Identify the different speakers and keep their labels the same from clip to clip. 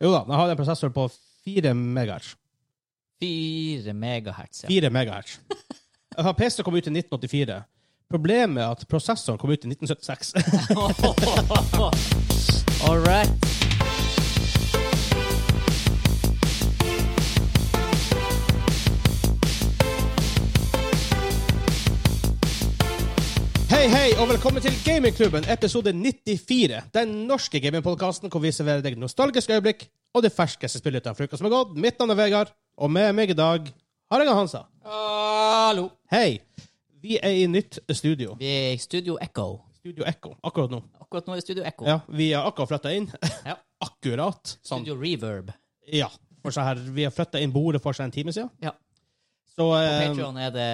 Speaker 1: Jo da, den hadde en prosessor på 4 megahertz.
Speaker 2: 4 megahertz, ja.
Speaker 1: 4 megahertz. Altså, PC kom ut i 1984. Problemet er at prosessoren kom ut i 1976.
Speaker 2: All right.
Speaker 1: hei, hei, og velkommen til Gamingklubben, episode 94. Den norske gamingpodkasten hvor vi serverer deg nostalgiske øyeblikk og det ferskeste spillet av uka som er gått. Mitt navn er Vegard, og med meg i dag har jeg Hansa.
Speaker 2: Hallo.
Speaker 1: Hei. Vi er i nytt studio.
Speaker 2: Vi er i Studio Echo.
Speaker 1: Studio Echo akkurat nå.
Speaker 2: Akkurat nå er Studio Echo.
Speaker 1: Ja, Vi har akkurat flytta inn.
Speaker 2: Ja.
Speaker 1: Akkurat. Sånn.
Speaker 2: Studio Reverb.
Speaker 1: Ja. For så her, vi har flytta inn bordet for seg en time siden.
Speaker 2: Ja.
Speaker 1: Så
Speaker 2: På
Speaker 1: eh,
Speaker 2: Patreon er det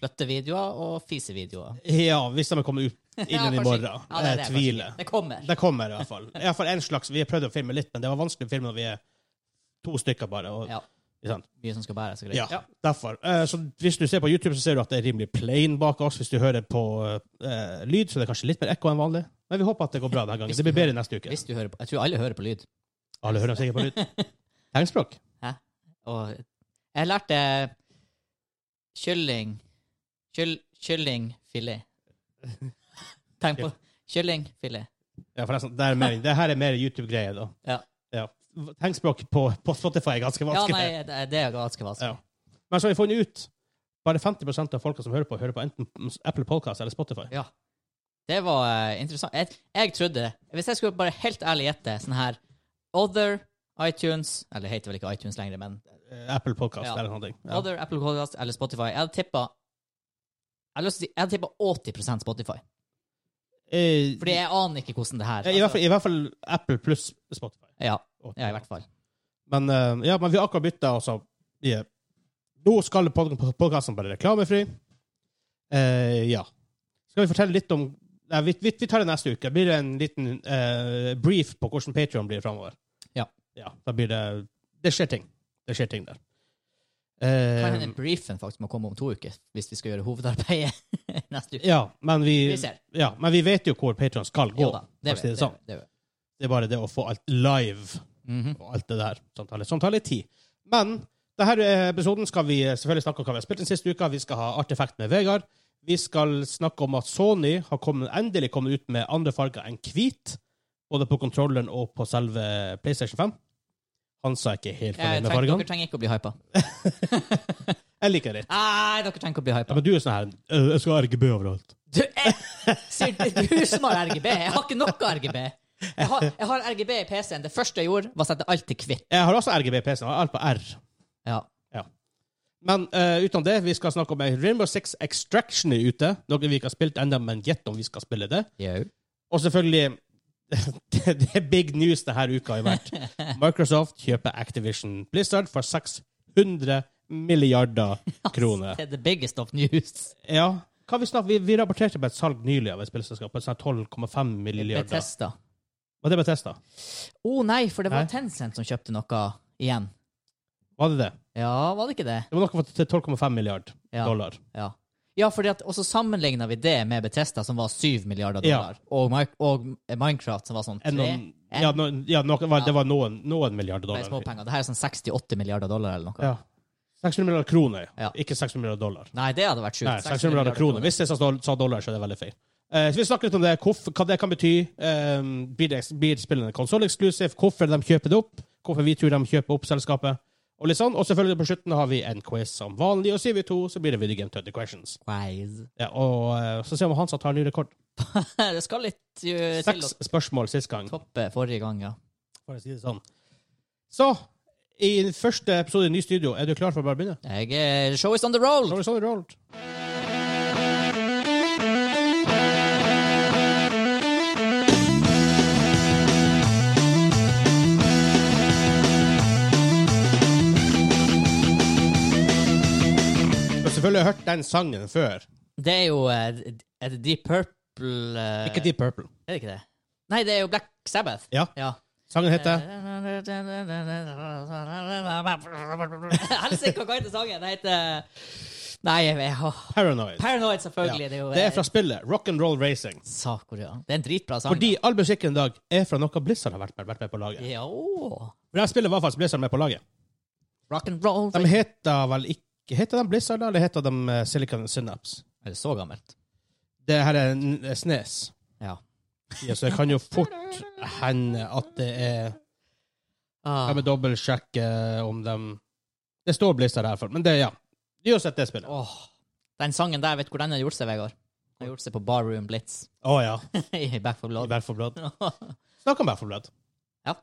Speaker 2: flyttevideoer og fisevideoer.
Speaker 1: ja, hvis de kommer ut
Speaker 2: Ja,
Speaker 1: innen i
Speaker 2: kanskje-
Speaker 1: morgen.
Speaker 2: Ja, det er det,
Speaker 1: jeg
Speaker 2: kanskje.
Speaker 1: tviler.
Speaker 2: Det kommer.
Speaker 1: Det kommer i hvert fall. I hvert fall en slags, Vi har prøvd å filme litt, men det var vanskelig å filme når vi er to stykker bare. Og,
Speaker 2: Ja.
Speaker 1: ikke sant?
Speaker 2: Mye som skal bæres. og greier.
Speaker 1: Ja, derfor. Eh, så Hvis du ser på YouTube, så ser du at det er rimelig plain bak oss. Hvis du hører på eh, lyd, så er det kanskje litt mer ekko enn vanlig. Men vi håper at det går bra denne gangen. Det blir bedre neste uke.
Speaker 2: Hvis du hører på, jeg tror alle hører på lyd.
Speaker 1: Alle hører sikkert på lyd. Tegnspråk.
Speaker 2: Og jeg lærte kylling kyll, Kyllingfilet. Tenk på kyllingfilet.
Speaker 1: Ja, forresten, det, er mer, det her er mer YouTube-greie, da.
Speaker 2: Ja.
Speaker 1: Ja. Tegnspråk på, på Spotify er ganske
Speaker 2: ja,
Speaker 1: vanskelig.
Speaker 2: nei, det det er ganske vanskelig.
Speaker 1: Ja. Men så har vi funnet ut bare 50 av folka som hører på, hører på enten Apple Podcast eller Spotify.
Speaker 2: Ja. Det var eh, interessant. Jeg, jeg trodde Hvis jeg skulle bare helt ærlig gjette sånn her Other iTunes Eller det heter vel ikke iTunes lenger, men
Speaker 1: Eh, Apple Podcast
Speaker 2: Ja.
Speaker 1: eller noe. sånt. Ja.
Speaker 2: Other Apple Podcast eller Spotify. Jeg hadde tippa jeg, har lyst til å si- jeg hadde tippa 80 Spotify.
Speaker 1: Eh,
Speaker 2: Fordi jeg aner ikke hvordan det her
Speaker 1: i, hvert fall, I hvert fall Apple pluss Spotify.
Speaker 2: ja,
Speaker 1: Og-
Speaker 2: ja, i hvert fall.
Speaker 1: Men, eh, ja, men vi har akkurat bytta, og så vi er- Nå skal podkasten være reklamefri. Eh, ja. Skal vi fortelle litt om Nei, vi, vi, vi tar det neste uke. Blir det en liten eh, brief på hvordan Patreon blir framover?
Speaker 2: Ja.
Speaker 1: ja. Da blir det Det skjer ting. Det skjer ting der.
Speaker 2: Kan
Speaker 1: Eh,
Speaker 2: hende briefen faktisk må komme om to uker, hvis vi skal gjøre hovedarbeidet neste uke.
Speaker 1: ja, men vi,
Speaker 2: Vi ser.
Speaker 1: ja, men vi vet jo hvor Patreon skal gå.
Speaker 2: Jo da, det
Speaker 1: for å si
Speaker 2: vet vi.
Speaker 1: det sånn.
Speaker 2: det vet vi.
Speaker 1: Det er bare det å få alt live
Speaker 2: Mhm.
Speaker 1: og alt det der. Sånn tar litt, sånn tar litt tid. Men denne episoden skal vi selvfølgelig snakke om hva vi har spilt den siste uka. Vi skal ha Artefakt med Vegard. Vi skal snakke om at Sony har kommet, endelig kommet ut med andre farger enn hvit. Både på kontrolleren og på selve PlayStation 5. Han sa ikke helt
Speaker 2: Jeg
Speaker 1: fornøyd med
Speaker 2: Eh, trenger, dere
Speaker 1: fargene.
Speaker 2: trenger ikke å bli hypa.
Speaker 1: Jeg liker det.
Speaker 2: Nei, dere trenger ikke å bli
Speaker 1: Ja,
Speaker 2: hypa.
Speaker 1: men du er sånn her «Øh, Jeg skal ha RGB overalt.
Speaker 2: Du, jeg, sier det du som har RGB. Jeg har ikke noe RGB. Jeg har, jeg har RGB i PC-en. Det første jeg gjorde, var å sette alt til hvitt.
Speaker 1: Jeg har også RGB-PC-en. og Alt på R.
Speaker 2: Ja.
Speaker 1: Men eh, utenom det, vi skal snakke om en Rainbow Six Extraction er ute. Noe vi ikke har spilt ennå, men gjett om vi skal spille det.
Speaker 2: Jau.
Speaker 1: Og selvfølgelig det, det er big news denne uka har vært. Microsoft kjøper Activision Blizzard for 600 milliarder kroner.
Speaker 2: Det er the biggest of news.
Speaker 1: Ja, hva vi, snak, vi, vi rapporterte på et salg nylig av et spillselskap på sånn 12,5 milliarder.
Speaker 2: Bethesda.
Speaker 1: Var det Bethesda?
Speaker 2: Å nei, for det
Speaker 1: Nei.
Speaker 2: var Tencent som kjøpte noe igjen.
Speaker 1: Var det det?
Speaker 2: Ja, var det ikke det?
Speaker 1: Det var noe for til 12,5 milliarder
Speaker 2: Ja.
Speaker 1: dollar.
Speaker 2: Ja. Ja, fordi at, og så sammenligna vi det med Betesta, som var 7 milliarder
Speaker 1: Ja.
Speaker 2: dollar, og, Mi- og Minecraft, som var sånn 3
Speaker 1: En, noen, ja, noen, ja, noe, var, det var noen, noen milliarder dollar.
Speaker 2: småpenger. Det her er sånn 68 milliarder dollar eller noe.
Speaker 1: Ja. 600 milliarder kroner,
Speaker 2: Ja.
Speaker 1: ikke 600 milliarder dollar.
Speaker 2: Nei, det hadde vært sjukt.
Speaker 1: Nei, 600 milliarder kroner. Hvis jeg sa doll- sa dollar, så er det veldig feil. Eh, så vi snakker litt om det, hvorf- hva det kan bety. Eh, blir, det, blir spillene konsoll-exclusive? Hvorfor de kjøper det opp? Hvorfor vi tror de kjøper opp selskapet? Og litt sånn. Og selvfølgelig på slutten har vi en quiz som vanlig, og sier vi to, så blir det Video Game 30 Questions.
Speaker 2: Quiz.
Speaker 1: Ja, og eh, så ser vi om Hansa tar en ny rekord.
Speaker 2: det skal litt eh, til å
Speaker 1: Seks spørsmål sist gang,
Speaker 2: toppe forrige gang, ja.
Speaker 1: for å si det sånn. Så, i den første episode i ny studio, er du klar for å bare begynne?
Speaker 2: Jeg er Show is on the roll!
Speaker 1: Sorry, sorry, rolled. Du har selvfølgelig hørt den sangen før.
Speaker 2: Det er jo eh, Er det Deep Purple eh,
Speaker 1: Ikke Deep Purple.
Speaker 2: Er det ikke det? Nei, det er jo Black Sabbath.
Speaker 1: Ja,
Speaker 2: Ja.
Speaker 1: sangen heter
Speaker 2: Eh. Helsike, hva heter sangen? Den heter Nei, jeg, jeg, åh.
Speaker 1: Paranoid.
Speaker 2: Paranoid, selvfølgelig. Det er jo eh,
Speaker 1: Det er fra spillet Rock'n'Roll Racing.
Speaker 2: Sakuria. Det er en dritbra sang.
Speaker 1: Fordi all musikken i dag er fra noe Blizzard har vært med, vært med på laget.
Speaker 2: Ja.
Speaker 1: For det her spillet var faktisk Blizzard med på laget.
Speaker 2: Rock and roll.
Speaker 1: De heter vel ikke Heter de Blizzard, da, eller heter de eh, Silicon Synapse?
Speaker 2: Er det så gammelt?
Speaker 1: Det her er en- eh, Snes.
Speaker 2: Ja.
Speaker 1: Ja, så det kan jo fort hende at det er
Speaker 2: Ah.
Speaker 1: Jeg må dobbeltsjekke om de Det står Blizzard her, for, men det, ja. Uansett det spillet. Å
Speaker 2: Åh. Den sangen der, vet du hvor den har gjort seg, Vegard? Den har gjort seg på Barroom Blitz
Speaker 1: ja.
Speaker 2: i Back for Blood.
Speaker 1: Back 4 Blood. Snakk om Back 4 Blood.
Speaker 2: Ja.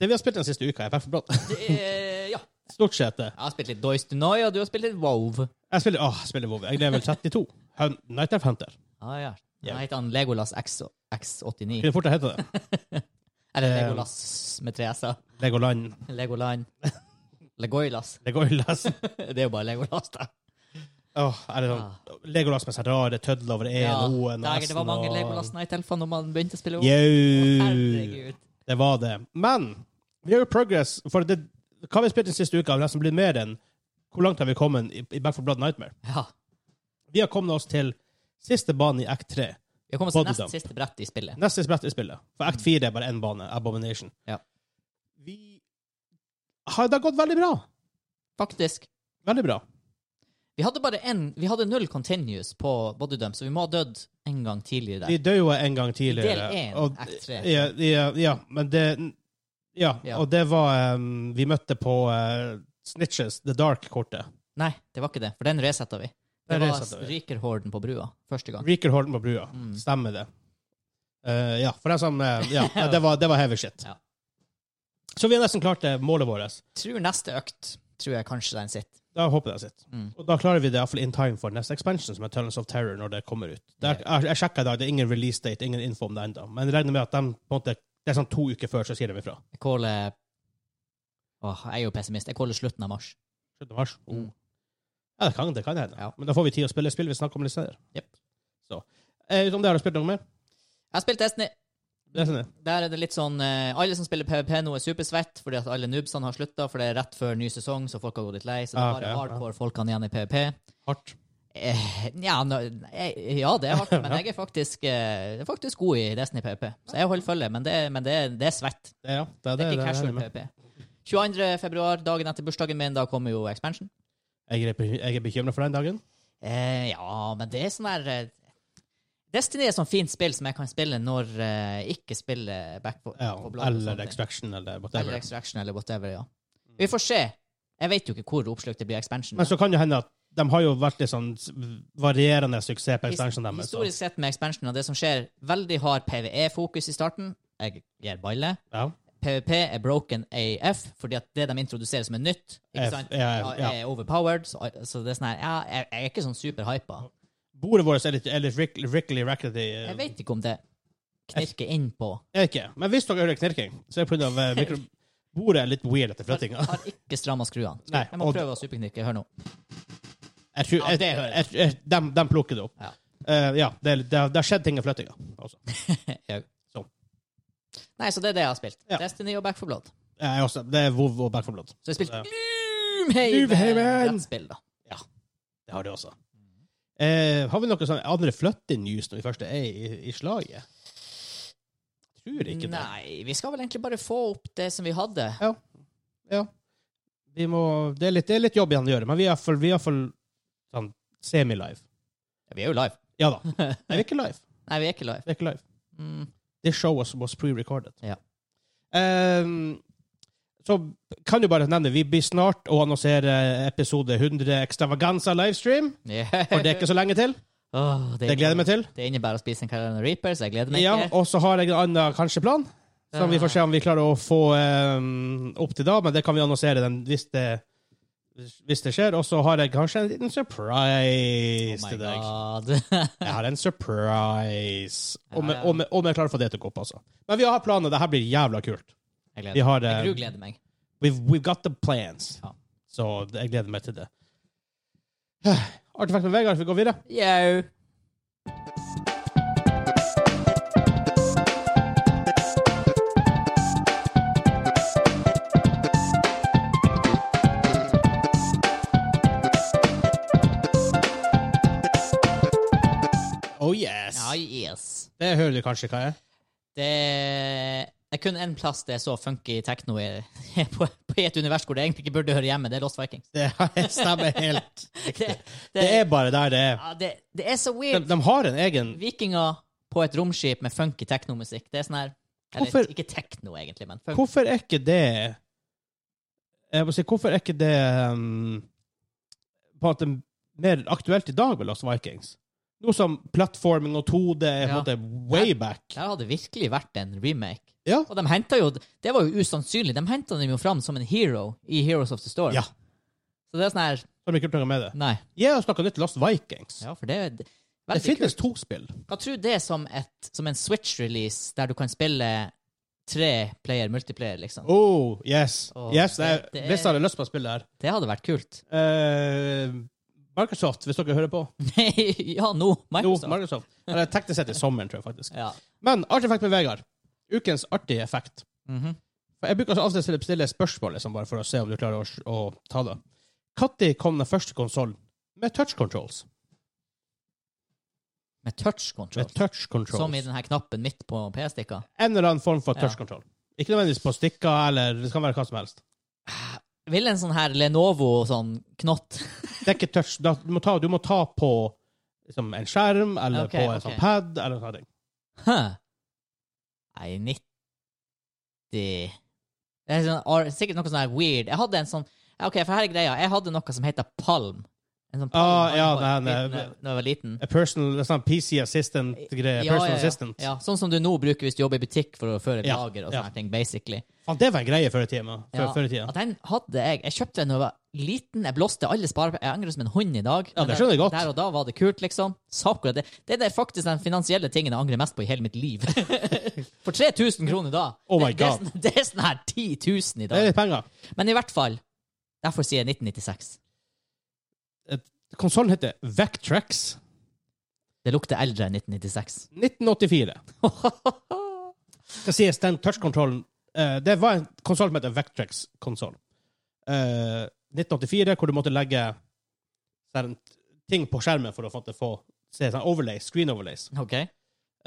Speaker 1: Det vi har spilt den siste uka, er Back 4 Blood.
Speaker 2: Det er- ja.
Speaker 1: Stort sett det.
Speaker 2: Jeg har spilt litt Doys Dunoi, og du har spilt litt Wow.
Speaker 1: Jeg spiller, åh, jeg spiller WoW. Jeg er level 32. Hun- Night of Hunter.
Speaker 2: Ah, ja.
Speaker 1: Ja.
Speaker 2: Den heter han Legolas X, X89.
Speaker 1: Kunne fort ha hett det.
Speaker 2: Eller
Speaker 1: Eh.
Speaker 2: Legolas med tre s-er.
Speaker 1: Legoland.
Speaker 2: Legoland. Legoilas.
Speaker 1: Legolas.
Speaker 2: Det er jo bare Legolas, da.
Speaker 1: Åh, er det sånn, Legolas med seg rare tødler over E-en og O-en og
Speaker 2: dager, Ah. det
Speaker 1: S-en.
Speaker 2: var mange
Speaker 1: og-
Speaker 2: Legolas Night-elfer når man begynte å spille WoW.
Speaker 1: Jau.
Speaker 2: Herregud.
Speaker 1: Det var det. Men vi har jo progress. For det, hva vi spilte den siste uka, har nesten blitt mer enn hvor langt har vi kommet i, i Back 4 Blood Nightmare.
Speaker 2: Ja.
Speaker 1: Vi har kommet oss til siste bane i Act 3.
Speaker 2: Vi har kommet til
Speaker 1: Body
Speaker 2: nest
Speaker 1: dump.
Speaker 2: siste brett i spillet.
Speaker 1: Neste brett i spillet. For Act 4 er bare én bane, Abomination.
Speaker 2: Ja.
Speaker 1: Vi har Det har gått veldig bra.
Speaker 2: Faktisk.
Speaker 1: Veldig bra.
Speaker 2: Vi hadde bare en, vi hadde null continues på body dump, så vi må ha dødd en gang tidligere.
Speaker 1: Vi døde jo en gang tidligere.
Speaker 2: del én,
Speaker 1: og-
Speaker 2: Act 3.
Speaker 1: Ja, ja, ja, men det Ja,
Speaker 2: Ja.
Speaker 1: og det var em, Vi møtte på eh, Snitches, The Dark-kortet.
Speaker 2: Nei, det var ikke det, for den resetta vi. Det
Speaker 1: Den
Speaker 2: var
Speaker 1: resetta vi.
Speaker 2: Rykerhorden på brua første gang.
Speaker 1: Riker Holden på brua.
Speaker 2: Mm.
Speaker 1: Stemmer det. Eh, ja, for det, som, eh, ja, nei, det, var, det var heavy shit.
Speaker 2: Ja.
Speaker 1: Så vi har nesten klart det målet vårt.
Speaker 2: Tror neste økt tror jeg kanskje den sitter.
Speaker 1: Da håper jeg det sitter.
Speaker 2: Mm.
Speaker 1: Og da klarer vi det i hvert fall in time for neste expansion, som er Tunnels of Terror, når det kommer ut. Der, jeg jeg sjekket i dag, det er ingen release date, ingen info om det ennå. Men jeg regner med at de, på en måte, det er sånn to uker før, så sier de ifra.
Speaker 2: Jeg caller Åh, jeg er jo pessimist. Jeg caller slutten av mars.
Speaker 1: Slutten av mars.
Speaker 2: Mm.
Speaker 1: Ja, det kan det kan hende.
Speaker 2: Ja.
Speaker 1: Men da får vi tid å spille spill vi snakker om litt senere.
Speaker 2: Jep.
Speaker 1: Så. Eh, utenom det, har du spilt noe mer?
Speaker 2: Jeg har spilt Destiny.
Speaker 1: Det er sånn det.
Speaker 2: Der er det litt sånn eh, Alle som spiller PVP nå, er supersvett fordi at alle noobsene har slutta, for det er rett før ny sesong, så folk har gått litt lei. Så det
Speaker 1: Ah,
Speaker 2: er bare
Speaker 1: ok, ja.
Speaker 2: hardcore folkene igjen i PVP.
Speaker 1: Hardt.
Speaker 2: Eh, Nja, nå- jeg- ja, det er hardt, men jeg er faktisk, eh, jeg er faktisk god i Destiny PVP. Så jeg holder følge, men det, er- men det, er- det er svett.
Speaker 1: Det, ja. det,
Speaker 2: Det er ikke
Speaker 1: det
Speaker 2: casual
Speaker 1: regner jeg med.
Speaker 2: PVP. 22. februar, dagen etter bursdagen min, da kommer jo expansion.
Speaker 1: Jeg er, be- jeg er bekymra for den dagen.
Speaker 2: Eh, ja, men det er sånn der eh, Destiny er sånn fint spill som jeg kan spille når eh, jeg ikke spiller back på,
Speaker 1: Ja,
Speaker 2: på og sånne
Speaker 1: eller
Speaker 2: ting.
Speaker 1: Extraction, eller
Speaker 2: Eller
Speaker 1: whatever. Mm.
Speaker 2: Extraction eller whatever, ja. Vi får se. Jeg vet jo ikke hvor oppslukt det blir expansion.
Speaker 1: Men så kan det hende at de har jo vært litt sånn s- varierende suksess på
Speaker 2: His-
Speaker 1: expansion deres. så-
Speaker 2: Historisk sett med expansion og det som skjer, veldig hard PVE-fokus i starten. Jeg gir balle.
Speaker 1: Ja.
Speaker 2: PVP er broken AF, fordi at det de introduserer som er nytt, ikke
Speaker 1: F,
Speaker 2: sant?
Speaker 1: ja, ja.
Speaker 2: er overpowered. Så, så det er sånn her Ja, jeg, jeg er ikke sånn superhypa.
Speaker 1: Bordet vårt er litt, er litt rick, rickly rackety. eh,
Speaker 2: Jeg vet ikke om det knirker innpå.
Speaker 1: Er ikke. Men hvis dere hører knirking, så er det pga. eh, mikro... Bordet er litt weird etter flyttinga.
Speaker 2: Har ikke stramma skruene.
Speaker 1: Nei,
Speaker 2: Jeg må
Speaker 1: og-
Speaker 2: prøve å superknirke. Hør nå.
Speaker 1: Jeg tror,
Speaker 2: Ja,
Speaker 1: jeg,
Speaker 2: det hører
Speaker 1: jeg, jeg, de, de plukker det opp.
Speaker 2: Ja.
Speaker 1: Eh, ja, det, er- det, har- det har skjedd ting i flyttinga. også.
Speaker 2: Jeg-
Speaker 1: Sånn.
Speaker 2: Nei, så det er det jeg har spilt.
Speaker 1: Ja.
Speaker 2: Destiny og Back for Blood.
Speaker 1: Jeg er også- Det er WoW og Back 4 Blood.
Speaker 2: Så jeg
Speaker 1: Ja.
Speaker 2: spilte Gloomhaven.
Speaker 1: Gloomhaven!
Speaker 2: Brettspill, da.
Speaker 1: Det har det også. Eh, har vi noen sånne andre flytting-news når vi først er i, i slaget? Tror ikke det.
Speaker 2: Nei, vi skal vel egentlig bare få opp det som vi hadde.
Speaker 1: Vi må, det, er litt, det er litt jobb igjen å gjøre, men vi er iallfall sånn, semi-live.
Speaker 2: Vi er jo live.
Speaker 1: Ja da. Nei, vi er ikke live.
Speaker 2: Nei, vi er ikke live.
Speaker 1: Vi er ikke live.
Speaker 2: Mm.
Speaker 1: This show was, was pre-recorded.
Speaker 2: Ja.
Speaker 1: Ehm, så kan du bare nevne, vi blir snart å annonsere episode 100 Extravaganza livestream, for det er ikke så lenge til.
Speaker 2: Åh,
Speaker 1: Det gleder jeg meg til.
Speaker 2: Det innebærer å spise en Carolina Reaper, så jeg gleder meg
Speaker 1: Ja,
Speaker 2: ikke.
Speaker 1: og så har jeg en annen kanskje plan, som vi får se om vi klarer å få ehm, opp til da, men det kan vi annonsere den hvis det hvis det skjer, og så har jeg kanskje en liten surprise
Speaker 2: Oh my
Speaker 1: til deg.
Speaker 2: god.
Speaker 1: Jeg har en surprise. Om,
Speaker 2: Ja, ja.
Speaker 1: om, om jeg klarer å få det til å gå opp, altså. Men vi har planer. Det her blir jævla kult.
Speaker 2: Jeg
Speaker 1: Vi
Speaker 2: gleder meg.
Speaker 1: har eh,
Speaker 2: Jeg grugleder meg.
Speaker 1: we've, we've got the plans.
Speaker 2: Ja.
Speaker 1: Så det- jeg gleder meg til det. Artefakt med Vegard, vi går videre.
Speaker 2: Yo.
Speaker 1: Oh, Det hører du kanskje hva er.
Speaker 2: Det er kun én plass det er så funky techno i, på, på i et univers hvor det egentlig ikke burde høre hjemme. Det er Lost Vikings.
Speaker 1: Det stemmer helt.
Speaker 2: Det,
Speaker 1: Det er bare der det er.
Speaker 2: ja, det, det er så
Speaker 1: De,
Speaker 2: weird.
Speaker 1: de har en egen
Speaker 2: Vikinger på et romskip med funky teknomusikk. Det er sånn her Eller
Speaker 1: Hvorfor-
Speaker 2: ikke tekno, egentlig, men funky.
Speaker 1: Hvorfor er ikke det Jeg må si, hvorfor er ikke det um, på en måte mer aktuelt i dag med Lost Vikings? Noe som plattforming og 2D er på en
Speaker 2: Ja.
Speaker 1: måte way back.
Speaker 2: Der hadde det virkelig vært en remake.
Speaker 1: Ja.
Speaker 2: Og de hentet jo Det var jo usannsynlig. De henta dem jo fram som en hero i Heroes of the Storm.
Speaker 1: Ja.
Speaker 2: Så det er sånn her
Speaker 1: Som ikke plager med det.
Speaker 2: Nei.
Speaker 1: Gi oss noe nytt Lost Vikings.
Speaker 2: Ja, for det er veldig
Speaker 1: det finnes
Speaker 2: kult.
Speaker 1: to spill.
Speaker 2: Hva tror du det er som, et, som en Switch-release, der du kan spille tre player multiplayer, liksom?
Speaker 1: Oh, yes.
Speaker 2: Åh,
Speaker 1: yes
Speaker 2: det-
Speaker 1: jeg,
Speaker 2: det er-
Speaker 1: Hvis jeg hadde lyst på å spille det her.
Speaker 2: Det hadde vært kult.
Speaker 1: Eh, Microsoft, hvis dere hører på.
Speaker 2: ja, nå. Microsoft.
Speaker 1: Jo, Microsoft. Eller teknisk sett i sommeren, tror jeg faktisk.
Speaker 2: ja.
Speaker 1: Men artig effekt med Vegard. Ukens artige effekt.
Speaker 2: Mhm.
Speaker 1: For Jeg bruker altså av og til å stille spørsmål liksom, bare for å se om du klarer å, å ta det. Når kom den første konsollen med touch controls?
Speaker 2: Med touch control.
Speaker 1: Med touch controls.
Speaker 2: Som i den her knappen midt på PS-stikka.
Speaker 1: En eller annen form for
Speaker 2: Ja.
Speaker 1: touch control. Ikke nødvendigvis på stikker, eller det kan være hva som helst.
Speaker 2: Vil en sånn her Lenovo sånn knott
Speaker 1: Det er ikke touch. Da, du, må ta, du må ta på liksom, en skjerm, eller
Speaker 2: Ok,
Speaker 1: på en
Speaker 2: ok.
Speaker 1: sånn pad, eller noe sånt.
Speaker 2: Hæ? Nei, 90 Det er sånn, or, sikkert noe sånn her weird. Jeg hadde en sånn ja, OK, for her er greia. Jeg hadde noe som heter Palm. En sånn
Speaker 1: Ah, ja,
Speaker 2: håndholdt
Speaker 1: den,
Speaker 2: liten,
Speaker 1: eh,
Speaker 2: eh, når jeg var liten.
Speaker 1: A personal, det er sånn PC assistant-greie. Eh, personal assistant.
Speaker 2: Ja, sånn som du nå bruker hvis du jobber i butikk for å føre et
Speaker 1: Ja,
Speaker 2: lager og
Speaker 1: ja.
Speaker 2: sånne ting, basically.
Speaker 1: Faen, det var en greie før i tida. Før,
Speaker 2: Ja,
Speaker 1: før i tida.
Speaker 2: At den hadde jeg. Jeg kjøpte den da jeg var liten. Jeg blåste alle sparepenger. Jeg angrer som en hund i dag.
Speaker 1: Ja,
Speaker 2: Men
Speaker 1: det skjønner jeg godt.
Speaker 2: Der og da var det kult, liksom. Sakura, det, det er det faktisk den finansielle tingen jeg angrer mest på i hele mitt liv. For 3000 kroner da.
Speaker 1: Oh my
Speaker 2: Det- det er
Speaker 1: God.
Speaker 2: sånn- Det er sånn her 10 000 i
Speaker 1: Det er
Speaker 2: dag.
Speaker 1: litt penger.
Speaker 2: Men i hvert fall, derfor sier jeg 1996.
Speaker 1: Konsollen heter Vectrex
Speaker 2: Det lukter eldre enn 1996.
Speaker 1: 1984. skal sies, den touchkontrollen eh, Det var en konsoll som heter Vectrex-konsoll. 1984, hvor du måtte legge sånn ting på skjermen for å få, få se sånn overlay, screen overlays.
Speaker 2: ok.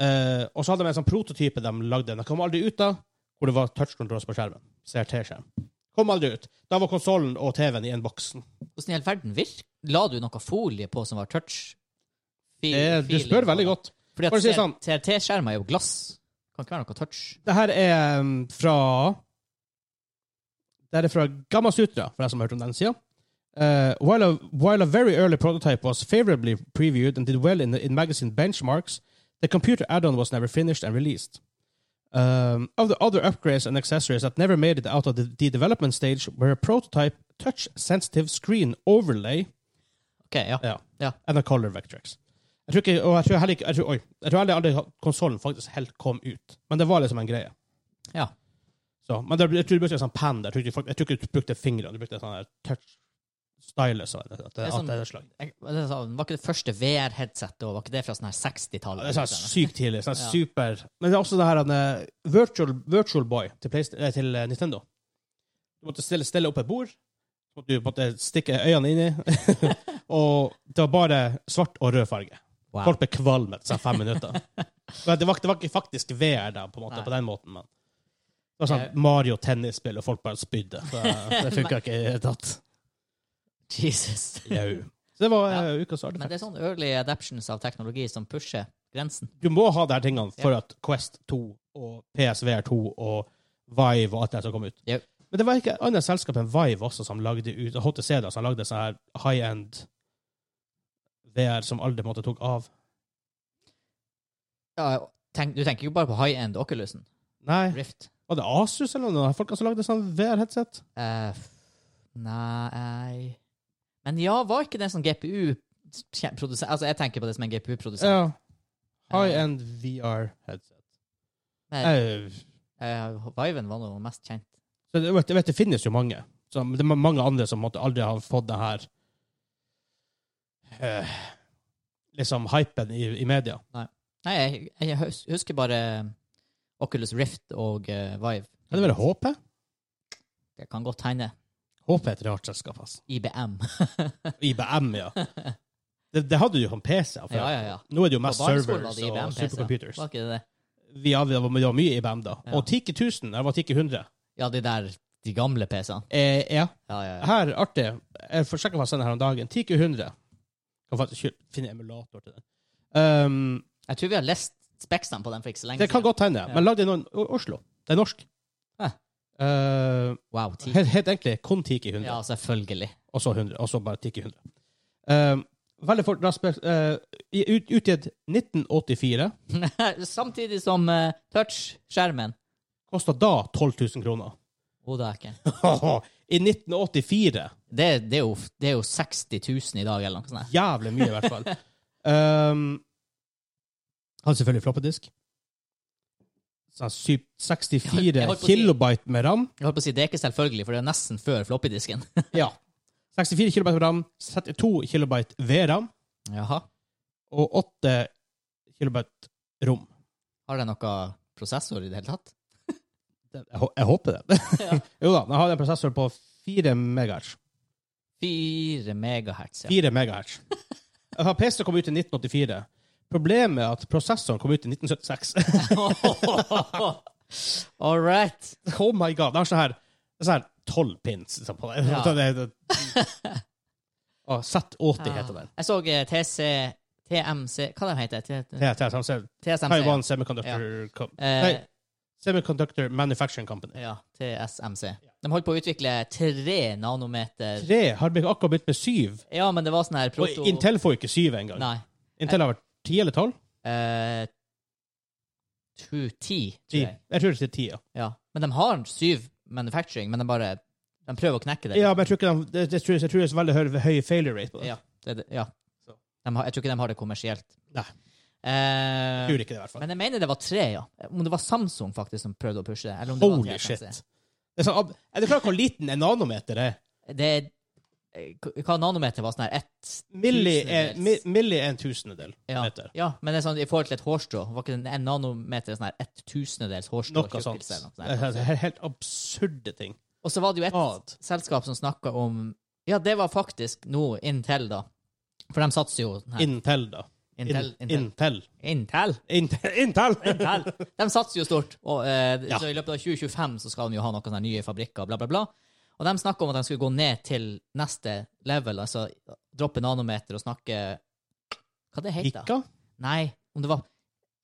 Speaker 1: Eh, og så hadde de en sånn prototype de lagde. Den kom aldri ut av, hvor det var touchkontroll på skjermen. CRT-skjerm. Kom aldri ut. Da var konsollen og TV-en i en boks.
Speaker 2: Hvordan i all verden virker? La du noe folie på som var touch? Fi-
Speaker 1: Det- Eh, Du
Speaker 2: feeling
Speaker 1: spør
Speaker 2: på
Speaker 1: veldig
Speaker 2: det?
Speaker 1: godt.
Speaker 2: Fordi
Speaker 1: Bare
Speaker 2: at
Speaker 1: si sånn.
Speaker 2: CRT-skjermer er jo glass. Kan ikke være noe touch.
Speaker 1: Det her er um, fra Det her er fra Gamma Sutra, for deg som har hørt om den sida. Uh, while, a, while a very early prototype was favorably previewed and did well in, in magazine benchmarks, the computer add-on was never finished and released. Um, of the other upgrades and accessories that never made it out of the, the development stage were a prototype touch-sensitive screen overlay
Speaker 2: Ok, ja.
Speaker 1: ja,
Speaker 2: Ja.
Speaker 1: and a color vectrex. Jeg tror ikke, og jeg tror heller ikke, jeg tror, oi, jeg tror heller aldri konsollen faktisk helt kom ut, men det var liksom en greie.
Speaker 2: ja.
Speaker 1: Så, men det, jeg tror du brukte en sånn penn der. Jeg tror ikke folk- jeg tror ikke du brukte fingrene. Du brukte en sånn her touch stylus. og det- at det-
Speaker 2: er
Speaker 1: at
Speaker 2: sånn-
Speaker 1: det er et slag.
Speaker 2: Jeg, det er sånn, var ikke det første VR-headsetet, og var ikke det fra sånn her
Speaker 1: Ja,
Speaker 2: 60-tallet?
Speaker 1: Det er sånn sykt tidlig. Sånn
Speaker 2: Ja.
Speaker 1: super. Men det er også det her eh, virtual, virtual Boy til, Playsta- eh, til eh, Nintendo. Du måtte stille, stille opp et bord. Så måtte du måtte stikke øynene inni. og det var bare svart og rød farge.
Speaker 2: Wow.
Speaker 1: Folk ble kvalme etter sånn fem minutter. Men det, var, det var ikke faktisk VR da, på, en måte,
Speaker 2: Nei.
Speaker 1: på den måten. Men det var sånn Mario-tennisspill, og folk bare spydde. Så det funka ikke i det hele tatt.
Speaker 2: Jesus.
Speaker 1: Jau. Så det var
Speaker 2: Ja.
Speaker 1: eh, ukas artefakt.
Speaker 2: Men det er sånn early adaptions av teknologi som pusher grensen.
Speaker 1: Du må ha de her tingene for at Quest 2 og PSVR 2 og Vive og alt det her som kom ut.
Speaker 2: Jau.
Speaker 1: Men det var ikke et annet selskap enn Vive også som lagde ut, HTC da, som lagde sånn her high-end VR som aldri på en måte tok av.
Speaker 2: Ja, tenk, du tenker jo bare på high-end Oculusen.
Speaker 1: Nei,
Speaker 2: Rift.
Speaker 1: var det Asus eller noen av de folkene som lagde sånn VR-headset?
Speaker 2: Eh, f- nei Men ja, var ikke det en sånn GPU-produsent? Altså, jeg tenker på det som en GPU-produsent.
Speaker 1: Ja. High-end VR-headset.
Speaker 2: Men
Speaker 1: Au.
Speaker 2: eh, Viven var noe mest kjent.
Speaker 1: Så det, vet, jeg vet, det finnes jo mange. Så det er mange andre som måtte aldri ha fått det her eh, Liksom hypen i, i media.
Speaker 2: Nei, jeg, jeg hus- husker bare Oculus Rift og eh, Vive.
Speaker 1: Kan det være HP?
Speaker 2: Det kan godt hende.
Speaker 1: HP er et rart selskap, altså.
Speaker 2: IBM.
Speaker 1: IBM, ja. Det, det hadde du jo på PC. av før.
Speaker 2: Ja, ja, ja.
Speaker 1: Nå er det jo
Speaker 2: På
Speaker 1: mest
Speaker 2: barneskolen
Speaker 1: servers
Speaker 2: hadde IBM
Speaker 1: og
Speaker 2: PC.
Speaker 1: supercomputers.
Speaker 2: Var ikke det det?
Speaker 1: Vi hadde, det var det var mye IBM da.
Speaker 2: Ja.
Speaker 1: Og Tiki 1000, jeg var Tiki 100.
Speaker 2: Ja, de der de gamle PC-ene.
Speaker 1: Eh, ja.
Speaker 2: Ja, ja, ja.
Speaker 1: Her, artig, jeg får sjekke hva jeg sender her om dagen. Tiki 100. Kan faktisk kjø- finne emulator til den. Um,
Speaker 2: Jeg tror vi har lest speksene på den for ikke så lenge
Speaker 1: det kan godt hende,
Speaker 2: Ja.
Speaker 1: men lagd i noen- o- Oslo. Det er norsk.
Speaker 2: Hæ.
Speaker 1: Eh,
Speaker 2: Wow, ti.
Speaker 1: helt, helt egentlig kun Tiki 100.
Speaker 2: Ja, selvfølgelig.
Speaker 1: og så 100, og så bare tikke 100. Ehm, veldig fort raskt eh, i- ut, Utgitt 1984.
Speaker 2: Samtidig som eh, touch-skjermen.
Speaker 1: Kosta da 12 000 kroner.
Speaker 2: Å, det er ikke
Speaker 1: I 1984!
Speaker 2: det, det, er jo, det er jo 60 000 i dag, eller noe sånt.
Speaker 1: Jævlig mye, i hvert fall. Um, hadde selvfølgelig floppedisk. Sånn syv- 64
Speaker 2: Jeg holdt på å si-
Speaker 1: kilobyte med ram.
Speaker 2: Jeg holdt på å si, det er ikke selvfølgelig, for det er nesten før floppydisken.
Speaker 1: Ja. 64 kilobyte med ram, 32 kilobyte VRAM
Speaker 2: Jaha.
Speaker 1: og 8 kilobyte rom.
Speaker 2: Har den noe prosessor i det hele tatt?
Speaker 1: Jeg, hå- jeg håper det.
Speaker 2: Ja.
Speaker 1: jo da, den har en prosessor på 4 megahertz.
Speaker 2: 4 megahertz, ja.
Speaker 1: 4 megahertz. Ja, PC kom ut i 1984. Problemet er at prosessoren kom ut i 1976.
Speaker 2: All right.
Speaker 1: oh my god, det er sånn her, det er sånn her 12 pins liksom, på det.
Speaker 2: Ja.
Speaker 1: det, det, Å, Z80 heter den.
Speaker 2: Jeg så eh, TC... TMC... Hva den heter den?
Speaker 1: Ja, TSMC,
Speaker 2: TSMC. ja.
Speaker 1: sånn, Taiwan Semiconductor, Com nei,
Speaker 2: Eh,
Speaker 1: Semiconductor Manufacturing Company.
Speaker 2: ja, TSMC. De holdt på å utvikle tre nanometer...
Speaker 1: Tre har blitt- akkurat blitt med syv.
Speaker 2: Ja, men det var sånn her proto...
Speaker 1: Og Intel får ikke syv engang.
Speaker 2: Nei.
Speaker 1: Intel har vært ti eller tolv?
Speaker 2: Eh, tju- ti, tror
Speaker 1: Ti.
Speaker 2: jeg.
Speaker 1: Jeg tror det er ti, ja.
Speaker 2: Ja. Men de har syv manufacturing, men de bare de prøver å knekke det.
Speaker 1: Ja, men jeg tror ikke de, det, det, tror jeg, jeg tror det er så veldig høy, høy failure rate på det.
Speaker 2: Ja, det, det- ja.
Speaker 1: Så.
Speaker 2: De har, jeg tror ikke de har det kommersielt.
Speaker 1: Nei.
Speaker 2: Eh,
Speaker 1: Jeg tror ikke det, i hvert fall.
Speaker 2: men jeg mener det var tre, ja. Om det var Samsung faktisk som prøvde å pushe det. Eller om det var
Speaker 1: Holy
Speaker 2: TSMC.
Speaker 1: shit. Det er, sånn, ab- er du klar over hvor liten en nanometer er?
Speaker 2: Det er eh, Hva nanometer var sånn her? Ett
Speaker 1: Milli er,
Speaker 2: Tusendels.
Speaker 1: mi, milli er en tusendedel
Speaker 2: ja.
Speaker 1: meter.
Speaker 2: ja, men det er sånn i forhold til et hårstrå. Var ikke en nanometer sånn her ett tusendedels hårstrå?
Speaker 1: Noe sånt. Eh,
Speaker 2: tjukkelse eller noe sånt
Speaker 1: Det
Speaker 2: her?
Speaker 1: er helt- helt absurde ting.
Speaker 2: Og så var det jo et
Speaker 1: Odd.
Speaker 2: selskap som snakka om Ja, det var faktisk nå Intel, da. For de satser jo nei,
Speaker 1: Intel, da. In-
Speaker 2: Intel, Intel.
Speaker 1: Intel.
Speaker 2: Intel.
Speaker 1: Intel. Intel.
Speaker 2: Intel. De satser jo stort. Og, eh,
Speaker 1: Ja.
Speaker 2: Så i løpet av 2025 så skal de jo ha noen sånne nye fabrikker, bla, bla, bla. Og de snakker om at de skulle gå ned til neste level, altså droppe nanometer og snakke Hva det heter det?
Speaker 1: Pika?
Speaker 2: Nei, om det var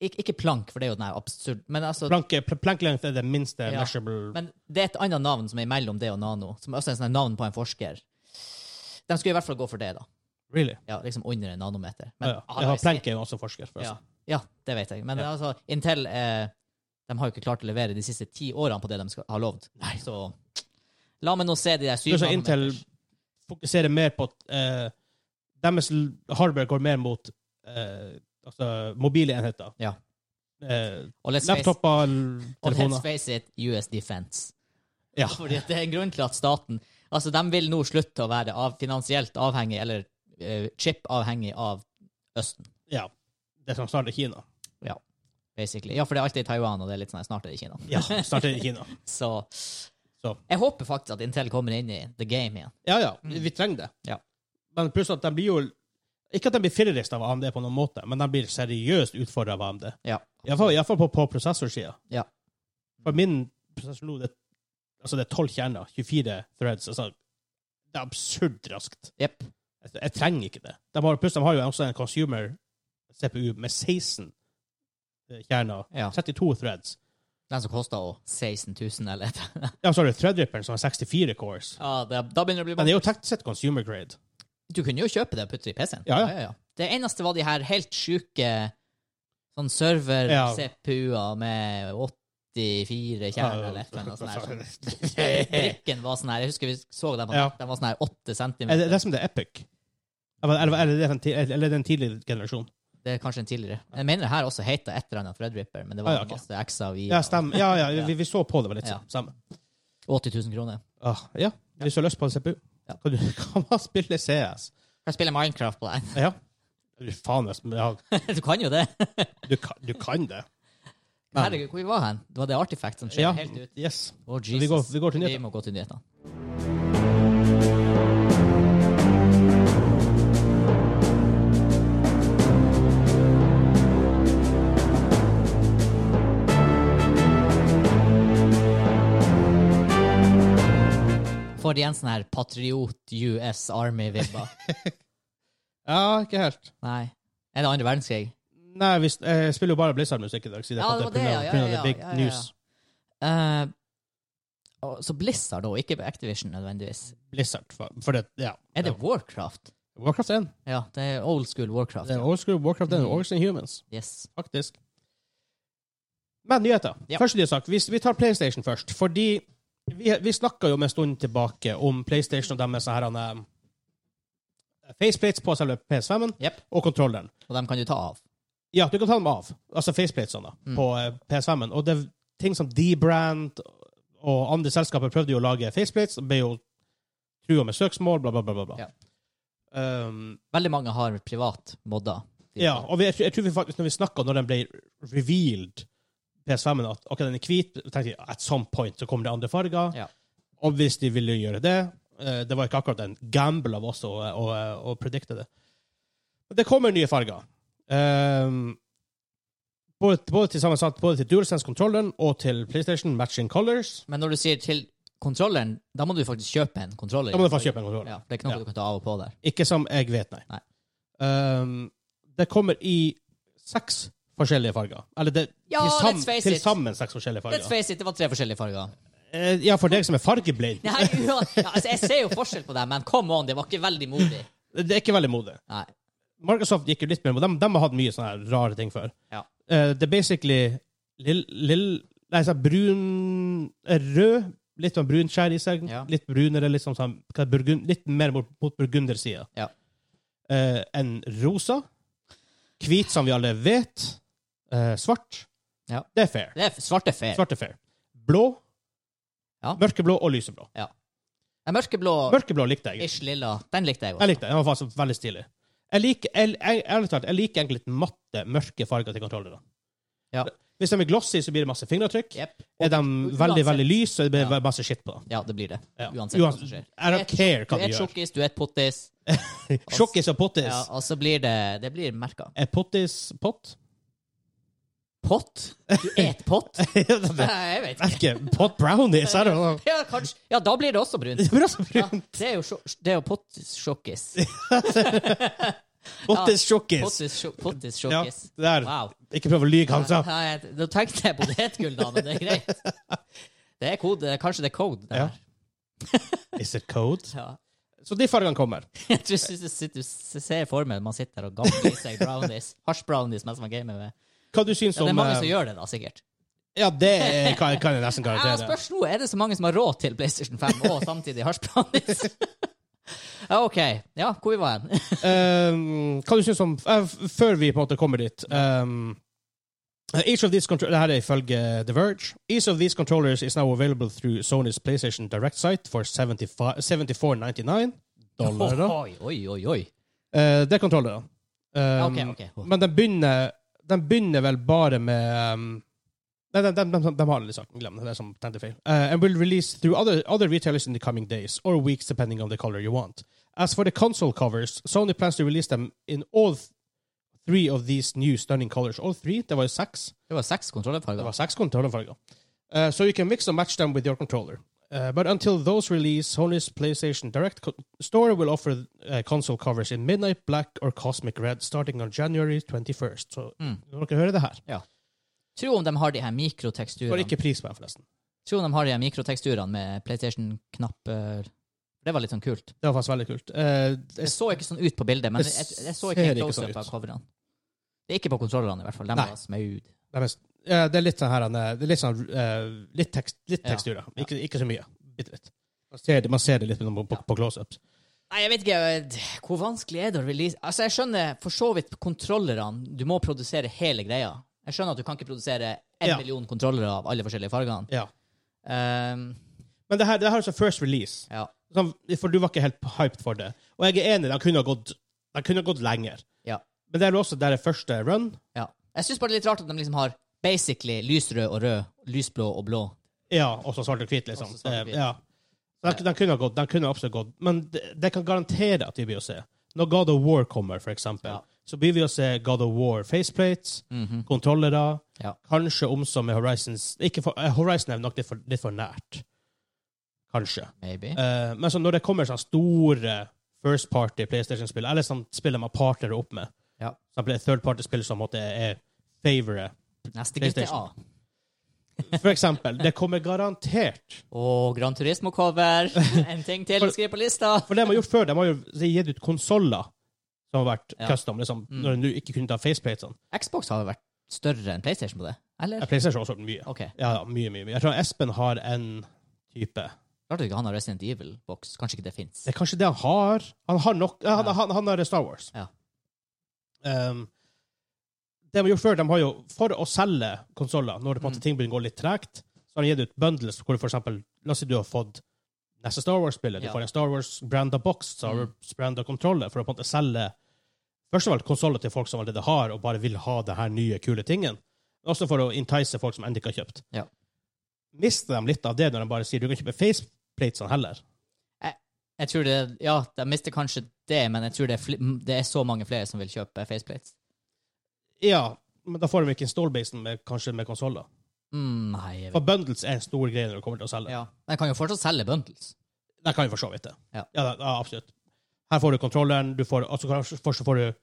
Speaker 2: ikke, ikke plank, for det er jo den her absurd Men altså
Speaker 1: Plank, pl- plank length er det minste
Speaker 2: Ja.
Speaker 1: measurable
Speaker 2: Men det er et annet navn som er mellom det og nano, som også er et sånt navn på en forsker. De skulle i hvert fall gå for det, da.
Speaker 1: Really?
Speaker 2: Ja, liksom under en nanometer.
Speaker 1: Ja,
Speaker 2: Men,
Speaker 1: ja. Jeg har plank er jo også forsker.
Speaker 2: ja,
Speaker 1: forresten.
Speaker 2: ja, det vet jeg. Men
Speaker 1: altså. Ja.
Speaker 2: altså, Intel eh, de har jo ikke klart å levere de siste ti årene på det de skal, har lovd. Så la meg nå se de der syv
Speaker 1: Pluss at Intel
Speaker 2: nanometers.
Speaker 1: fokuserer mer på uh, Deres l- hardware går mer mot eh, altså, mobile enheter.
Speaker 2: Ja.
Speaker 1: Eh,
Speaker 2: Og let's face,
Speaker 1: laptoper,
Speaker 2: og let's
Speaker 1: telefoner
Speaker 2: face it, US Defense.
Speaker 1: Ja.
Speaker 2: Fordi at det er en grunn til at staten Altså, de vil nå slutte å være av, finansielt avhengig, eller eh, chip-avhengig av Østen.
Speaker 1: Ja. Det som starter i Kina.
Speaker 2: basically. Ja, for det er alltid i Taiwan, og det er litt sånn snart er det i Kina.
Speaker 1: Ja, starter i Kina.
Speaker 2: Så
Speaker 1: Så.
Speaker 2: jeg håper faktisk at Intel kommer inn i the game igjen.
Speaker 1: Ja, ja. Vi vi trenger det.
Speaker 2: Mm. Ja.
Speaker 1: Men pluss at de blir jo Ikke at de blir fillerist av AMD på noen måte, men de blir seriøst utfordra av AMD.
Speaker 2: Ja.
Speaker 1: Iallfall på, på prosessorsida.
Speaker 2: Ja.
Speaker 1: For min prosessor nå, det, altså det er 12 kjerner, 24 threads. Altså, det er absurd raskt.
Speaker 2: Jepp.
Speaker 1: Jeg, jeg trenger ikke det. De har, pluss de har jo også en consumer CPU med 16 kjerner,
Speaker 2: Ja.
Speaker 1: 32 threads.
Speaker 2: Den som koster å 16 000 eller et
Speaker 1: Ja, så har du Threadripperen som har 64 cores.
Speaker 2: Ja, det, da begynner det å bli
Speaker 1: Men
Speaker 2: bra.
Speaker 1: det er jo teknisk sett consumer grade.
Speaker 2: Du kunne jo kjøpe det og putte det i PC-en.
Speaker 1: Ja, ja.
Speaker 2: Det eneste var de her helt sjuke sånn
Speaker 1: Ja.
Speaker 2: server-CPU-er med 84 kjerner eller et eller annet sånt. her, sånn. Brikken var sånn her, jeg husker vi så den på
Speaker 1: Ja.
Speaker 2: nett, den var sånn her 8 cm.
Speaker 1: Er det, det er som det er Epic. Eller, eller, eller, det er en ti- eller den tidligere generasjonen.
Speaker 2: Det er kanskje en tidligere. Jeg mener det her også heter et eller annet Threadripper, men det var
Speaker 1: Ah, ja, ok.
Speaker 2: masse X-er og
Speaker 1: Ja,
Speaker 2: Y-er.
Speaker 1: stemmer. Ja, ja,
Speaker 2: Ja.
Speaker 1: vi, vi så på det var litt
Speaker 2: Ja.
Speaker 1: sammen.
Speaker 2: 80 000 kroner.
Speaker 1: Ah, ja, hvis du har lyst på en CPU,
Speaker 2: Ja.
Speaker 1: kan, du, kan man spille CS.
Speaker 2: Kan spille Minecraft på den.
Speaker 1: Ja. Du, faen, hvis- ja,
Speaker 2: Du kan jo det.
Speaker 1: du, kan, du kan det. Men-
Speaker 2: Herregud, hvor vi var hen? Det var det artifact som skjedde
Speaker 1: Ja,
Speaker 2: helt ut.
Speaker 1: yes.
Speaker 2: Å, Jesus.
Speaker 1: Vi går, vi går til
Speaker 2: Vi
Speaker 1: nyheter.
Speaker 2: må gå til nyhetene. får igjen sånn her Patriot US Army-vibber.
Speaker 1: Ja, ikke helt.
Speaker 2: Nei. Er det andre verdenskrig?
Speaker 1: Nei, vi s- eh, jeg spiller jo bare Blizzard-musikk i dag, siden
Speaker 2: Ja,
Speaker 1: jeg
Speaker 2: det
Speaker 1: fant
Speaker 2: var det,
Speaker 1: pga.
Speaker 2: ja, ja,
Speaker 1: pga.
Speaker 2: ja,
Speaker 1: the big
Speaker 2: ja, ja, ja.
Speaker 1: news.
Speaker 2: Eh, og- så Blizzard òg, ikke Activision nødvendigvis.
Speaker 1: Blizzard. For, for det, ja.
Speaker 2: Er det Warcraft?
Speaker 1: Warcraft 1?
Speaker 2: Ja, det er old school Warcraft.
Speaker 1: Det er
Speaker 2: Ja.
Speaker 1: Overscrew, Warcraft 1 og
Speaker 2: Mm.
Speaker 1: Orcs and Humans,
Speaker 2: Yes.
Speaker 1: faktisk. Men nyheter.
Speaker 2: Ja.
Speaker 1: Første nyhetssak. Vi, vi tar PlayStation først, fordi vi, vi snakka jo om en stund tilbake om PlayStation og deres sånne her, han, eh, faceplates på selve PS5-en
Speaker 2: Jep.
Speaker 1: og kontrolleren.
Speaker 2: Og dem kan du ta av.
Speaker 1: Ja, du kan ta dem av, altså faceplatesene, da,
Speaker 2: Mm.
Speaker 1: på eh, PS5-en. Og det er ting som D-Brand og andre selskaper prøvde jo å lage faceplates, og ble jo trua med søksmål, bla, bla, bla. bla, bla. Um,
Speaker 2: Veldig mange har privat modder.
Speaker 1: Ja, og vi, jeg, tror- jeg tror vi faktisk, når vi snakka når den ble revealed, PS5-en, at ok, den er hvit, tenkte jeg at some point så kommer det andre farger.
Speaker 2: Ja.
Speaker 1: Og hvis de ville gjøre det eh, Det var ikke akkurat en gamble av oss å, å, å predikte det. Men det kommer nye farger. Ehm, både, både til sammensatt, både til DualSense-kontrolleren og til PlayStation matching colors.
Speaker 2: Men når du sier til kontrolleren, da må du faktisk kjøpe en kontroller.
Speaker 1: Da må du faktisk kjøpe en kontroller.
Speaker 2: Ja, det er ikke noe
Speaker 1: Ja.
Speaker 2: du kan ta av og på der.
Speaker 1: Ikke som jeg vet, nei.
Speaker 2: Nei.
Speaker 1: Ehm, det kommer i seks forskjellige farger. Eller det,
Speaker 2: Ja,
Speaker 1: til, sam,
Speaker 2: let's face
Speaker 1: til
Speaker 2: it.
Speaker 1: sammen seks forskjellige farger.
Speaker 2: Let's face it, det var tre forskjellige farger.
Speaker 1: Eh, ja, for deg som er fargeblind.
Speaker 2: Nei, ja, altså, jeg ser jo forskjell på dem, men come on, det var ikke veldig modig.
Speaker 1: Det er ikke veldig modig.
Speaker 2: Nei.
Speaker 1: Microsoft gikk jo litt mer De, de har hatt mye sånne her rare ting før.
Speaker 2: Ja.
Speaker 1: Eh, det er basically lill... lill nei, sånn brun eh, Rød. Litt sånn brun skjær i seg.
Speaker 2: Ja.
Speaker 1: Litt brunere, litt, sånn, sånn, hva er burgund, litt mer mot, mot burgundersida
Speaker 2: Ja.
Speaker 1: eh, enn rosa. Hvit, som vi alle vet. Eh, svart.
Speaker 2: Ja.
Speaker 1: Det er fair.
Speaker 2: Det er f- svarte fair.
Speaker 1: Svart er fair. Blå.
Speaker 2: Ja.
Speaker 1: Mørkeblå og lyseblå.
Speaker 2: Den Mørkeblå,
Speaker 1: Mørkeblå likte jeg.
Speaker 2: ish lilla, den likte jeg
Speaker 1: Jeg
Speaker 2: også.
Speaker 1: likte det. Den var faktisk veldig stilig. Jeg liker, jeg, jeg, ærlig talt, jeg liker egentlig litt matte, mørke farger til kontrollerne.
Speaker 2: Ja.
Speaker 1: Hvis de er glossy, så blir det masse fingeravtrykk.
Speaker 2: Jep.
Speaker 1: Er de veldig veldig lyse, så blir det
Speaker 2: Ja.
Speaker 1: masse skitt på dem.
Speaker 2: Ja, det blir det.
Speaker 1: Ja.
Speaker 2: Uansett hva som skjer.
Speaker 1: I don't care
Speaker 2: Du
Speaker 1: hva
Speaker 2: er
Speaker 1: de
Speaker 2: et
Speaker 1: gjør.
Speaker 2: tjukkis, du er et pottis,
Speaker 1: Sjokkis og pottis.
Speaker 2: ja, og så blir det Det blir merka.
Speaker 1: Er pottis pott?
Speaker 2: Pott? Du er et pott?
Speaker 1: Merke,
Speaker 2: Nei, jeg vet ikke.
Speaker 1: pott brownies, er det noe?
Speaker 2: Ja, kanskje. Ja, da blir det også brunt.
Speaker 1: Det blir også
Speaker 2: Ja,
Speaker 1: brunt.
Speaker 2: det er jo, sjo- det er jo pottis-sjokkis.
Speaker 1: Pottis sjokkis. Ja,
Speaker 2: Pottis-sjokkis.
Speaker 1: der.
Speaker 2: Wow.
Speaker 1: Ikke prøv å lyge, Hansa.
Speaker 2: Ja, jeg- Da tenkte jeg på potetgull, da, men det er greit. Det er kode. Kanskje det er code. Det
Speaker 1: Ja.
Speaker 2: her.
Speaker 1: Is it code?
Speaker 2: Ja.
Speaker 1: Så de fargene kommer.
Speaker 2: Jeg tror synes du, sitter- du ser for meg at man sitter og gambler i seg brownies. Hasj-brownies mens man gamer med.
Speaker 1: Hva du syns
Speaker 2: Ja, det er
Speaker 1: om
Speaker 2: mange som
Speaker 1: eh,
Speaker 2: gjør det, da, sikkert.
Speaker 1: Ja, det er- kan kan jeg nesten
Speaker 2: Ja,
Speaker 1: garantere.
Speaker 2: spørs nå, er det så mange som har råd til PlayStation 5 og samtidig hasj-brownies? Ja, OK. Ja, hvor vi var hen?
Speaker 1: um, Hva du synes om eh, f- Før vi på en måte kommer dit um, Each of these contro- Det her er ifølge The Verge. Each of these controllers is now available through Sony's PlayStation Direct site for 75 74,99 dollar. da.
Speaker 2: Oi, oi, oi. oi.
Speaker 1: Eh, det er kontrollere.
Speaker 2: Ja,
Speaker 1: Um,
Speaker 2: OK. ok.
Speaker 1: Men de begynner, de begynner vel bare med um, Nei, de, de, de, de har litt saken. Glem det. Det er som tenkte feil. Uh, and will release through other, other retailers in the coming days or weeks, depending on the color you want. As for the console covers, Sony plans to release them in all th- three of these new stunning colors. All three? Det var jo seks.
Speaker 2: Det var seks
Speaker 1: Det
Speaker 2: kontrollerfarger.
Speaker 1: var seks kontrollerfarger. Uh, so you can mix and match them with your controller. Uh, but until those release, Sony's PlayStation Direct co- store will offer uh, console covers in Midnight Black or Cosmic Red starting on January 21st. Så
Speaker 2: Mm.
Speaker 1: når dere hører det her
Speaker 2: Tro om de har de her
Speaker 1: Får
Speaker 2: mikroteksturene
Speaker 1: ikke pris på den, forresten.
Speaker 2: Tro om de har de her mikroteksturene med PlayStation-knapper. Det var litt sånn kult.
Speaker 1: Det var faktisk veldig kult. Eh,
Speaker 2: Det
Speaker 1: det-
Speaker 2: så ikke sånn ut på bildet, men
Speaker 1: Det
Speaker 2: jeg, jeg, jeg så ikke
Speaker 1: ser
Speaker 2: en
Speaker 1: ikke sånn
Speaker 2: close-up
Speaker 1: ut.
Speaker 2: av coverene. Det er ikke på kontrollerne, i hvert fall. De
Speaker 1: Nei.
Speaker 2: var smaud.
Speaker 1: det, er mest- ja, det er litt sånn her han, eh, Det er litt sånn eh, Litt, tekst, litt
Speaker 2: Ja.
Speaker 1: teksturer. Ikke, ikke så mye. Bitte litt. Man ser det, man ser det litt på, på, på close-ups.
Speaker 2: Nei, jeg vet ikke jeg- hvor vanskelig er det å release Altså, jeg skjønner for så vidt kontrollerne. Du må produsere hele greia. Jeg skjønner at du kan ikke produsere en
Speaker 1: Ja.
Speaker 2: million kontrollere av alle forskjellige fargene.
Speaker 1: Ja.
Speaker 2: Ehm,
Speaker 1: Men det her, det her er så first release.
Speaker 2: ja.
Speaker 1: Sånn, for du var ikke helt hyped for det. Og jeg er enig, de kunne ha gått, de kunne ha gått lenger.
Speaker 2: Ja.
Speaker 1: Men det er jo også der er første run.
Speaker 2: ja. Jeg syns bare det er litt rart at de liksom har basically lysrød og rød, lysblå og blå.
Speaker 1: Ja, og så svart og hvit, liksom.
Speaker 2: Og så svart og hvit.
Speaker 1: Eh, Ja. Så de, de kunne ha gått, de kunne absolutt gått. Men det det kan garantere at vi blir å se. Når God of War kommer, for eksempel,
Speaker 2: Ja.
Speaker 1: så blir vi å se God of War faceplates,
Speaker 2: Mhm.
Speaker 1: kontrollere,
Speaker 2: Ja.
Speaker 1: kanskje omsom med Horizons ikke for, eh, Horizon er nok litt for, litt for nært. kanskje.
Speaker 2: Maybe.
Speaker 1: Eh, men så når det kommer sånne store first party PlayStation-spill, eller sånn spiller man partnere opp med,
Speaker 2: Ja.
Speaker 1: så blir det third party-spill som på en måte er favoret.
Speaker 2: Neste GTA.
Speaker 1: PlayStation. For eksempel, det kommer garantert
Speaker 2: Og Gran Turismo-cover. En ting til å skrive på lista.
Speaker 1: For det de har gjort før, de har jo gitt ut konsoller som har vært
Speaker 2: Ja.
Speaker 1: custom, liksom, når du ikke kunne ta faceplate.
Speaker 2: Xbox har vært større enn PlayStation på det? Eller?
Speaker 1: PlayStation har også gjort mye.
Speaker 2: OK.
Speaker 1: Ja, ja, mye, mye, mye. Jeg tror Espen har en type
Speaker 2: Klart ikke han har Resident Evil-boks. Kanskje ikke det fins.
Speaker 1: Det er kanskje det han har. Han har nok ja, han,
Speaker 2: Ja.
Speaker 1: han, han har Star Wars.
Speaker 2: Ja.
Speaker 1: Um, det de har gjort før, de har jo For å selge konsoller, når det på en måte
Speaker 2: Mm.
Speaker 1: ting begynner å gå litt tregt, så har de gitt ut bundles hvor du for eksempel La oss si du har fått neste Star Wars-spillet. Du
Speaker 2: Ja.
Speaker 1: får en Star Wars-branda box, Star
Speaker 2: Mm.
Speaker 1: Wars-branda kontroller, for å på en måte selge først og fremst konsoller til folk som allerede har, og bare vil ha det her nye, kule tingen. Men også for å entice folk som ennå ikke har kjøpt.
Speaker 2: Ja.
Speaker 1: Mister de litt av det når de bare sier du kan kjøpe faceplates heller?
Speaker 2: Jeg tror det, ja, De mister kanskje det, men jeg tror det er, fli- m- det er så mange flere som vil kjøpe faceplates.
Speaker 1: Ja, men da får de ikke installbasen med, kanskje med konsoller.
Speaker 2: Mm, nei, jeg vet.
Speaker 1: For bundles er en stor greie når du kommer til å selge.
Speaker 2: Ja. Men jeg kan jo fortsatt selge bundles.
Speaker 1: Der kan vi for så vidt det.
Speaker 2: Ja.
Speaker 1: da- ja, absolutt. Her får du kontrolleren, du får, altså, kanskje- først så får du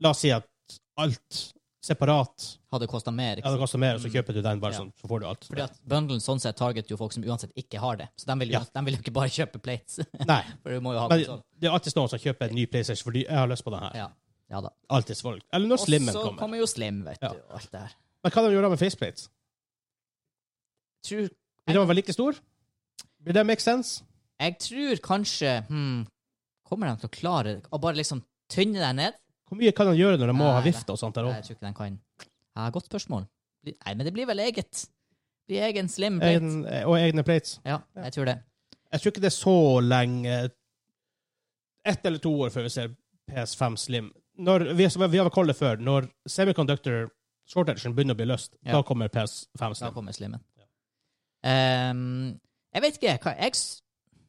Speaker 1: La oss si at alt separat
Speaker 2: Hadde kosta
Speaker 1: ja,
Speaker 2: mer. Ikke
Speaker 1: det
Speaker 2: sant?
Speaker 1: koster mer, og så kjøper du den, bare
Speaker 2: Mm. Ja.
Speaker 1: sånn, så får du alt.
Speaker 2: Fordi at bundlen sånn sett targeter jo folk som uansett ikke har det. Så de vil jo,
Speaker 1: Ja.
Speaker 2: de vil jo ikke bare kjøpe plates.
Speaker 1: Nei,
Speaker 2: For du må jo ha
Speaker 1: men
Speaker 2: kontroll.
Speaker 1: det er alltid noen som kjøper en ny PlayStation fordi jeg har lyst på den her.
Speaker 2: sånn. Ja. ja da.
Speaker 1: Alltid folk. Eller
Speaker 2: Og
Speaker 1: når Slimmen
Speaker 2: så
Speaker 1: kommer.
Speaker 2: kommer jo Slim, vet
Speaker 1: Ja.
Speaker 2: du, og alt det her.
Speaker 1: Men hva de gjør da med faceplates?
Speaker 2: Tror,
Speaker 1: Blir de vel like stor? Blir det make sense?
Speaker 2: jeg tror kanskje hmm, Kommer de til å klare å bare liksom tynne deg ned?
Speaker 1: Hvor mye kan de gjøre når de må
Speaker 2: Nei,
Speaker 1: ha
Speaker 2: nei.
Speaker 1: vifte og sånt der
Speaker 2: Nei,
Speaker 1: òg?
Speaker 2: jeg tror ikke de kan. Ja, godt spørsmål. Blir- Nei, men det blir vel eget. Blir egen Slim plate.
Speaker 1: Og egne plates?
Speaker 2: Ja, jeg tror det.
Speaker 1: Jeg tror ikke det er så lenge Ett eller to år før vi ser PS5 Slim. Når, vi, som vi har kalt det før, når semiconductor shortagen begynner å bli løst,
Speaker 2: Ja.
Speaker 1: da kommer PS5
Speaker 2: Da
Speaker 1: Slim.
Speaker 2: kommer Slimmen. Ehm, jeg vet ikke. hva- Jeg, s-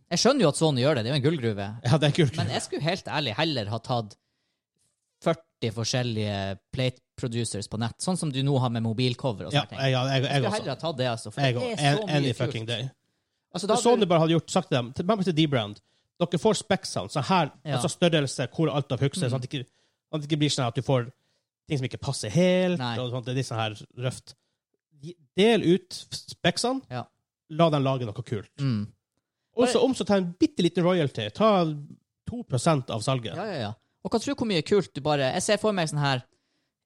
Speaker 2: jeg skjønner jo at Sony gjør det. Det er jo en gullgruve.
Speaker 1: Ja, det er kult.
Speaker 2: Men jeg skulle helt ærlig heller ha tatt 40 forskjellige plate producers på nett, sånn som du nå har med mobilcover og
Speaker 1: ja,
Speaker 2: sånne ting.
Speaker 1: jeg, jeg, jeg,
Speaker 2: Jeg skulle
Speaker 1: også.
Speaker 2: heller ha tatt det, altså. For
Speaker 1: Jeg
Speaker 2: det
Speaker 1: også.
Speaker 2: er så
Speaker 1: En- Any
Speaker 2: mye
Speaker 1: fucking
Speaker 2: kult.
Speaker 1: day.
Speaker 2: Altså, da
Speaker 1: Hvis Sony bare hadde gjort, sagt til dem til- Bare til D-Brand Dere får Spexound, så her
Speaker 2: Ja. Mm.
Speaker 1: altså størrelse, hvor alt av hukse, sånn at det ikke, sånn at det ikke blir sånn at du får ting som ikke passer helt,
Speaker 2: Nei.
Speaker 1: og sånt, det er litt sånn her røft. Gi- Del ut Spexene,
Speaker 2: Ja.
Speaker 1: la dem lage noe kult.
Speaker 2: Mm.
Speaker 1: Og så om så ta en bitte liten royalty. Ta 2 av salget.
Speaker 2: Ja, ja, ja. Og hva tror du hvor mye kult du bare Jeg ser for meg sånn her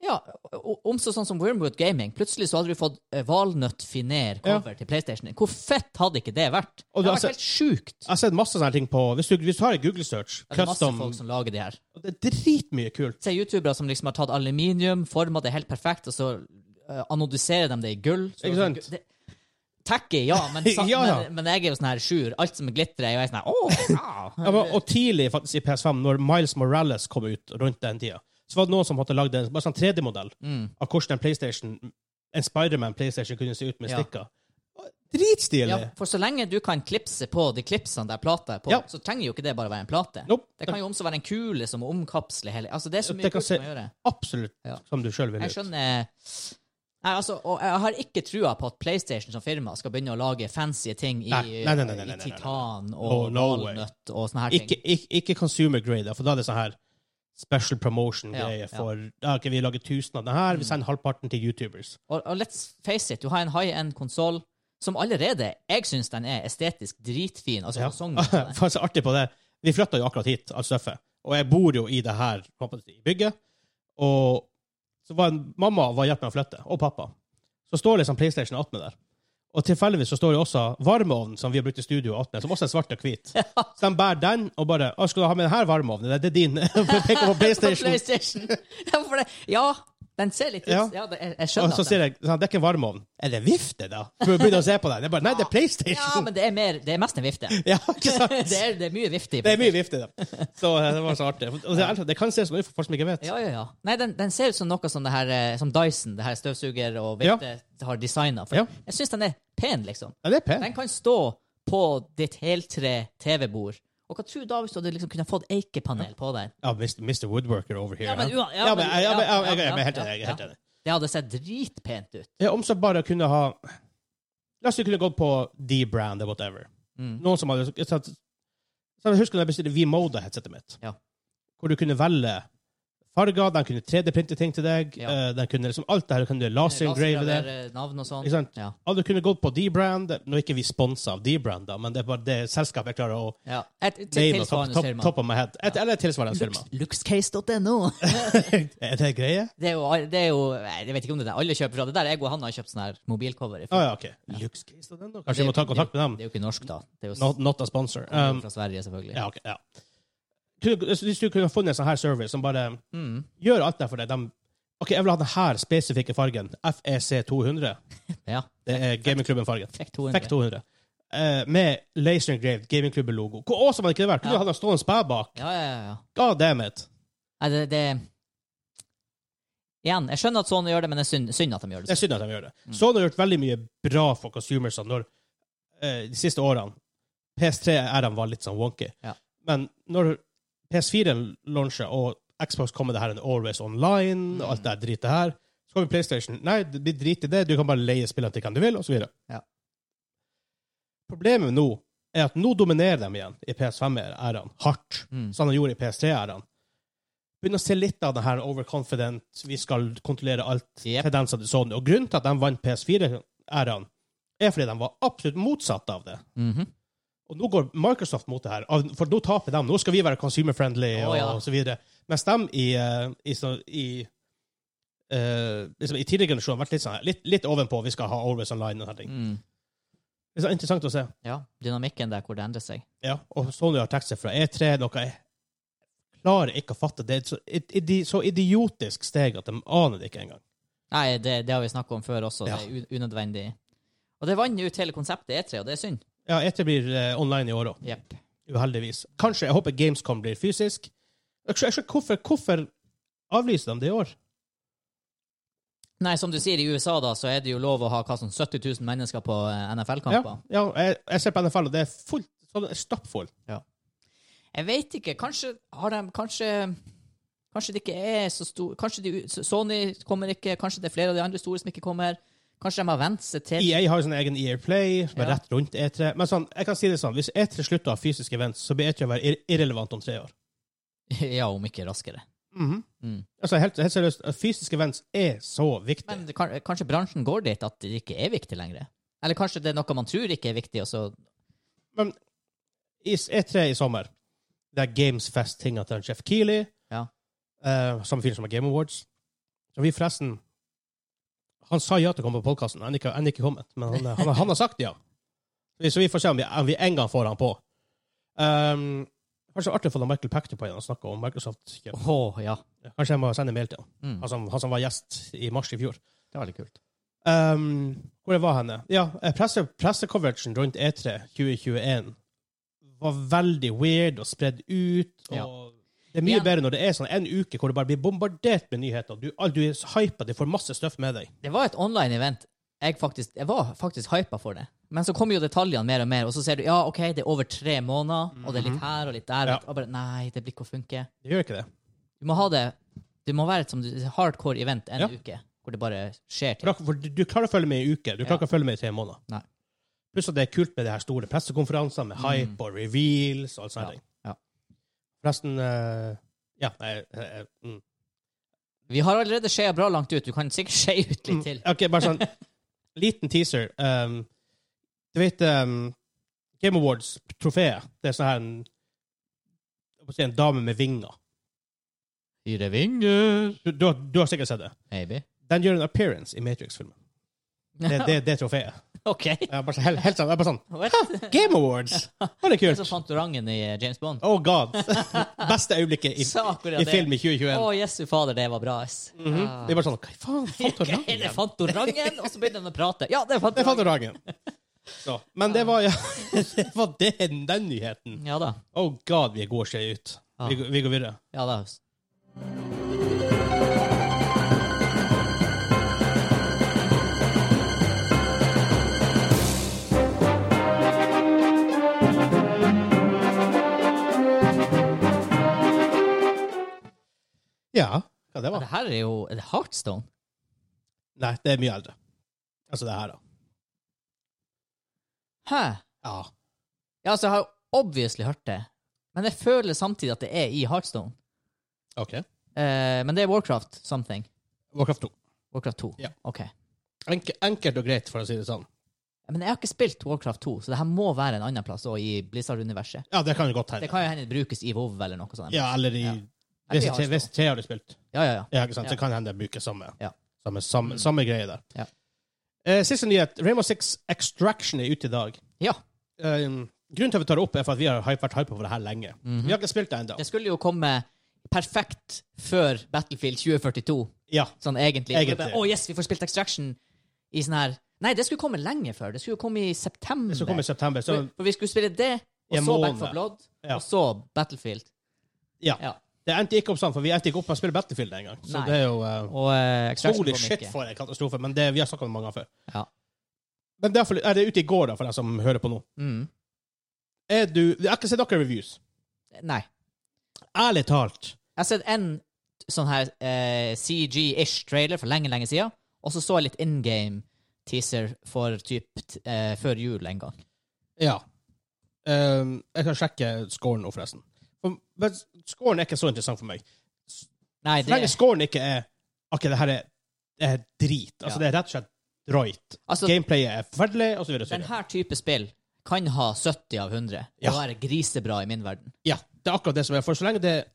Speaker 2: ja, o- om så sånn som Wormwood Gaming. Plutselig så hadde du fått eh, valnøttfiner-cover til PlayStation. Hvor fett hadde ikke det vært?
Speaker 1: Og altså du
Speaker 2: det hadde
Speaker 1: har
Speaker 2: vært helt sjukt.
Speaker 1: Jeg har sett masse sånne ting på Hvis du, hvis du har en Google search,
Speaker 2: Det er masse
Speaker 1: custom
Speaker 2: folk som lager de her.
Speaker 1: Det er dritmye kult.
Speaker 2: Se youtubere som liksom har tatt aluminium, forma det helt perfekt, og så eh, anodiserer de det i gull. Så
Speaker 1: Ikke sant?
Speaker 2: Det, tacky, ja, men, sa,
Speaker 1: Ja, ja.
Speaker 2: men, men jeg er jo sånn her sjur. Alt som glitrer, er jo jeg sånn her Åh, ja.
Speaker 1: Ja, men, og tidlig faktisk i PS5, når Miles Morales kom ut rundt den tida, så var det noen som hadde lagd en bare sånn 3D-modell
Speaker 2: Mm.
Speaker 1: av hvordan en PlayStation En Spiderman PlayStation kunne se ut med
Speaker 2: Ja.
Speaker 1: stikker. Dritstilig!
Speaker 2: Ja, for så lenge du kan klipse på de klipsene der plata er på,
Speaker 1: Ja.
Speaker 2: så trenger jo ikke det bare være en plate.
Speaker 1: Nope.
Speaker 2: Det kan jo også være en kule som omkapsler hele Altså, det er så
Speaker 1: Det
Speaker 2: mye
Speaker 1: kan
Speaker 2: kult
Speaker 1: se-
Speaker 2: man gjøre.
Speaker 1: Absolutt
Speaker 2: Ja.
Speaker 1: som du sjøl vil
Speaker 2: Jeg
Speaker 1: ut.
Speaker 2: skjønner Nei, altså, og jeg har ikke trua på at PlayStation som firma skal begynne å lage fancy ting i,
Speaker 1: Nei, nei, nei, nei, nei, nei, nei, nei.
Speaker 2: i titan
Speaker 1: No,
Speaker 2: og
Speaker 1: no way.
Speaker 2: valnøtt og sånne her ting.
Speaker 1: Ikke, ikke, ikke consumer grade, for da er det sånn her special promotion-greie
Speaker 2: Ja, ja.
Speaker 1: for ja, ok, Vi lager 1000 av den her, vi sender halvparten til YouTubers.
Speaker 2: Og, og let's face it, du har en high-end-konsoll som allerede Jeg syns den er estetisk dritfin. Altså,
Speaker 1: Ja.
Speaker 2: fasongen på den.
Speaker 1: For så artig på det. Vi flytta jo akkurat hit, alt støffet. Og jeg bor jo i det her i bygget. Og så var en, mamma var hjelp med å flytte, og pappa. Så står liksom PlayStation attmed der. Og tilfeldigvis så står det også varmeovnen som vi har brukt i studio attmed, som også er svart og hvit. Så de bærer den og bare «Å, 'Skal du ha med denne varmeovnen? Det er din.' Peker på
Speaker 2: På
Speaker 1: PlayStation.
Speaker 2: PlayStation. Ja, for det, ja, den ser litt ut Ja,
Speaker 1: Ja.
Speaker 2: det, jeg, jeg
Speaker 1: Og
Speaker 2: skjønner
Speaker 1: så
Speaker 2: at den
Speaker 1: sier jeg sånn, 'Det er ikke en varmeovn.' 'Er det en vifte, da?' For å begynne å se på den. Jeg bare 'Nei, det er
Speaker 2: Ja,
Speaker 1: PlayStation'.
Speaker 2: men det er, mer, det er mest en vifte.
Speaker 1: Ja, ikke sant?
Speaker 2: Det er, det er mye vifte. i
Speaker 1: Det er mye vifte, da. Så eh, det var så artig. Og det, det kan se sånn ut for folk som ikke vet.
Speaker 2: Ja, ja, ja. Nei, den, den ser ut som noe som, det her, eh, som Dyson, det her støvsuger og vifte, har designa.
Speaker 1: Ja.
Speaker 2: Jeg syns den er pen, liksom.
Speaker 1: Ja, det er pent.
Speaker 2: Den kan stå på ditt heltre TV-bord. Og hva tror du da hvis du hadde liksom kunne fått eikepanel på den?
Speaker 1: Ja, Mr. Mr. Woodworker over here.
Speaker 2: Ja, men ua- ja,
Speaker 1: ja,
Speaker 2: men-
Speaker 1: men, ja, men, ja,
Speaker 2: ja,
Speaker 1: jeg- jeg er helt
Speaker 2: ja,
Speaker 1: enig. Jeg er
Speaker 2: ja.
Speaker 1: helt enig.
Speaker 2: Det hadde sett dritpent ut.
Speaker 1: Ja, om så bare kunne ha La oss si du kunne gått på D-brand eller whatever.
Speaker 2: Mm.
Speaker 1: Noen som hadde så, så Jeg husker da jeg bestilte V-Mode-headsetet mitt,
Speaker 2: Ja.
Speaker 1: hvor du kunne velge farger, den kunne 3D-printe ting til deg,
Speaker 2: Ja.
Speaker 1: eh, den kunne liksom alt det her, du kunne lasergrave det.
Speaker 2: Lasergravere, Navn og sånn.
Speaker 1: Ikke sant?
Speaker 2: Ja.
Speaker 1: Alle kunne gått på D-brand. Nå er ikke vi sponsa av D-brand, da, men det er bare det selskapet jeg klarer å
Speaker 2: ja. Et, et,
Speaker 1: name off top,
Speaker 2: tilsvarende
Speaker 1: top,
Speaker 2: firma.
Speaker 1: top of my head. Et, Eller et tilsvarende firma.
Speaker 2: Lux- Luxcase.no.
Speaker 1: er det greie?
Speaker 2: Det er jo, det er jo nei, Jeg vet ikke om det er der alle kjøper fra. Det der jeg og han har kjøpt sånn her mobilcover.
Speaker 1: Å
Speaker 2: ifra.
Speaker 1: ja, OK. Luxcase og den, da? Kanskje vi må ta kontakt med dem?
Speaker 2: Det er jo ikke norsk, da. Det er jo s-
Speaker 1: Not, not a sponsor.
Speaker 2: det er jo
Speaker 1: Um,
Speaker 2: fra Sverige, selvfølgelig.
Speaker 1: ja, ok, ja. Kunne- Hvis du kunne funnet en sånn her service som bare
Speaker 2: Mm.
Speaker 1: gjør alt der for deg. De, OK, jeg vil ha denne spesifikke fargen. E FEC200.
Speaker 2: ja.
Speaker 1: Det er gamingklubben-fargen.
Speaker 2: Fikk 200.
Speaker 1: FEC 200. Eh, med Laser Engraved gamingklubben-logo. Hvor awesome hadde ikke det vært? Kunne du
Speaker 2: Ja.
Speaker 1: hatt den stående spær bak?
Speaker 2: Ja, ja, ja, ja.
Speaker 1: God damn it.
Speaker 2: Nei, det, det Igjen, jeg skjønner at Sony gjør det, men det er synd, synd at de gjør
Speaker 1: Det
Speaker 2: det.
Speaker 1: er synd at de gjør det. Sony har gjort veldig mye bra for consumersene når, eh, de siste årene. PS3-æraen var litt sånn wonky.
Speaker 2: Ja.
Speaker 1: Men når PS4 launcher, og Xbox kommer det her en Always Online, og
Speaker 2: Mm.
Speaker 1: alt det her dritet her, så kommer PlayStation. Nei, det blir drit i det. Du kan bare leie spillene til hvem du vil, og så videre.
Speaker 2: Ja.
Speaker 1: Problemet nå er at nå dominerer de igjen i PS5-æraen hardt,
Speaker 2: Mm.
Speaker 1: som de gjorde i PS3-æraen. Begynner å se litt av det her overconfident, vi skal kontrollere alt
Speaker 2: Jep.
Speaker 1: tendenser til Sony. Og grunnen til at de vant PS4-æraen, er fordi de var absolutt motsatt av det.
Speaker 2: Mhm.
Speaker 1: Og nå går Microsoft mot det her, av- for nå taper de. Nå skal vi være consumer-friendly
Speaker 2: Å,
Speaker 1: og,
Speaker 2: ja.
Speaker 1: og så videre. Mens de i, eh, i, så- i, eh, liksom, i tidligere generasjon har vært litt, sånn, her, litt, litt ovenpå. Vi skal ha Always Online og sånne ting.
Speaker 2: Mm.
Speaker 1: Det er så interessant å se.
Speaker 2: Ja, dynamikken der hvor det endrer seg.
Speaker 1: Ja, og Sony har trukket seg fra E3, noe jeg klarer ikke å fatte. Det er et så, et, et, så idiotisk steg at de aner det ikke engang.
Speaker 2: Nei, det, det har vi snakka om før også.
Speaker 1: Ja.
Speaker 2: Det er u- unødvendig. Og det vanner ut hele konseptet E3, og det er synd.
Speaker 1: Ja, E3 blir eh, online i år òg.
Speaker 2: Jepp.
Speaker 1: Uheldigvis. Kanskje, jeg håper Gamescom blir fysisk. Jeg skjø- jeg skjø- Hvorfor, hvorfor avlyser de det i år?
Speaker 2: Nei, som du sier, i USA da, så er det jo lov å ha hva sånn 70 000 mennesker på eh,
Speaker 1: Ja,
Speaker 2: NFL-kamper.
Speaker 1: ja jeg, jeg ser på NFL, og det er fullt, sånn det er stappfullt.
Speaker 2: Jeg vet ikke. Kanskje har de Kanskje Kanskje det ikke er så stor Kanskje de, Sony kommer ikke, kanskje det er flere av de andre store som ikke kommer. Kanskje de har vent seg til
Speaker 1: EA E har jo sin egen EA Play, som er
Speaker 2: Ja.
Speaker 1: rett rundt E3. Men sånn, jeg kan si det sånn, hvis E3 slutter å ha fysiske events, så blir E3 å være ir irrelevant om tre år.
Speaker 2: Ja, om ikke raskere. Mm.
Speaker 1: Altså, helt, helt seriøst, fysiske events er så viktig.
Speaker 2: Men det kan, kanskje bransjen går dit at det ikke er viktig lenger? Eller kanskje det er noe man tror ikke er viktig, og så
Speaker 1: I E3 i sommer, det er Games Fest-tinga til Jeff Keeley,
Speaker 2: Ja.
Speaker 1: eh, samme fyr som har Game Awards. Så vi forresten Han sa ja til å komme på podkasten, han er ikke, han er ikke kommet, men han, han, han har sagt ja. Så vi- Så vi får se om vi, om vi en gang får han på. Um, kanskje artig å få Michael Pachter på igjen og snakke om Microsoft.
Speaker 2: Åh, ja.
Speaker 1: Kanskje jeg må sende en mail til han,
Speaker 2: Mm.
Speaker 1: han som, han som var gjest i mars i fjor.
Speaker 2: Det var litt kult.
Speaker 1: Um, hvor jeg var henne? Ja, eh, presse, pressecoveragen rundt E E3 2021 var veldig weird og spredd ut. Og
Speaker 2: Ja.
Speaker 1: Det er mye
Speaker 2: Igjen.
Speaker 1: bedre når det er sånn en uke hvor du bare blir bombardert med nyheter. og Du, all- du er hypa, du får masse støff med deg.
Speaker 2: Det var et online event. Jeg, faktisk, jeg var faktisk hypa for det. Men så kommer jo detaljene mer og mer, og så ser du ja, ok, det er over tre måneder, og det er litt her og litt der.
Speaker 1: Ja.
Speaker 2: Og bare, nei, det blir ikke å funke.
Speaker 1: Det gjør ikke det.
Speaker 2: Du må ha det Det må være et som du- hardcore event en
Speaker 1: Ja.
Speaker 2: uke, hvor det bare skjer
Speaker 1: For, da-
Speaker 2: ting.
Speaker 1: for du, du klarer å følge med i en uke. Du klarer ikke å følge med i tre måneder.
Speaker 2: Nei.
Speaker 1: Pluss at det er kult med de her store pressekonferansene med hype og reveals og alt sånt.
Speaker 2: Ja, ja.
Speaker 1: Forresten eh, Ja, nei eh, eh, mm.
Speaker 2: Vi har allerede skeia bra langt ut, du kan sikkert skeie ut litt til.
Speaker 1: Ok, bare sånn liten teaser. Um, du vet um, Game Awards-trofeet. Det er sånn her en, jeg holdt på å si en dame med vinger.
Speaker 2: Fire vinger,
Speaker 1: Du, du, har- du har sikkert sett det.
Speaker 2: maybe.
Speaker 1: Den gjør en appearance i Matrix-filmen. Det er det, det er trofeet.
Speaker 2: OK.
Speaker 1: Jeg er bare, sånn- helt, helt sånn, jeg er bare sånn
Speaker 2: What?
Speaker 1: Game Awards! Var det
Speaker 2: Så
Speaker 1: kult?
Speaker 2: fant du rangen i eh, James Bond.
Speaker 1: Oh god. Beste øyeblikket i,
Speaker 2: Sa akkurat
Speaker 1: i
Speaker 2: det.
Speaker 1: film i
Speaker 2: Å,
Speaker 1: 2021.
Speaker 2: jesu fader, det var bra, ass.
Speaker 1: Mhm. Det er bare sånn Hva faen? Fant du
Speaker 2: Er det
Speaker 1: rangen?
Speaker 2: Fantorangen? Og så begynner han å prate. Ja, det er
Speaker 1: Det fant du
Speaker 2: Fantorangen.
Speaker 1: rangen. Så. Men det var, ja, det var det, den nyheten.
Speaker 2: Ja da.
Speaker 1: Oh god, vi går seg ut.
Speaker 2: Ja.
Speaker 1: Vi, går- vi går videre.
Speaker 2: Ja da.
Speaker 1: Ja. Hva det var?
Speaker 2: Det her er jo er det Heartstone.
Speaker 1: Nei, det er mye eldre. Altså det her, da.
Speaker 2: Hæ?
Speaker 1: Ja.
Speaker 2: Ja, altså, jeg har jo obviously hørt det, men jeg føler samtidig at det er i Heartstone.
Speaker 1: OK.
Speaker 2: Eh, men det er Warcraft something.
Speaker 1: Warcraft 2.
Speaker 2: Warcraft 2.
Speaker 1: Ja.
Speaker 2: Ok.
Speaker 1: Enke, enkelt og greit, for å si det sånn.
Speaker 2: Men jeg har ikke spilt Warcraft 2, så det her må være en annen plass også i Blizzard-universet.
Speaker 1: Ja, det kan jo godt
Speaker 2: Det
Speaker 1: hende.
Speaker 2: kan jo hende det brukes i WoW eller noe sånt.
Speaker 1: Ja, eller i
Speaker 2: Ja.
Speaker 1: Hvis
Speaker 2: Eller i
Speaker 1: tre-
Speaker 2: Hearthstone.
Speaker 1: hvis tre har du spilt,
Speaker 2: Ja, ja, ja.
Speaker 1: ja, ikke sant?
Speaker 2: Ja.
Speaker 1: så kan hende jeg bruker samme,
Speaker 2: Ja.
Speaker 1: samme, samme, samme greie der.
Speaker 2: Ja.
Speaker 1: Eh, siste nyhet. Rainbow Six Extraction er ute i dag.
Speaker 2: Ja.
Speaker 1: Eh, grunnen til at vi tar det opp, er for at vi har hype, vært hypa for det her lenge.
Speaker 2: Mhm.
Speaker 1: Vi har ikke spilt det ennå.
Speaker 2: Det skulle jo komme perfekt før Battlefield 2042,
Speaker 1: Ja.
Speaker 2: sånn egentlig.
Speaker 1: Egentlig.
Speaker 2: Og det bare, Å yes, vi får spilt Extraction i sånn her Nei, det skulle komme lenge før. Det skulle jo komme i september.
Speaker 1: Det skal komme i september. Så,
Speaker 2: For- For vi skulle spille det,
Speaker 1: I
Speaker 2: og
Speaker 1: en
Speaker 2: så Back
Speaker 1: måned.
Speaker 2: for Blood,
Speaker 1: Ja.
Speaker 2: og så Battlefield.
Speaker 1: ja.
Speaker 2: Ja.
Speaker 1: Det endte ikke opp sånn, for vi endte ikke opp med å spille Battlefield engang. Så
Speaker 2: Nei.
Speaker 1: det er jo eh,
Speaker 2: Og eh, Extraction
Speaker 1: Holy
Speaker 2: kom
Speaker 1: shit,
Speaker 2: ikke.
Speaker 1: for en katastrofe. Men det, vi har snakket om det mange ganger før.
Speaker 2: Ja.
Speaker 1: Men derfor er det ute i går, da, for deg som hører på nå.
Speaker 2: Mm.
Speaker 1: Er du, jeg har ikke sett noen reviews.
Speaker 2: Nei.
Speaker 1: Ærlig talt.
Speaker 2: Jeg har sett en sånn her eh, CG-ish trailer for lenge, lenge siden, og så så jeg litt in game teaser for typ t- eh, før jul en gang.
Speaker 1: Ja. Ehm, jeg kan sjekke scoren nå, forresten. For, men scoren er ikke så interessant for meg.
Speaker 2: Nei,
Speaker 1: Så
Speaker 2: det,
Speaker 1: lenge scoren ikke er Ok, det her er, det er drit. Altså,
Speaker 2: Ja.
Speaker 1: det er rett og slett drøyt.
Speaker 2: altså,
Speaker 1: Gameplayet er forferdelig, og så videre. og så
Speaker 2: den
Speaker 1: videre.
Speaker 2: her type spill kan ha 70 av 100, og
Speaker 1: Ja.
Speaker 2: være grisebra i min verden.
Speaker 1: Ja, det er akkurat det som er. For så lenge det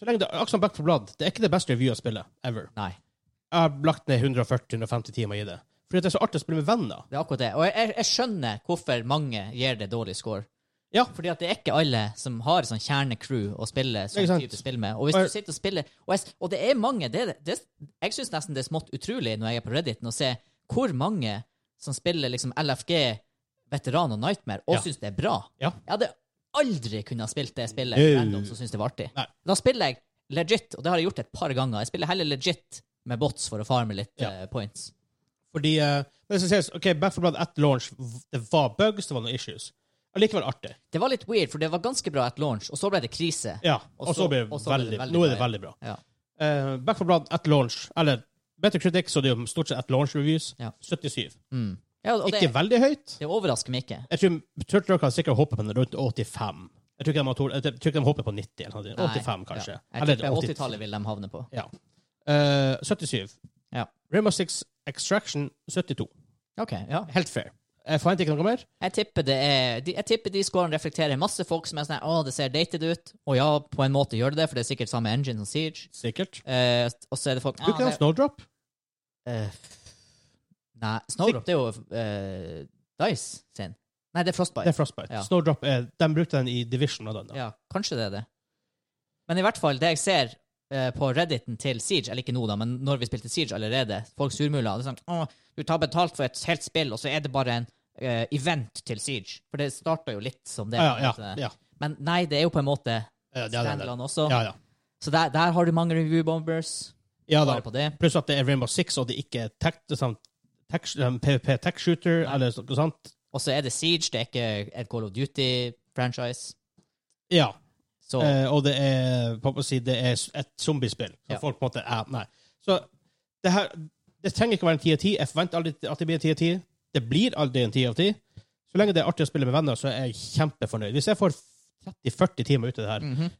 Speaker 1: Så lenge det Akkurat som Back for Blood, det er ikke det beste review å spille ever.
Speaker 2: Nei,
Speaker 1: Jeg har lagt ned 140-150 timer i det. Fordi at det er så artig å spille med venner.
Speaker 2: det er akkurat det. Og jeg- jeg, jeg skjønner hvorfor mange gir det dårlig score.
Speaker 1: Ja.
Speaker 2: Fordi at det er ikke alle som har sånn kjernecrew å spille
Speaker 1: Ikke
Speaker 2: sånn
Speaker 1: sant.
Speaker 2: type spill med. Og hvis
Speaker 1: Og-
Speaker 2: du sitter og spiller Og, jeg, og det er mange det, det, Jeg syns nesten det er smått utrolig når jeg er på Redditen, å se hvor mange som spiller liksom LFG, Veteran og Nightmare, og
Speaker 1: Ja.
Speaker 2: syns det er bra.
Speaker 1: Ja.
Speaker 2: Jeg hadde aldri kunnet ha spilt det spillet
Speaker 1: Nei.
Speaker 2: random som syns det var artig.
Speaker 1: Nei.
Speaker 2: Da spiller jeg legit, og det har jeg gjort et par ganger. Jeg spiller heller legit med bots for å farme litt
Speaker 1: Ja.
Speaker 2: eh, points.
Speaker 1: Fordi eh, Men så sies OK, Back for Blood at launch, v- det var bugs, det var noen issues. Allikevel artig.
Speaker 2: Det var litt weird, for det var ganske bra at launch, og så ble det krise.
Speaker 1: Ja. Og
Speaker 2: Og
Speaker 1: så
Speaker 2: så-
Speaker 1: blir det
Speaker 2: og så blir
Speaker 1: veldig
Speaker 2: det veldig
Speaker 1: Nå er det
Speaker 2: bra,
Speaker 1: veldig bra.
Speaker 2: Ja.
Speaker 1: Eh, Back for Blood at launch, eller Better Critic, så det er jo stort sett at launch reviews,
Speaker 2: Ja.
Speaker 1: 77.
Speaker 2: Mm. ja og
Speaker 1: Ikke
Speaker 2: det,
Speaker 1: veldig høyt.
Speaker 2: det overrasker meg ikke.
Speaker 1: Jeg tror Turtle Rock har sikkert håpet på den rundt 85. Jeg tror ikke de, har, jeg tror ikke de håper på 90 eller noe. sånt.
Speaker 2: Nei.
Speaker 1: 85, kanskje.
Speaker 2: Ja. Jeg
Speaker 1: Eller
Speaker 2: tipper 80-tallet vil de havne på.
Speaker 1: Ja. Eh, 77.
Speaker 2: Ja.
Speaker 1: Rainbow Six Extraction 72.
Speaker 2: Ok, ja.
Speaker 1: Helt fair. Jeg forventer ikke noe mer.
Speaker 2: Jeg tipper, det er, de, jeg tipper de scorene reflekterer masse folk som er sånn her, Å, det ser dated ut. Og ja, på en måte gjør det det, for det er sikkert samme engine som Siege.
Speaker 1: Sikkert.
Speaker 2: Eh, og så er det folk
Speaker 1: Bruker
Speaker 2: «Ah,
Speaker 1: han Snowdrop?
Speaker 2: det- eh, Nei, Snowdrop, det er jo eh, Dice sin. Nei, det er
Speaker 1: Det
Speaker 2: Frostbite.
Speaker 1: er Frostbite.
Speaker 2: Ja.
Speaker 1: Snowdrop er, de brukte den i Division. Blant annet.
Speaker 2: Ja, kanskje det er det. Men i hvert fall, det jeg ser eh, på Redditen til Siege, eller ikke nå, da, men når vi spilte Siege allerede, folk surmuler det er sånn, Åh, du tar betalt for et helt spill, og så er det bare en eh, event til Siege. For det starta jo litt som det.
Speaker 1: Ah, ja,
Speaker 2: på
Speaker 1: ja,
Speaker 2: en måte.
Speaker 1: ja.
Speaker 2: Men nei, det er jo på en måte
Speaker 1: Ja, ja, det er det.
Speaker 2: Strandland også.
Speaker 1: ja, ja.
Speaker 2: Så der, der har du mange review bombers.
Speaker 1: ja da.
Speaker 2: Bare på det.
Speaker 1: Pluss at det er Rainbow Six, og det ikke er tech, det er sånn, tech, um, PVP tech shooter, eller sånn- noe sånt.
Speaker 2: Og så er det Siege, det er ikke et Call of Duty-franchise.
Speaker 1: Ja.
Speaker 2: Så
Speaker 1: Eh, og det er, på å si, det er et zombiespill. Så
Speaker 2: Ja.
Speaker 1: folk på en måte er Nei. Så det her Det trenger ikke være en 10 av 10. Jeg forventer aldri at det blir en 10 av 10. Det blir aldri en 10 av 10. Så lenge det er artig å spille med venner, så er jeg kjempefornøyd. Hvis jeg får 30-40 timer ut av det her,
Speaker 2: mhm.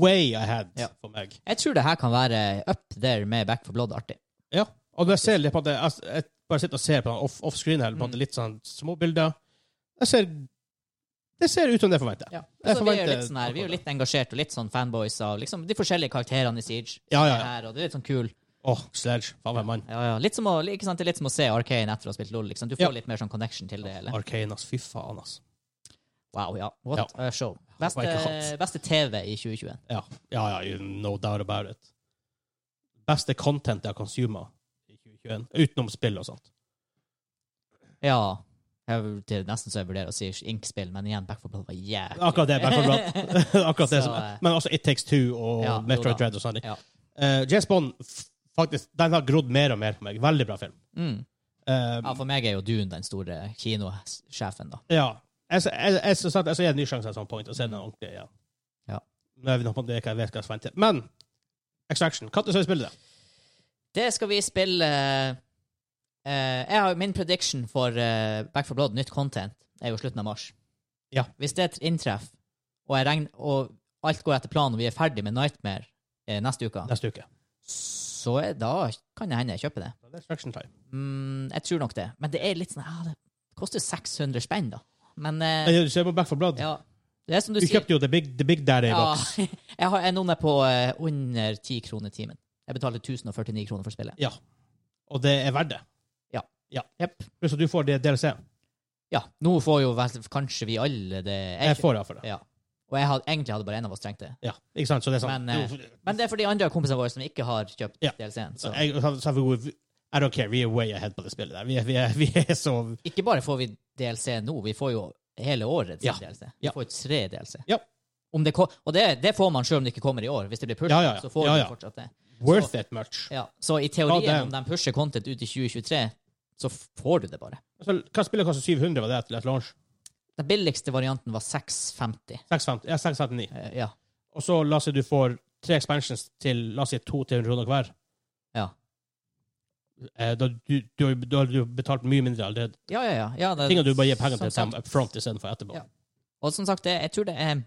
Speaker 1: way ahead
Speaker 2: Ja.
Speaker 1: for meg.
Speaker 2: jeg tror det her kan være up there med Back for Blood-artig.
Speaker 1: Ja. Og når jeg ser litt på det, jeg, jeg bare sitter og ser på den off, offscreen her, på
Speaker 2: Mm.
Speaker 1: en måte litt sånn småbilder Jeg ser Det ser ut som det jeg forventer.
Speaker 2: Ja.
Speaker 1: Jeg
Speaker 2: Altså, vi, er jo
Speaker 1: forventer
Speaker 2: litt sånn her, vi er jo
Speaker 1: akkurat
Speaker 2: litt engasjert og litt sånn fanboys av liksom, de forskjellige karakterene i Siege.
Speaker 1: Ja, ja,
Speaker 2: Det
Speaker 1: ja.
Speaker 2: Her, og det er litt sånn kul.
Speaker 1: Åh, Sledge. Faen meg mann.
Speaker 2: Ja, ja. Litt som å, ikke sant? Det er litt som å se Arcane etter å ha spilt LOL. Liksom. Du får
Speaker 1: Ja.
Speaker 2: litt mer sånn connection til det. Eller?
Speaker 1: Arcane, ass. Fy faen, ass.
Speaker 2: Wow, ja. What a show. Beste,
Speaker 1: ikke hatt.
Speaker 2: beste TV i 2021.
Speaker 1: Ja, ja, ja you- no doubt about it. Beste content jeg har consuma i 2021, utenom spill og sånt.
Speaker 2: Ja. Jeg vurderer nesten så jeg vurderer å si Ink-spill, men igjen, Back for Blood var jævlig
Speaker 1: Akkurat det. Back for Blood. Akkurat det
Speaker 2: Så,
Speaker 1: som,
Speaker 2: eh,
Speaker 1: men også It Takes Two og
Speaker 2: Ja, jo
Speaker 1: Metroid
Speaker 2: da.
Speaker 1: Dread og sånn.
Speaker 2: Ja.
Speaker 1: Eh, James Bond, f- faktisk, den har grodd mer og mer på meg. Veldig bra film.
Speaker 2: Mm.
Speaker 1: Eh,
Speaker 2: Ja, for meg er jo Dune den store kinosjefen, da.
Speaker 1: ja. Jeg, jeg, jeg, jeg, synes at jeg skal gi en ny sjanse at some point og se den ordentlig igjen.
Speaker 2: Ja.
Speaker 1: Men jeg vet ikke om det er hva jeg vet hva jeg skal vente. Men Extraction, når skal vi spille det?
Speaker 2: Det skal vi spille eh, eh, Jeg har jo min prediction for eh, Back for Blood, nytt content. er jo slutten av mars.
Speaker 1: Ja.
Speaker 2: Hvis det inntreffer, og, jeg regner, og alt går etter planen, og vi er ferdig med Nightmare eh, neste uke,
Speaker 1: neste uke.
Speaker 2: så er, da kan det hende jeg kjøper det.
Speaker 1: Det er traction time.
Speaker 2: Mm, jeg tror nok det. Men det er litt sånn ja, Det koster 600 spenn, da. Men eh,
Speaker 1: Nei, Du ser på Back for Blood.
Speaker 2: ja, det er som du,
Speaker 1: Du
Speaker 2: sier.
Speaker 1: kjøpte jo The Big, the big Daddy
Speaker 2: Ja,
Speaker 1: Box.
Speaker 2: jeg har jeg nå ned på eh, under 10 kroner timen. Jeg betaler 1049 kroner for spillet.
Speaker 1: Ja. Og det er verdt det.
Speaker 2: Jepp.
Speaker 1: Pluss at du får det DLC.
Speaker 2: Ja, nå får jo vel kanskje vi alle det
Speaker 1: Jeg får det for det.
Speaker 2: Ja. Og jeg hadde, egentlig hadde bare en av oss trengt det.
Speaker 1: Ja, ikke sant? Så det er sånn.
Speaker 2: Men, eh,
Speaker 1: Jo,
Speaker 2: Men det er for de andre kompisene våre som ikke har kjøpt
Speaker 1: Ja.
Speaker 2: DLC-en.
Speaker 1: så
Speaker 2: Så
Speaker 1: jeg, så har vi- I don't care, we are way ahead på det spillet der. Vi er, vi er, vi er så
Speaker 2: ikke bare får vi DLC nå, vi får jo hele årets
Speaker 1: Ja.
Speaker 2: DLC. Vi
Speaker 1: Ja.
Speaker 2: får tre DLC.
Speaker 1: Ja.
Speaker 2: Om det ko og det, det får man sjøl om det ikke kommer i år. Hvis det blir pushet,
Speaker 1: Ja, ja, ja.
Speaker 2: så får
Speaker 1: Ja,
Speaker 2: du
Speaker 1: ja.
Speaker 2: fortsatt det.
Speaker 1: worth it much.
Speaker 2: Ja. Så i teorien,
Speaker 1: Ja, det-
Speaker 2: om de pusher content ut i 2023, så får du det bare.
Speaker 1: Så, hva spillet koster 700, var det til et launch?
Speaker 2: Den billigste varianten var 650.
Speaker 1: 650, ja, 659.
Speaker 2: Eh, Ja.
Speaker 1: Og så la oss si du får tre expansions til la oss si 200-300 kroner hver.
Speaker 2: Ja.
Speaker 1: Eh, Da, du, du, har jo- da har du jo betalt mye mindre allerede.
Speaker 2: Ja, ja, ja. ja det,
Speaker 1: Tingene du bare gir penger til
Speaker 2: som
Speaker 1: dem up front istedenfor etterpå.
Speaker 2: Sånn Ja. Og som sagt, det, jeg tror det er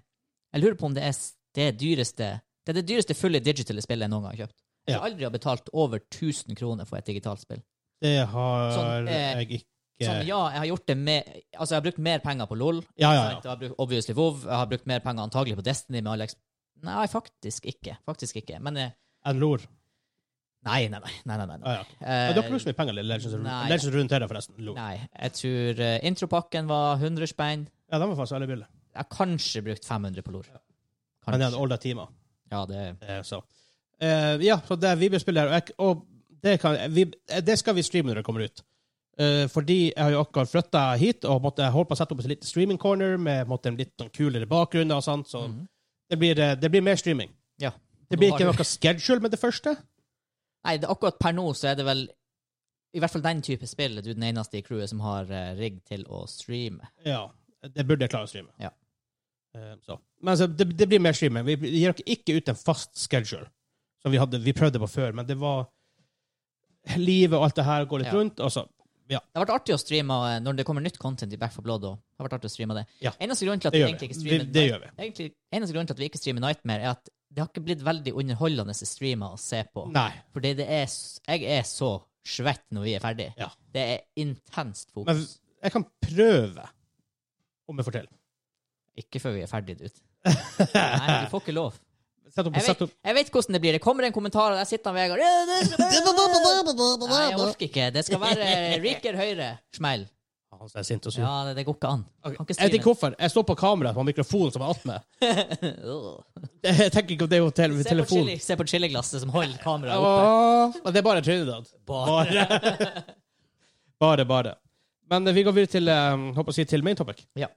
Speaker 2: Jeg lurer på om det er s- det dyreste Det er det dyreste fulle digitale spillet jeg noen gang har kjøpt. Jeg tror aldri jeg har betalt over 1000 kroner for et digitalt spill.
Speaker 1: Det har
Speaker 2: Sånn, eh,
Speaker 1: jeg ikke
Speaker 2: Sånn, ja, jeg har gjort det med Altså, jeg har brukt mer penger på LOL.
Speaker 1: Ja, ja,
Speaker 2: sant?
Speaker 1: ja.
Speaker 2: Jeg har brukt, obviously WoW. Jeg har brukt mer penger antagelig på Destiny med Alex. Nei, faktisk ikke. Faktisk ikke. Men eh,
Speaker 1: En lor.
Speaker 2: Nei, nei, nei. nei, nei, nei.
Speaker 1: Ah, ja.
Speaker 2: Eh,
Speaker 1: Ja, du har ikke brukt så mye penger til Legends,
Speaker 2: nei.
Speaker 1: Legends Runeterra, forresten. Lor.
Speaker 2: Eh, nei, jeg tror eh, intropakken var 100 spenn.
Speaker 1: Ja, de var faktisk veldig billige.
Speaker 2: Jeg har kanskje brukt 500 på LOL.
Speaker 1: Men det er en
Speaker 2: Kanskje.
Speaker 1: olda timer.
Speaker 2: Ja, det
Speaker 1: Eh, så. Eh, ja, så det er Vibio-spillet her. Og, jeg, og det, kan, vi, eh, det skal vi streame når det kommer ut. Eh, fordi jeg har jo akkurat flytta hit og måtte, jeg holdt på å sette opp en liten streaming corner med måtte, en litt sånn kulere bakgrunn. og sånt, så
Speaker 2: Mhm.
Speaker 1: det, blir, eh, det blir mer streaming.
Speaker 2: Ja.
Speaker 1: Det
Speaker 2: Nå
Speaker 1: blir
Speaker 2: har
Speaker 1: ikke
Speaker 2: du-
Speaker 1: noe schedule med det første.
Speaker 2: Nei, det, akkurat per nå så er det vel I hvert fall den type spill. Du er den eneste i crewet som har eh, rigg til å streame.
Speaker 1: Ja, det burde jeg klare å streame.
Speaker 2: Ja.
Speaker 1: Eh, så. Men altså, det, det blir mer streaming. Vi gir dere ikke ut en fast schedule, som vi, hadde, vi prøvde på før, men det var Livet og alt det her går litt
Speaker 2: Ja.
Speaker 1: rundt. Og så,
Speaker 2: Det har vært artig å streame eh, når det kommer nytt content i Back for Blood. også. Det har vært artig å streame det.
Speaker 1: Ja.
Speaker 2: Eneste grunn til
Speaker 1: det
Speaker 2: at vi
Speaker 1: gjør
Speaker 2: egentlig
Speaker 1: vi.
Speaker 2: ikke
Speaker 1: vi.
Speaker 2: streamer
Speaker 1: Det gjør vi.
Speaker 2: egentlig, Eneste grunn til at vi ikke streamer Nightmare, er at det har ikke blitt veldig underholdende streamer å se på.
Speaker 1: Nei.
Speaker 2: Fordi det er s- Jeg er så svett når vi er ferdig.
Speaker 1: Ja.
Speaker 2: Det er intenst fokus.
Speaker 1: Men jeg kan prøve, om jeg får til.
Speaker 2: Ikke før vi er ferdig, dude. Nei, du får ikke lov.
Speaker 1: Sett opp,
Speaker 2: Jeg
Speaker 1: sett
Speaker 2: vet,
Speaker 1: opp.
Speaker 2: jeg vet hvordan det blir. Det kommer en kommentar, og der sitter han Vegard «Ja, det skal være- Nei, jeg orker ikke. Det skal være riker høyre. Smell.
Speaker 1: Han som er sint og sur.
Speaker 2: Ja, det, det går ikke an. Kan ikke
Speaker 1: Jeg vet ikke hvorfor. Jeg står på kamera på mikrofonen som er attmed.
Speaker 2: streame.
Speaker 1: Jeg tenker ikke om det er jo tele
Speaker 2: Se på,
Speaker 1: telefonen.
Speaker 2: chili, se på chiliglasset som holder kameraet oppe.
Speaker 1: Åh, Men det er bare Trinidad.
Speaker 2: Bare.
Speaker 1: Bare. bare, bare. Men eh, vi går videre til, um, håper jeg å si, til main topic.
Speaker 2: Ja.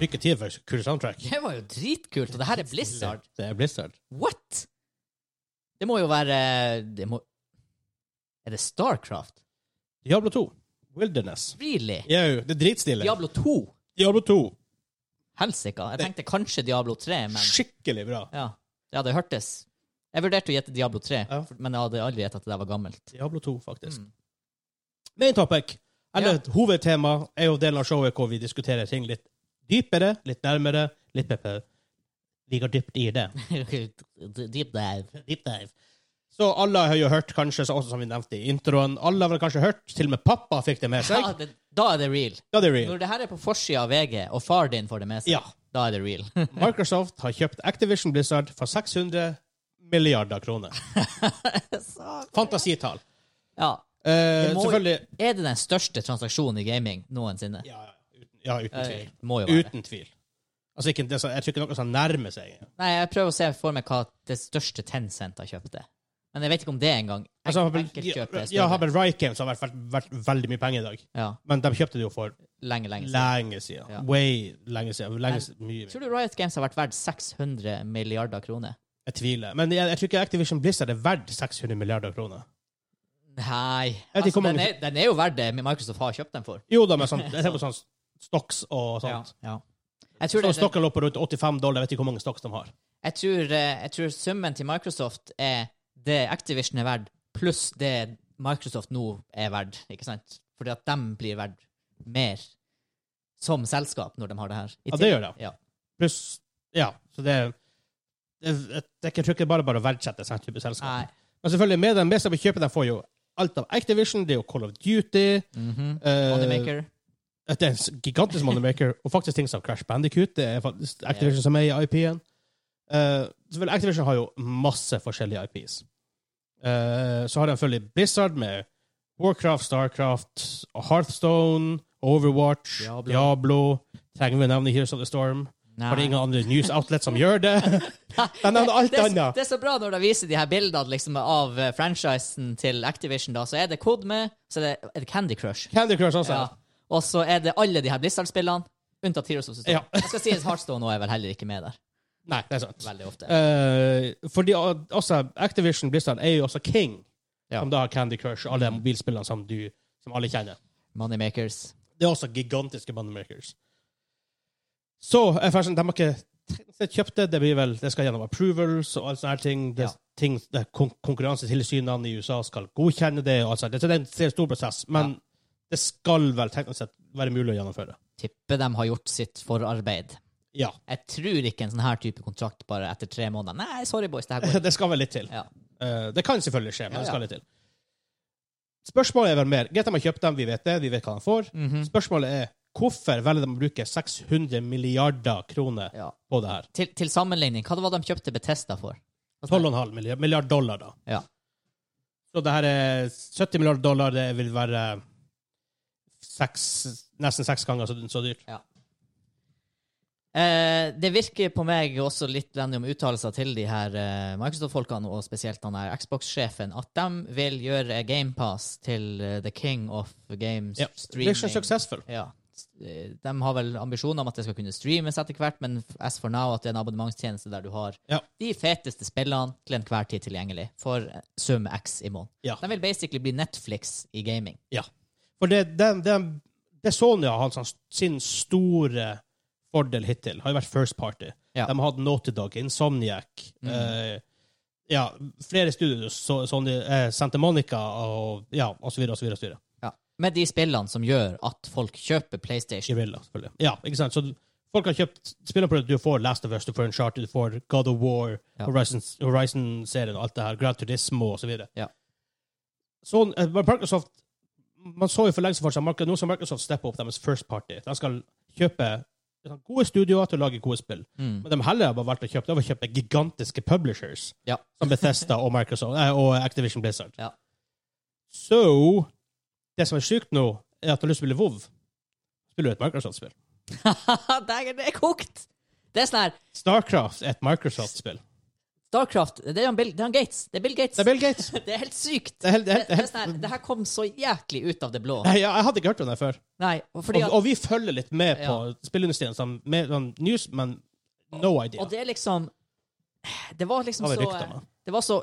Speaker 1: Lykke til for kul soundtrack.
Speaker 2: Det var jo dritkult, og det her er Blizzard.
Speaker 1: Det er Blizzard.
Speaker 2: What?! Det må jo være det må, Er det Starcraft?
Speaker 1: Diablo 2. Wilderness.
Speaker 2: Really?
Speaker 1: Jau, det er dritstilig.
Speaker 2: Diablo 2?
Speaker 1: Diablo 2.
Speaker 2: Helsika. Jeg tenkte kanskje Diablo 3, men
Speaker 1: Skikkelig bra.
Speaker 2: ja. ja, det hørtes Jeg vurderte å gjette Diablo 3,
Speaker 1: Ja.
Speaker 2: men jeg hadde aldri gjettet at det der var gammelt.
Speaker 1: Diablo 2, faktisk.
Speaker 2: Mm.
Speaker 1: Main topic, eller hovedtema, er jo delen av showet hvor vi diskuterer ting litt dypere, litt nærmere, litt pepper. Vi går dypt i det.
Speaker 2: Deep dive.
Speaker 1: Deep dive. Så alle har jo hørt, kanskje, så også som vi nevnte i introen, alle har vel kanskje hørt, til og med pappa fikk det med seg.
Speaker 2: Ja, det, da er det real.
Speaker 1: Ja, det er real.
Speaker 2: Når det her er på forsida av VG, og far din får det med seg,
Speaker 1: Ja.
Speaker 2: da er det real.
Speaker 1: Microsoft har kjøpt Activision Blizzard for 600 milliarder kroner. Fantasitall.
Speaker 2: ja.
Speaker 1: Eh,
Speaker 2: Det må-
Speaker 1: selvfølgelig
Speaker 2: Er det den største transaksjonen i gaming noensinne?
Speaker 1: ja, uten, ja, uten
Speaker 2: Eh,
Speaker 1: tvil.
Speaker 2: må jo være.
Speaker 1: Uten tvil. Altså, ikke, det, er så- jeg tror ikke noe som nærmer seg.
Speaker 2: Nei, jeg prøver å se for meg hva det største Tencent har kjøpt det. Men jeg vet ikke om det engang. En,
Speaker 1: Altså, har vel-
Speaker 2: Enkeltkjøp er
Speaker 1: ja, har
Speaker 2: større.
Speaker 1: vel Riot Games har vært, vært, vært veldig mye penger i dag.
Speaker 2: Ja,
Speaker 1: Men de kjøpte det jo for
Speaker 2: lenge, lenge siden.
Speaker 1: lenge siden.
Speaker 2: Ja.
Speaker 1: Way lenge siden. Lenge siden. Mye.
Speaker 2: Tror du Riot Games har vært verdt 600 milliarder kroner?
Speaker 1: Jeg tviler. Men jeg, jeg tror ikke Activision Blizzard er verdt 600 milliarder kroner.
Speaker 2: Nei.
Speaker 1: vet ikke
Speaker 2: Altså,
Speaker 1: hvor mange-
Speaker 2: den, er, den er jo verdt det Microsoft har kjøpt den for.
Speaker 1: Jo da, men sånn, jeg ser på sånn stocks og sånt.
Speaker 2: Ja. Jeg
Speaker 1: Så
Speaker 2: tror, det, det,
Speaker 1: Stokken lå på rundt 85 dollar. Jeg vet ikke hvor mange stocks de har.
Speaker 2: jeg, tror, eh, jeg tror summen til Microsoft er det Activision er verdt, pluss det Microsoft nå er verdt, ikke sant? Fordi at de blir verdt mer som selskap når de har det her. I
Speaker 1: Ja, det
Speaker 2: tillegg-
Speaker 1: gjør det.
Speaker 2: Ja.
Speaker 1: Pluss Ja, så det det, det, det er ikke bare bare å verdsette sånn type selskap.
Speaker 2: Nei.
Speaker 1: Men selvfølgelig, med den meste vi kjøper, de får jo alt av Activision, det er jo Call of Duty
Speaker 2: Mhm.
Speaker 1: eh,
Speaker 2: Moneymaker.
Speaker 1: Det er en s- gigantisk moneymaker, og faktisk ting som Crash Bandicoot. Det er faktisk Activision som er i IP-en. Eh, selvfølgelig, Activision har jo masse forskjellige IPs. Eh, så har de selvfølgelig Blizzard med Warcraft, Starcraft, Hearthstone, Overwatch,
Speaker 2: Diablo.
Speaker 1: Diablo. Trenger vi å nevne Heroes of the Storm?
Speaker 2: Nei.
Speaker 1: Har det ingen andre news outlets som gjør det? De nevner alt
Speaker 2: det, er,
Speaker 1: annet.
Speaker 2: det er så bra når de viser de her bildene liksom, av eh, franchisen til Activision. da, Så er det Cod med, så er det, er det Candy Crush.
Speaker 1: Candy Crush også.
Speaker 2: Ja. Og så er det alle de her Blizzard-spillene, unntatt Heroes of the Storm.
Speaker 1: Ja.
Speaker 2: Jeg skal si at Heartstone nå er vel heller ikke med der.
Speaker 1: Nei, det er sant.
Speaker 2: Veldig ofte.
Speaker 1: Eh, fordi uh, også Activision Blizzard er jo også King,
Speaker 2: Ja.
Speaker 1: som da har Candy Crush og alle de mobilspillene som, du, som alle kjenner.
Speaker 2: Moneymakers.
Speaker 1: Det er også gigantiske moneymakers. Så eh, forresten, de har ikke de kjøpt det. Det blir vel, det skal gjennom approvals og alle sånne her ting. Det,
Speaker 2: Ja.
Speaker 1: ting det, kon konkurransetilsynene i USA skal godkjenne det. og alt sånt. Så det er en- det er en stor prosess, men det skal vel teknisk sett være mulig å gjennomføre.
Speaker 2: Tipper de har gjort sitt forarbeid.
Speaker 1: Ja.
Speaker 2: Jeg tror ikke en sånn her type kontrakt bare etter tre måneder. Nei, sorry, boys, det her går ikke.
Speaker 1: Det skal vel litt til.
Speaker 2: Ja.
Speaker 1: Eh, det kan selvfølgelig skje, men
Speaker 2: Ja,
Speaker 1: det
Speaker 2: ja.
Speaker 1: skal litt til. Spørsmålet er vel mer Greit, de har kjøpt dem, vi vet det, vi vet hva de får.
Speaker 2: Mhm.
Speaker 1: Spørsmålet er hvorfor velger de å bruke 600 milliarder kroner
Speaker 2: ja.
Speaker 1: på det her?
Speaker 2: Til, til sammenligning, hva det var de kjøpte Betesta for? Altså,
Speaker 1: 12,5 milliard, milliard dollar, da.
Speaker 2: Ja.
Speaker 1: Så det her er 70 milliarder dollar, det vil være seks, nesten seks ganger så, så dyrt.
Speaker 2: Eh, det virker på meg også litt grann om uttalelser til de her eh, Microsoft-folkene, og spesielt han her Xbox-sjefen, at de vil gjøre GamePass til eh, the king of games
Speaker 1: Ja.
Speaker 2: streaming.
Speaker 1: Mission successful.
Speaker 2: Ja. S- eh, De har vel ambisjoner om at det skal kunne streames etter hvert, men f- as for now at det er en abonnementstjeneste der du har
Speaker 1: Ja.
Speaker 2: de feteste spillene til enhver tid tilgjengelig for eh, sum X i måneden.
Speaker 1: Ja.
Speaker 2: De vil basically bli Netflix i gaming.
Speaker 1: For det, det, det, det Sony har hatt sånn- sin store fordel hittil, har jo vært First Party.
Speaker 2: Ja.
Speaker 1: De har hatt Naughty Dog, Insomniac
Speaker 2: Mm.
Speaker 1: eh, Ja, flere studios, så, Sony, eh, Santa Monica og ja, og så videre, og så videre. Og så videre.
Speaker 2: Ja. Med de spillene som gjør at folk kjøper PlayStation.
Speaker 1: Guerrilla, selvfølgelig. Ja, ikke sant? Så du- folk har kjøpt spillerprodukter. Du får Last of Us, du får Uncharted, du får God of War,
Speaker 2: Ja.
Speaker 1: Horizon- Horizon-serien og alt det her, Grand Turismo osv.
Speaker 2: Ja.
Speaker 1: Så, eh, men Microsoft Man så jo for lenge siden for seg Mark- nå skal Microsoft steppe opp deres first party. De skal kjøpe gode studioer til å lage gode spill.
Speaker 2: Mm.
Speaker 1: Men de heller har bare valgt å kjøpe, de har kjøpt gigantiske publishers
Speaker 2: Ja.
Speaker 1: som Bethesda og, Microsoft, eh, og Activision Blizzard.
Speaker 2: Ja.
Speaker 1: Så det som er sykt nå, er at når du spiller WoW, spiller du et Microsoft-spill.
Speaker 2: Dægen, det er kokt! Det er sånn her
Speaker 1: Starcraft er et Microsoft-spill.
Speaker 2: Starcraft Det er han Bill, det er han Gates. Det er Bill Gates.
Speaker 1: Det er Bill Gates.
Speaker 2: Det er helt sykt.
Speaker 1: Det er helt, det
Speaker 2: Det,
Speaker 1: er
Speaker 2: det, er
Speaker 1: helt,
Speaker 2: sånn her, det her kom så jæklig ut av det blå.
Speaker 1: Nei, ja, jeg hadde ikke hørt om det før.
Speaker 2: Nei, og
Speaker 1: og,
Speaker 2: fordi at,
Speaker 1: og vi følger litt med på spillindustrien som med, sånn news, men no idea.
Speaker 2: og det er liksom Det var liksom
Speaker 1: Har vi
Speaker 2: så
Speaker 1: rykter om det?
Speaker 2: Det var så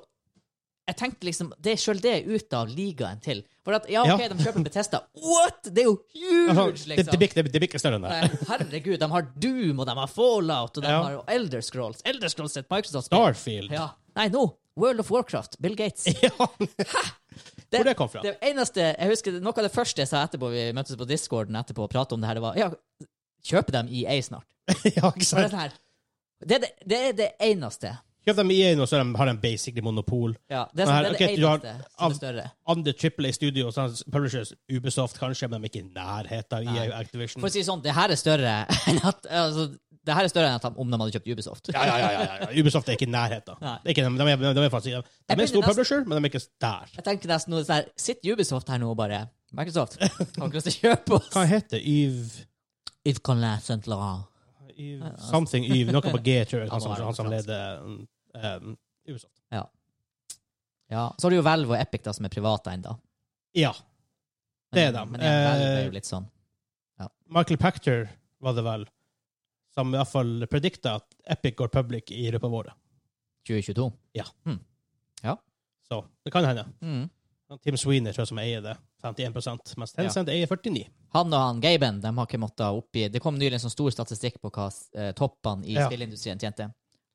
Speaker 2: Jeg tenkte liksom Det er sjøl det er ute av ligaen til. For at, ja, OK,
Speaker 1: Ja.
Speaker 2: de kjøper Betesta. What?! Det er jo
Speaker 1: Det er sånn,
Speaker 2: huge,
Speaker 1: det, det,
Speaker 2: liksom!
Speaker 1: blir ikke- det, blir ikke større enn det.
Speaker 2: Nei, Herregud, de har Doom, og de har Fallout, og de
Speaker 1: Ja.
Speaker 2: har jo Elder Scrolls. Elder Scrolls er et Microsoft-spill.
Speaker 1: Starfield.
Speaker 2: Ja. Nei, nå! World of Warcraft. Bill Gates.
Speaker 1: Eh, Hvor det kom fra?
Speaker 2: Det eneste, jeg husker Noe av det første jeg sa etterpå vi møttes på discorden etterpå og pratet om det her, det var ja, kjøp dem EA snart.
Speaker 1: ja, ikke
Speaker 2: For det,
Speaker 1: sant?
Speaker 2: er sånn her, det, er det, det er det eneste.
Speaker 1: Kjøp dem EA nå, så de har de basically monopol.
Speaker 2: Ja, det er, sånn,
Speaker 1: Nei,
Speaker 2: det, er
Speaker 1: ok,
Speaker 2: det
Speaker 1: du har-
Speaker 2: eneste som
Speaker 1: av-
Speaker 2: er større.
Speaker 1: Andre AAA Studios, sånn, publishers, Ubisoft kanskje, men de er ikke i nærheten av EA og Activision.
Speaker 2: For å si det sånn, det her er større enn at altså, det her er større enn at de- om de hadde kjøpt Ubisoft.
Speaker 1: Ja, ja, ja, ja, ja. Ubisoft er ikke i nærheten.
Speaker 2: Nei.
Speaker 1: Det er ikke- De, de, er- de er faktisk De er
Speaker 2: begynner
Speaker 1: en stor
Speaker 2: nesten-
Speaker 1: publisher, men de er ikke der.
Speaker 2: Jeg tenker nesten noe sånn her Sitter Ubisoft her nå og bare Microsoft, har dere lyst til å kjøpe oss?
Speaker 1: Hva heter Yves
Speaker 2: Yves Collin Saint-Laurent.
Speaker 1: Yves- Something Yves, noe på G, tror jeg, han som,
Speaker 2: Han altså. var
Speaker 1: han som
Speaker 2: fransk.
Speaker 1: leder um, Ubisoft.
Speaker 2: Ja. Så har du jo Valve og Epic, da, som er private ennå.
Speaker 1: Ja. Det er dem.
Speaker 2: Men igjen, Valve
Speaker 1: Eh,
Speaker 2: er jo litt sånn
Speaker 1: Michael Pactor var det vel, som i hvert fall predikta at Epic går public i løpet av året.
Speaker 2: 2022.
Speaker 1: Ja.
Speaker 2: Mm. Ja.
Speaker 1: Så det kan hende.
Speaker 2: Mm.
Speaker 1: Han Tim Sweeney tror jeg som eier det, 51 mens Tencent eier 49
Speaker 2: Han og han Gaben de har ikke måttet oppgi Det kom nylig en sånn stor statistikk på hva eh, toppene i
Speaker 1: Ja.
Speaker 2: spillindustrien tjente.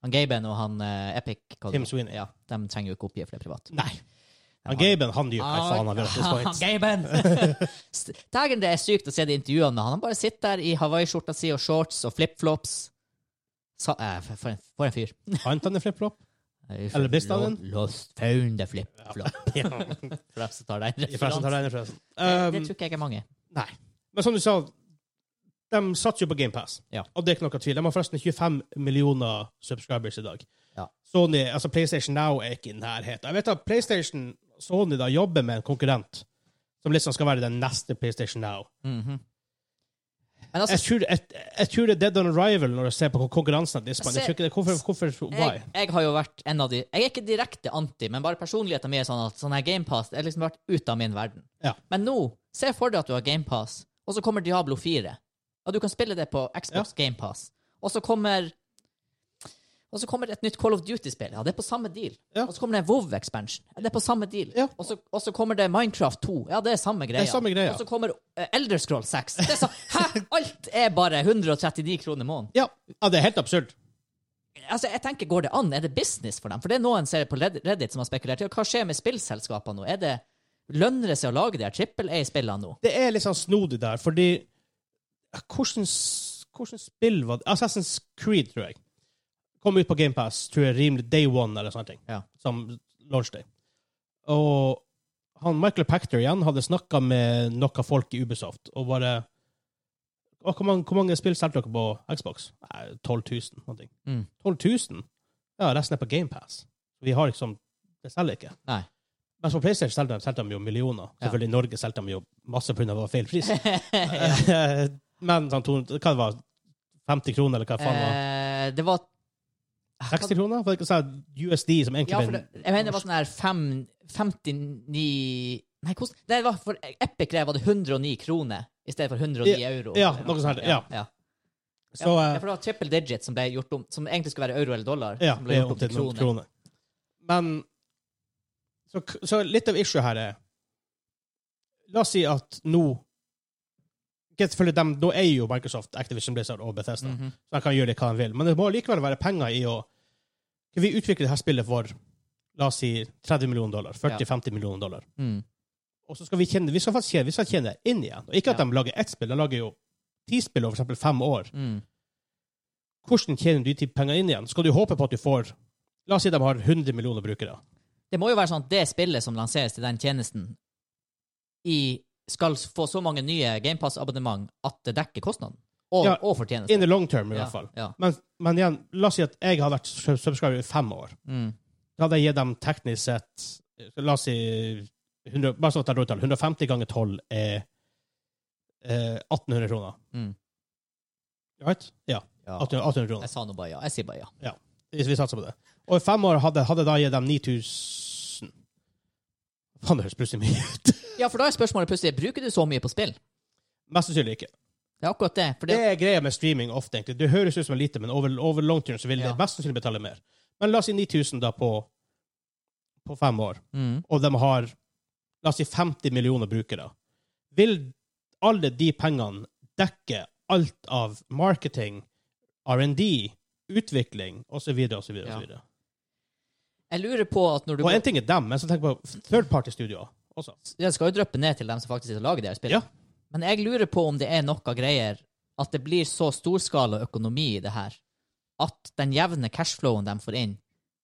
Speaker 2: Han Gaben og han eh, Epic hva det
Speaker 1: Tim
Speaker 2: var.
Speaker 1: Sweeney.
Speaker 2: Ja, de trenger jo ikke oppgi, for det er privat.
Speaker 1: Nei. Han Gaben han gjør hva faen han vil. at det skal
Speaker 2: Ah,
Speaker 1: hit.
Speaker 2: Gaben! St- Dagen det er sykt å se de intervjuene med han. Han bare sitter der i hawaiiskjorta si og shorts og flipflops. Sa- eh, for, for, en, for en fyr.
Speaker 1: Fant han en flip-flop? Eller Bistaden.
Speaker 2: Lo- Lost found the flip-flop.
Speaker 1: Ja.
Speaker 2: For dem som tar den
Speaker 1: I forresten tar
Speaker 2: referansen.
Speaker 1: jeg den forresten.
Speaker 2: Det
Speaker 1: Um,
Speaker 2: tror ikke jeg er mange.
Speaker 1: nei. Men som du sa, de satser jo på GamePass.
Speaker 2: Ja.
Speaker 1: Og det er ikke noe tvil. De har forresten 25 millioner subscribers i dag.
Speaker 2: Ja.
Speaker 1: Sony, altså PlayStation Now er ikke i nærheten. Jeg vet at PlayStation Sony da jobber med en konkurrent som liksom skal være den neste PlayStation Now.
Speaker 2: Mhm. Men altså,
Speaker 1: Jeg tror, jeg, jeg tror det er dead on arrival når jeg ser på konkurransen. Jeg
Speaker 2: Jeg ser-
Speaker 1: tror ikke det, hvorfor, hvorfor, Eh, why?
Speaker 2: Altså, jeg, jeg har jo vært en av de Jeg er ikke direkte anti, men bare personligheten min er sånn at sånn her GamePass er liksom vært ut av min verden.
Speaker 1: Ja.
Speaker 2: Men nå, se for deg at du har GamePass, og så kommer Diablo 4. Og du kan spille det på Xbox GamePass. Og så kommer Og så kommer det et nytt Call of Duty-spill. Ja, det er på samme deal.
Speaker 1: Ja.
Speaker 2: Og så kommer det en WoW-expansion. Ja, det er på samme deal.
Speaker 1: Ja.
Speaker 2: Og, så, og så kommer det Minecraft 2. Ja, det er samme greia.
Speaker 1: samme greia.
Speaker 2: Og så kommer eh, Elder Scroll 6. Det er så, hæ? Alt er bare 139 kroner måneden.
Speaker 1: Ja, ja, det er helt absurd.
Speaker 2: Altså, jeg tenker, Går det an? Er det business for dem? For det er noen serier på Red- Reddit som har spekulert i. og Hva skjer med spillselskapene nå? Er det, Lønner det seg å lage de her trippel A-spillene nå?
Speaker 1: Det er litt sånn snodig der, fordi Hvordan, s- hvordan spill var det? Assassin's Creed, tror jeg. Kom ut på GamePass, tror jeg, rimelig day one eller sånne ting.
Speaker 2: Ja.
Speaker 1: Som launch day. Og han Michael Pactor igjen hadde snakka med noen folk i Ubisoft og bare «Å, hvor, mange, hvor mange spill solgte dere på Xbox? Nei, 12 000. Noe.
Speaker 2: Mm.
Speaker 1: 12 000? Ja, resten er på GamePass. Vi har liksom Det selger ikke.
Speaker 2: Nei.
Speaker 1: Mens på PlayStation solgte de, solgte de jo millioner.
Speaker 2: Ja.
Speaker 1: Selvfølgelig i Norge solgte de jo masse pga. feil pris. Men sånn, to- hva det var 50 kroner, eller hva faen det var?
Speaker 2: Eh, det var
Speaker 1: 60 kroner? For ikke å si USD, som egentlig
Speaker 2: Ja, for
Speaker 1: blir-
Speaker 2: det, jeg mener det var sånn her fem, 59 Nei, hvordan Nei, det var for Epic Grev var det 109 kroner i stedet for 109 euro.
Speaker 1: ja, noe sånt her, ja.
Speaker 2: ja.
Speaker 1: Så
Speaker 2: ja,
Speaker 1: eh,
Speaker 2: for det var triple digit som ble gjort om Som egentlig skulle være euro eller dollar.
Speaker 1: ja,
Speaker 2: som
Speaker 1: det
Speaker 2: ble
Speaker 1: er opp til noen kroner. Men så, k- så litt av issue her er La oss si at nå ikke Selvfølgelig, dem- Nå eier jo Microsoft Activision Blizzard og Bethesda.
Speaker 2: Mhm.
Speaker 1: Så de kan gjøre det hva de vil. Men det må likevel være penger i å Skal vi utvikle dette spillet for la oss si 30 millioner dollar? 40-50 millioner dollar.
Speaker 2: mm.
Speaker 1: Og så skal vi tjene, vi skal faktisk tjene, vi skal tjene inn igjen. Og ikke at de
Speaker 2: Ja.
Speaker 1: lager ett spill, de lager jo ti spill over eksempel fem år.
Speaker 2: Mm.
Speaker 1: Hvordan tjener du de pengene inn igjen? Skal du håpe på at du får La oss si de har 100 millioner brukere.
Speaker 2: Det må jo være sånn at det spillet som lanseres til den tjenesten, i, skal få så mange nye GamePass-abonnement at det dekker kostnaden. Og,
Speaker 1: Ja,
Speaker 2: og fortjenesten.
Speaker 1: In the long term, i hvert fall.
Speaker 2: Ja, ja.
Speaker 1: Men, men igjen, la oss si at jeg har vært sub- subscriber i fem år.
Speaker 2: Mm.
Speaker 1: Da hadde jeg gitt dem teknisk sett La oss si 100, bare sånn at jeg drar ut tall, 150 ganger 12 er eh, 1800 kroner.
Speaker 2: Mm.
Speaker 1: Right? Ja.
Speaker 2: ja.
Speaker 1: 1800, 1800 kroner.
Speaker 2: Jeg sa nå bare ja. Jeg sier bare ja.
Speaker 1: Hvis vi satser på det. Og i fem år hadde, hadde da gitt dem 9000 Faen, det høres plutselig mye ut.
Speaker 2: Ja, for da er spørsmålet plutselig bruker du så mye på spill.
Speaker 1: Mest sannsynlig ikke.
Speaker 2: Det er akkurat det. For
Speaker 1: Det
Speaker 2: det,
Speaker 1: er greia med streaming ofte, egentlig. Det høres ut som lite, men over, over long term så vil
Speaker 2: Ja.
Speaker 1: det mest sannsynlig betale mer. Men la oss si 9000 da på, på fem år,
Speaker 2: mm.
Speaker 1: og de har la oss si 50 millioner brukere. Vil alle de pengene dekke alt av marketing, R&D, utvikling osv., osv.,
Speaker 2: Ja.
Speaker 1: osv.?
Speaker 2: Jeg lurer på at når du
Speaker 1: Og
Speaker 2: går,
Speaker 1: en ting er dem, men så tenk på third party-studioer også.
Speaker 2: Jeg skal jo dryppe ned til dem som faktisk sitter og lager det her spillet.
Speaker 1: Ja.
Speaker 2: Men jeg lurer på om det er noe greier at det blir så storskala økonomi i det her at den jevne cashflowen de får inn,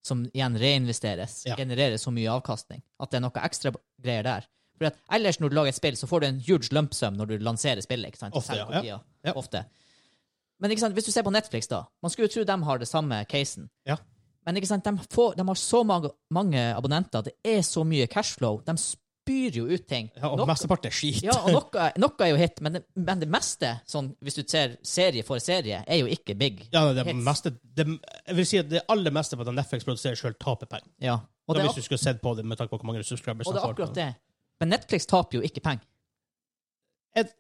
Speaker 2: som igjen reinvesteres,
Speaker 1: Ja.
Speaker 2: genererer så mye avkastning, at det er noe ekstra greier der. For at ellers når du lager et spill, så får du en huge lump sum når du lanserer spillet. ikke sant?
Speaker 1: Ofte,
Speaker 2: Selv
Speaker 1: ja.
Speaker 2: kopier,
Speaker 1: Ja.
Speaker 2: Ofte. Men ikke sant, hvis du ser på Netflix, da Man skulle jo tro de har det samme casen.
Speaker 1: Ja.
Speaker 2: Men ikke sant, de, får, de har så mange, mange abonnenter, det er så mye cashflow. De spyr jo ut ting.
Speaker 1: Ja, og
Speaker 2: Noe-
Speaker 1: mesteparten er skit.
Speaker 2: ja, og noe, noe er jo hit, men det, men det meste, sånn, hvis du ser serie for serie, er jo ikke big.
Speaker 1: Ja, det er
Speaker 2: Hits.
Speaker 1: meste, det, jeg vil si at det aller meste på at Netflix produserer sjøl, taper penger.
Speaker 2: Ja. Og,
Speaker 1: Da
Speaker 2: det er,
Speaker 1: Hvis du skulle sett på det med tanke på hvor mange subscribers
Speaker 2: ak- og det
Speaker 1: de
Speaker 2: er
Speaker 1: får.
Speaker 2: akkurat det. Men Netflix taper jo ikke penger.
Speaker 1: Er,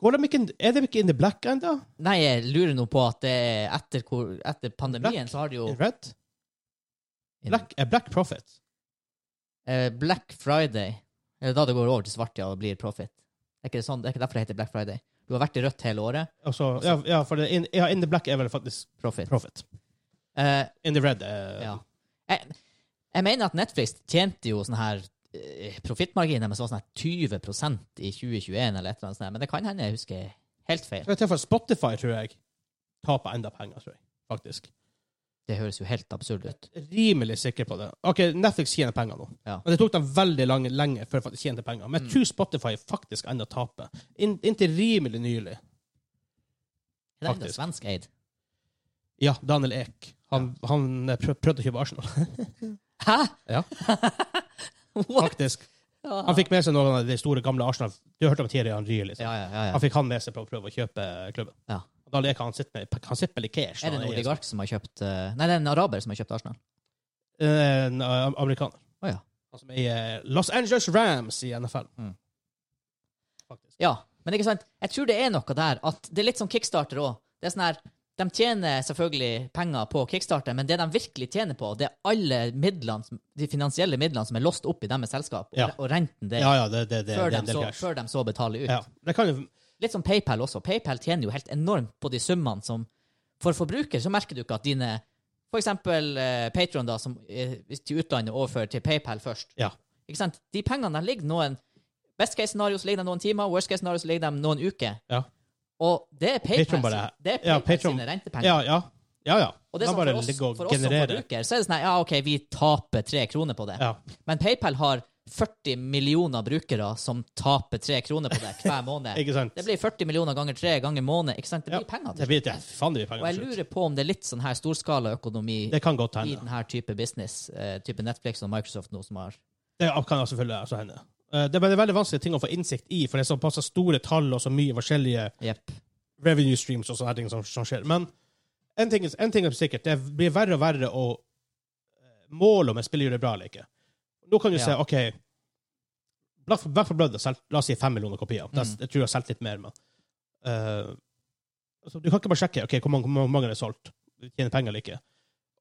Speaker 1: går de ikke, er de ikke in the black ennå?
Speaker 2: Nei, jeg lurer nå på at det er etter, hvor, etter pandemien så har de jo
Speaker 1: Red? Black, eh, black Profit.
Speaker 2: eh, Black Friday. Eller da det går over til svart ja, og blir profit. Det er ikke, sånn, det er ikke derfor det heter Black Friday. Du har vært i rødt hele året.
Speaker 1: Altså, ja, ja, for det, in, ja, In the Black er vel faktisk
Speaker 2: Profit.
Speaker 1: profit.
Speaker 2: Eh,
Speaker 1: In the Red er
Speaker 2: ja. jeg, jeg mener at Netflix tjente jo sånn her eh, profittmarginer med sånn her 20 i 2021 eller et eller annet sånt, her, men det kan hende jeg husker helt feil.
Speaker 1: Skal jeg til for Spotify, tror jeg, taper enda penger, tror jeg. Faktisk.
Speaker 2: Det høres jo helt absurd ut.
Speaker 1: Rimelig sikker på det. OK, Netflix tjener penger nå.
Speaker 2: Ja. Mm.
Speaker 1: Men det tok dem veldig lang, lenge før de tjente penger. Men jeg tror Spotify faktisk enda taper. Inn- inntil rimelig nylig.
Speaker 2: Det er enda
Speaker 1: Faktisk.
Speaker 2: svensk eid.
Speaker 1: Ja, Daniel Ek. Han, han prøv, prøvde å kjøpe Arsenal,
Speaker 2: Hæ?!
Speaker 1: Ja.
Speaker 2: What?
Speaker 1: faktisk.
Speaker 2: Ja.
Speaker 1: Han fikk med seg noen av de store, gamle Arsenal. Du hørte om Thierry Henry, liksom.
Speaker 2: Ja, ja, ja, ja.
Speaker 1: Han fikk han med seg på å prøve å kjøpe klubben.
Speaker 2: Ja.
Speaker 1: Og Da leker han sitt med Han sitter med litt cash.
Speaker 2: Er det
Speaker 1: når han
Speaker 2: en oligark som har kjøpt eh, Nei, det er en araber som har kjøpt Arsenal.
Speaker 1: En eh, amerikaner.
Speaker 2: Å, ja.
Speaker 1: Han som er i eh, Los Angeles Rams i NFL.
Speaker 2: Mm.
Speaker 1: Faktisk.
Speaker 2: Ja, men ikke sant? Jeg tror det er noe der at det er litt som Kickstarter òg. Det er sånn her De tjener selvfølgelig penger på Kickstarter, men det de virkelig tjener på, det er alle midlene, som- de finansielle midlene som er låst opp i deres selskap, og,
Speaker 1: Ja.
Speaker 2: og renten det,
Speaker 1: Ja, ja, det, det, det, det er
Speaker 2: før, de
Speaker 1: en del
Speaker 2: så,
Speaker 1: cash.
Speaker 2: før de så betaler ut.
Speaker 1: Ja. Det kan jo
Speaker 2: Litt som PayPal også. PayPal tjener jo helt enormt på de summene som For forbruker så merker du ikke at dine For eksempel eh, Patron, da, som eh, hvis til utlandet overfører til PayPal først.
Speaker 1: Ja.
Speaker 2: Ikke sant? De pengene der ligger noen Best case scenario så ligger de noen timer, worst case scenario så ligger de noen uker.
Speaker 1: Ja.
Speaker 2: Og det er PayPal,
Speaker 1: Patreon bare-
Speaker 2: det er PayPal
Speaker 1: ja, Patreon-
Speaker 2: sine rentepenger.
Speaker 1: Ja, ja. Ja, ja.
Speaker 2: Og det er
Speaker 1: Da
Speaker 2: sånn
Speaker 1: bare
Speaker 2: for oss,
Speaker 1: ligge og
Speaker 2: for oss som
Speaker 1: generere.
Speaker 2: forbruker så er det sånn her, ja, OK, vi taper tre kroner på det.
Speaker 1: Ja.
Speaker 2: Men PayPal har 40 millioner brukere som taper tre kroner på det hver måned.
Speaker 1: Ikke sant?
Speaker 2: Det blir 40 millioner ganger tre ganger måned. ikke sant? Det
Speaker 1: Ja,
Speaker 2: blir penger
Speaker 1: Det
Speaker 2: til.
Speaker 1: blir, ja, faen, det blir
Speaker 2: Og
Speaker 1: penger
Speaker 2: jeg
Speaker 1: til slutt.
Speaker 2: lurer på om det er litt sånn her storskalaøkonomi
Speaker 1: Det kan godt
Speaker 2: i
Speaker 1: hende.
Speaker 2: denne type business, eh, type Netflix og Microsoft nå, som har
Speaker 1: Det kan selvfølgelig altså hende. Eh, Det er bare veldig vanskelig ting å få innsikt i, for det er såpass store tall og så mye forskjellige
Speaker 2: Jepp.
Speaker 1: revenue streams og sånne ting som, som skjer. Men en ting, en ting er sikkert, det blir verre og verre å eh, måle om en spiller gjør det bra eller ikke. Nå kan du
Speaker 2: Ja.
Speaker 1: se, OK Black for, Black for Blood har solgt la oss si fem millioner kopier. Det,
Speaker 2: Mm.
Speaker 1: Jeg tror jeg har solgt litt mer, men eh, altså, Du kan ikke bare sjekke ok, hvor mange, hvor mange det er solgt, tjener penger eller ikke.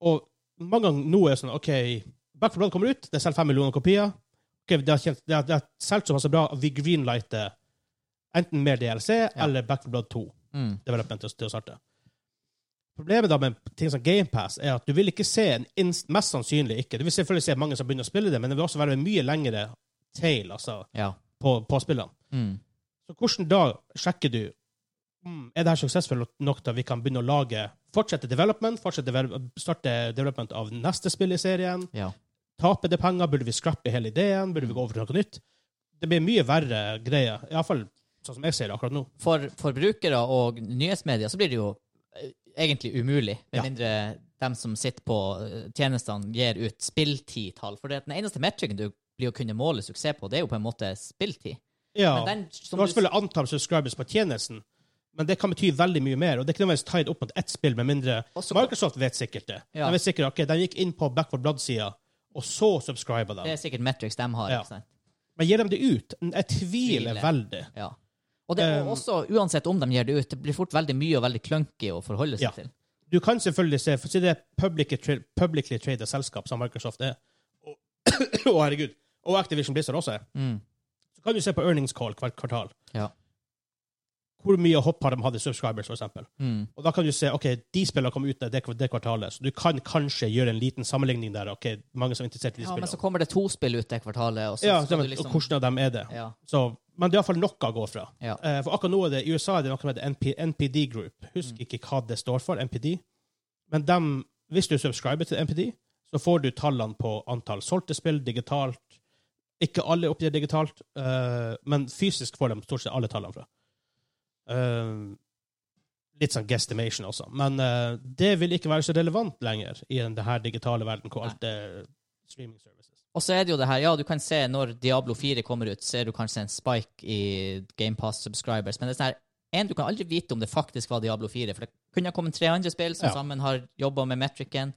Speaker 1: Og mange ganger nå er det sånn OK, Black for Blood kommer ut, det er solgt fem millioner kopier. Ok, det har tjent- det har- det har solgt såpass bra at vi greenlighter enten mer DLC eller Black for Blood 2
Speaker 2: Mm.
Speaker 1: development til å- til å starte. Problemet da med ting som GamePass er at du vil ikke se en inst, mest sannsynlig ikke. Du vil selvfølgelig se mange som begynner å spille det, men det vil også være en mye lengre tail altså,
Speaker 2: Ja.
Speaker 1: på, på spillene.
Speaker 2: Mm.
Speaker 1: Så hvordan da sjekker du mm, er det her suksessfullt nok til at vi kan begynne å lage fortsette development, fortsette devel- starte development av neste spill i serien,
Speaker 2: Ja.
Speaker 1: taper det penger, burde vi scrappe hele ideen, burde vi gå over til noe nytt? Det blir mye verre greier, iallfall sånn som jeg ser det akkurat nå.
Speaker 2: For forbrukere og nyhetsmedier så blir det jo eh, egentlig umulig, med
Speaker 1: Ja.
Speaker 2: mindre dem som sitter på eh, tjenestene, gir ut spilltidtall. For det, at den eneste metrikken du blir å kunne måle suksess på, det er jo på en måte spilltid.
Speaker 1: Ja.
Speaker 2: Men den som
Speaker 1: Du har
Speaker 2: du
Speaker 1: selvfølgelig antall subscribers på tjenesten, men det kan bety veldig mye mer. Og det er ikke nødvendigvis tied opp mot ett spill, med mindre
Speaker 2: Og så-
Speaker 1: Microsoft vet sikkert det.
Speaker 2: Ja.
Speaker 1: De vet sikkert ok, de gikk inn på Back for Blood-sida, og så subscriba
Speaker 2: Det
Speaker 1: de.
Speaker 2: er sikkert metrics de har.
Speaker 1: Ja.
Speaker 2: ikke sant?
Speaker 1: Men gir de det ut? Jeg tviler
Speaker 2: Tviler.
Speaker 1: veldig.
Speaker 2: Ja. Og det er
Speaker 1: Um,
Speaker 2: også, uansett om de gir det ut, det blir fort veldig mye og veldig clunky å forholde seg
Speaker 1: Ja.
Speaker 2: til.
Speaker 1: Du kan selvfølgelig se For si det er publicly, tra publicly traded selskap som Microsoft er, og, å, herregud, og Activision Blizzard også er,
Speaker 2: Mm.
Speaker 1: så kan du se på earnings call hvert kvartal.
Speaker 2: Ja.
Speaker 1: Hvor mye hopp har de hatt i subscribers, for eksempel?
Speaker 2: Mm.
Speaker 1: Og da kan du se ok, de spillene kom ut det, det kvartalet, så du kan kanskje gjøre en liten sammenligning der. ok, mange som er interessert i de
Speaker 2: Ja, men så
Speaker 1: spillene.
Speaker 2: kommer det to spill ut det kvartalet, og så
Speaker 1: Ja,
Speaker 2: skal
Speaker 1: men,
Speaker 2: du liksom
Speaker 1: og hvordan av dem er det?
Speaker 2: ja,
Speaker 1: Så, men det er iallfall noe å gå fra.
Speaker 2: ja.
Speaker 1: Eh, for akkurat nå er det i USA er det noe som heter NP, NPD Group. Husk
Speaker 2: Mm.
Speaker 1: ikke hva det står for, NPD. Men dem, hvis du subscriber til NPD, så får du tallene på antall solgte spill digitalt. Ikke alle oppgir digitalt, eh, men fysisk får de stort sett alle tallene fra. Eh, litt sånn guestimation også. Men eh, det vil ikke være så relevant lenger i den her digitale verden hvor alt er streaming services.
Speaker 2: Og så er det jo det her, ja, du kan se når Diablo 4 kommer ut, ser du kanskje en spike i GamePass subscribers, men det er sånn her, en, du kan aldri vite om det faktisk var Diablo 4, for det kunne ha kommet tre andre spill som
Speaker 1: Ja.
Speaker 2: sammen har jobbet med metricen.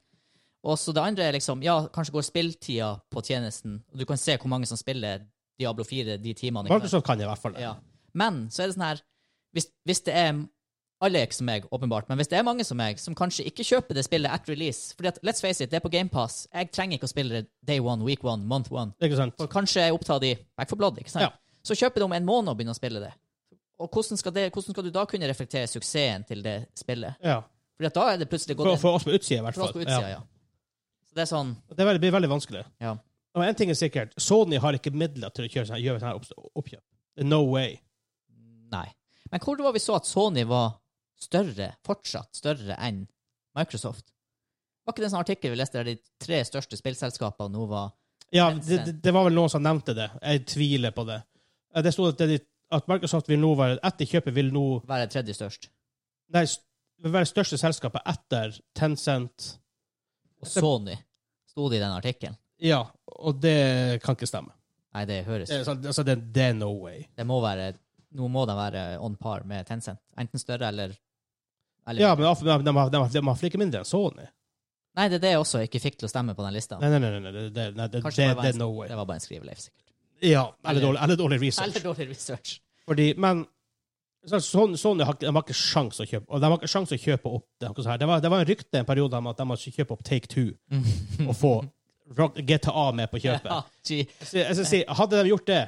Speaker 2: Og så det andre er liksom, ja, kanskje går spilltida på tjenesten, og du kan se hvor mange som spiller Diablo 4 de timene. ikke sant?
Speaker 1: Microsoft kan i hvert fall det.
Speaker 2: Ja. Men så er det sånn her Hvis, hvis det er alle er ikke som meg, åpenbart, men hvis det er mange som meg, som kanskje ikke kjøper det spillet at release fordi at, Let's face it, det er på GamePass. Jeg trenger ikke å spille det day one, week one, month one.
Speaker 1: Ikke sant?
Speaker 2: For kanskje jeg er opptatt i Back for Blood, ikke sant?
Speaker 1: Ja.
Speaker 2: Så kjøper du om en måned og begynner å spille det. Og hvordan skal, det, hvordan skal du da kunne reflektere suksessen til det spillet?
Speaker 1: Ja.
Speaker 2: Fordi at da er det plutselig gått
Speaker 1: For,
Speaker 2: en
Speaker 1: for oss på utsida, i hvert
Speaker 2: for oss
Speaker 1: fall.
Speaker 2: på utsida, ja. Så det er sånn
Speaker 1: Ja. Det er veldig- blir veldig vanskelig.
Speaker 2: Ja.
Speaker 1: Og en ting er sikkert, Sony har ikke midler til å kjøre sånn, gjøre sånne her opps- oppkjøp. No way.
Speaker 2: Nei. Men hvor var vi så at Sony var større, fortsatt større enn Microsoft? Var ikke det en sånn artikkel vi leste der de tre største spillselskapene nå var
Speaker 1: Ja,
Speaker 2: Men
Speaker 1: det, det, det var vel noen som nevnte det. Jeg tviler på det. Eh, Det sto at, det, at Microsoft vil nå være, etter kjøpet vil nå
Speaker 2: være tredje størst?
Speaker 1: Nei, st- vil være største selskapet etter Tencent.
Speaker 2: Og Sony sto det i den artikkelen?
Speaker 1: Ja, og det kan ikke stemme.
Speaker 2: Nei, det høres
Speaker 1: Det, er sånn- altså, det, det er no way.
Speaker 2: Det må være Nå må de være on par med Tencent. Enten større eller, eller
Speaker 1: Ja, men de, de, de, har- de, har- de har flikke mindre enn Sony.
Speaker 2: Nei, det er det jeg også ikke fikk til å stemme på den lista.
Speaker 1: Nei, nei, nei, nei, det, det, nei, det, det,
Speaker 2: Kanskje bare
Speaker 1: det er
Speaker 2: en-
Speaker 1: no way.
Speaker 2: Det var bare en skriveleif, sikkert.
Speaker 1: Ja, eller dårlig, eller dårlig research.
Speaker 2: Eller dårlig research.
Speaker 1: Fordi, men så- Sony, Sony har, ikke- de har ikke sjans å kjøpe og de har ikke sjans å kjøpe opp det. noe sånt her. Det var, det var en rykte en periode om at de må kjøpe opp Take Two og få Rock- GTA med på kjøpet.
Speaker 2: Ja, gee.
Speaker 1: Så jeg skal si, hadde de gjort det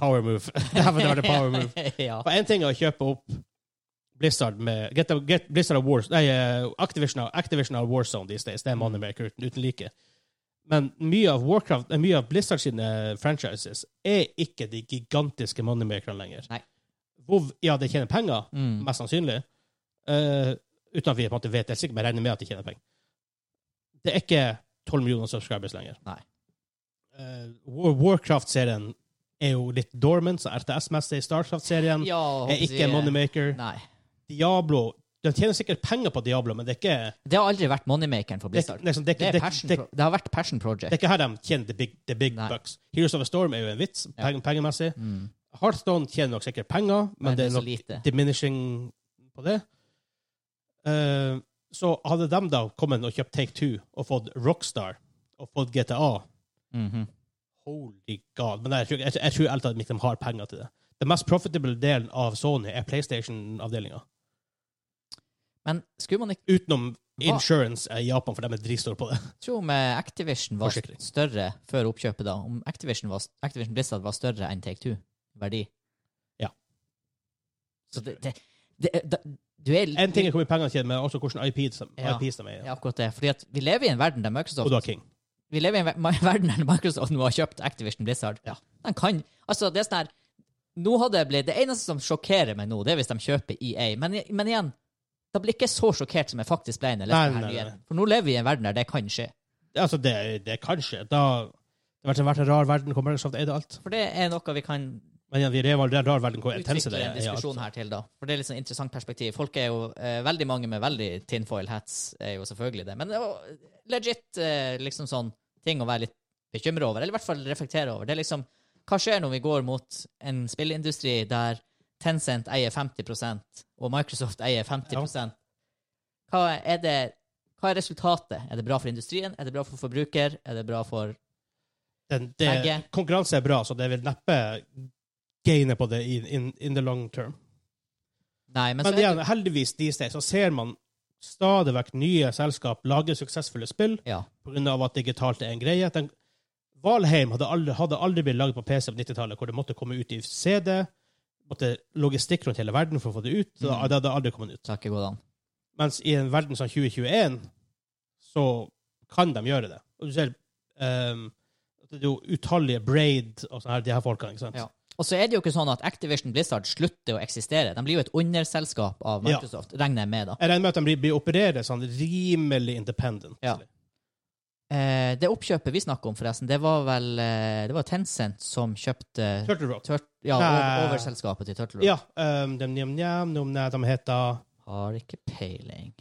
Speaker 1: Power move. Det hadde vært en power move.
Speaker 2: ja.
Speaker 1: For én ting er å kjøpe opp Blizzard med get, get Blizzard of Wars, nei, eh, Activision, av- Activision av Warzone these days. Det er moneymaker uten, uten like. Men mye av Warcraft, eh, mye av Blizzard sine franchises er ikke de gigantiske moneymakerne lenger.
Speaker 2: Nei.
Speaker 1: WoW, ja, de tjener penger,
Speaker 2: Mm.
Speaker 1: mest sannsynlig. eh, uten at vi på en måte vet det. Sikkert men jeg regner med at de tjener penger. Det er ikke 12 millioner subscribers lenger.
Speaker 2: Nei.
Speaker 1: Eh, War- Warcraft-serien er jo litt dormant, så RTS-messig Starcraft-serien
Speaker 2: ja håper
Speaker 1: er ikke
Speaker 2: jeg-
Speaker 1: en moneymaker.
Speaker 2: Nei.
Speaker 1: Diablo De tjener sikkert penger på Diablo, men det er ikke
Speaker 2: Det har aldri vært moneymakeren for
Speaker 1: det, er
Speaker 2: Blizzard.
Speaker 1: ikke- liksom, det, er
Speaker 2: Det,
Speaker 1: ikke-
Speaker 2: er
Speaker 1: det,
Speaker 2: passion,
Speaker 1: det,
Speaker 2: pro- det har vært passion
Speaker 1: det er
Speaker 2: project.
Speaker 1: ikke her de tjener the big, the big
Speaker 2: Nei.
Speaker 1: bucks. Heroes of a Storm er jo en vits, peng, pengemessig.
Speaker 2: Mm.
Speaker 1: Heartstone tjener nok sikkert penger, men,
Speaker 2: Men
Speaker 1: det er
Speaker 2: så
Speaker 1: nok
Speaker 2: lite.
Speaker 1: diminishing på det. Eh, så hadde de da kommet og kjøpt Take Two og fått Rockstar og fått GTA
Speaker 2: Mhm.
Speaker 1: Holy god. Men jeg tror, jeg, jeg tror alt at de har penger til det. Den mest profitable delen av Sony er PlayStation-avdelinga.
Speaker 2: Men skulle man ikke
Speaker 1: Utenom insurance er i Japan, for de er dritstore på det.
Speaker 2: tro om eh, Activision var
Speaker 1: Forsikring.
Speaker 2: større før oppkjøpet, da? Om Activision, var, Activision Blizzard var større enn Take Two verdi?
Speaker 1: Ja.
Speaker 2: Så det, det, det, da- Du er
Speaker 1: En ting er hvor mye penger de tjener, men også hvordan IPs de,
Speaker 2: Ja.
Speaker 1: IPs de er.
Speaker 2: Ja, akkurat det. Fordi at vi lever i en verden der
Speaker 1: Og
Speaker 2: Microsoft
Speaker 1: da King.
Speaker 2: Vi lever i en ver- ma- verden der Microsoft nå har kjøpt Activision Blizzard.
Speaker 1: Ja.
Speaker 2: De kan Altså, det er sånn her Nå hadde jeg blitt Det eneste som sjokkerer meg nå, det er hvis de kjøper EA. Men, men igjen, da blir jeg ikke så sjokkert som jeg faktisk ble
Speaker 1: Nei,
Speaker 2: når jeg leste
Speaker 1: nei,
Speaker 2: denne
Speaker 1: nei.
Speaker 2: nyheten. For nå lever vi i en verden der det kan skje.
Speaker 1: Altså, det, det er kanskje da det har vært en, vært en rar verden hvor Microsoft eide alt.
Speaker 2: For det er noe vi kan
Speaker 1: Men igjen, vi lever i en rar verden hvor intense
Speaker 2: utvikle
Speaker 1: det
Speaker 2: en
Speaker 1: er. i alt.
Speaker 2: diskusjon her til, da. For det er litt sånn interessant perspektiv. Folk er jo eh, Veldig mange med veldig tinfoil hats er jo selvfølgelig det. Men det er jo legit eh, liksom sånn ting å være litt bekymra over, eller i hvert fall reflektere over. Det er liksom Hva skjer når vi går mot en spillindustri der Tencent eier 50 og Microsoft eier 50 Hva er det hva er resultatet? Er det bra for industrien? Er det bra for forbruker? Er det bra for
Speaker 1: Den, det,
Speaker 2: Begge.
Speaker 1: konkurranse er bra, så det vil neppe gaine på det in, in, in the long term.
Speaker 2: Nei, men,
Speaker 1: Men
Speaker 2: så er
Speaker 1: igjen, heldigvis these days så ser man stadig vekk nye selskap lage suksessfulle spill
Speaker 2: det Ja.
Speaker 1: pga. at digitalt er en greie. Den, Valheim hadde aldri, hadde aldri blitt laget på PC på 90-tallet, hvor det måtte komme ut i CD. Måtte logistikk rundt hele verden for å få det ut. så
Speaker 2: Mm.
Speaker 1: Det hadde aldri kommet ut.
Speaker 2: Så har ikke gått an.
Speaker 1: Mens i en verden som 2021, så kan de gjøre det. Og du ser ehm, det er jo utallige Braid og sånne her, de her folkene. ikke sant?
Speaker 2: Ja. Og så er det jo ikke sånn at Activision Blizzard slutter å eksistere. De blir jo et underselskap av
Speaker 1: Ja.
Speaker 2: Microsoft, regner jeg med, da.
Speaker 1: Jeg regner med at de blir, blir operert sånn rimelig independent.
Speaker 2: Ja. Eh, det oppkjøpet vi snakker om, forresten, det var vel eh, det var Tencent som kjøpte
Speaker 1: Turtle Rock.
Speaker 2: Tur ja,
Speaker 1: Nei.
Speaker 2: over, overselskapet til Turtle Rock.
Speaker 1: Ja. ehm, de, de, de, de, de heter
Speaker 2: Har ikke peiling.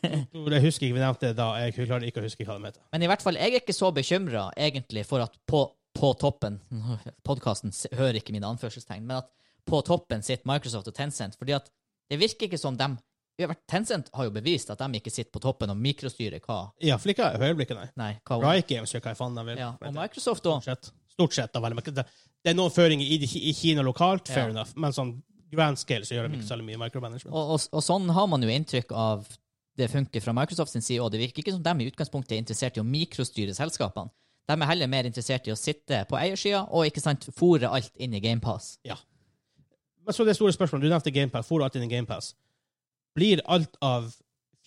Speaker 1: Jeg husker ikke vi nevnte det da. Jeg klarer ikke å huske hva de heter.
Speaker 2: Men i hvert fall, jeg er ikke så bekymra egentlig for at på, på toppen Podkasten hører ikke mine anførselstegn, men at på toppen sitter Microsoft og Tencent. fordi at det virker ikke som dem Tencent har jo bevist at de ikke sitter på toppen og mikrostyrer hva
Speaker 1: Ja, for ikke i øyeblikket, nei.
Speaker 2: Nei, hva
Speaker 1: Riot Games gjør hva faen de vil.
Speaker 2: Ja, og
Speaker 1: Vet jeg.
Speaker 2: Microsoft òg.
Speaker 1: Stort sett. Stort sett da, vel. Men det- Det er noen føringer i, i Kina lokalt, fair
Speaker 2: Ja. Mm.
Speaker 1: enough, men sånn grand scale så gjør de ikke så veldig mye micromanagement.
Speaker 2: Og, og, og sånn har man jo inntrykk av det funker fra Microsoft sin side, og det virker ikke som de i utgangspunktet er interessert i å mikrostyre selskapene. De er heller mer interessert i å sitte på eiersida og ikke sant, fòre alt inn i GamePass.
Speaker 1: Men så det store spørsmålet. Du nevnte GamePass. Får du alt inn i GamePass? Blir alt av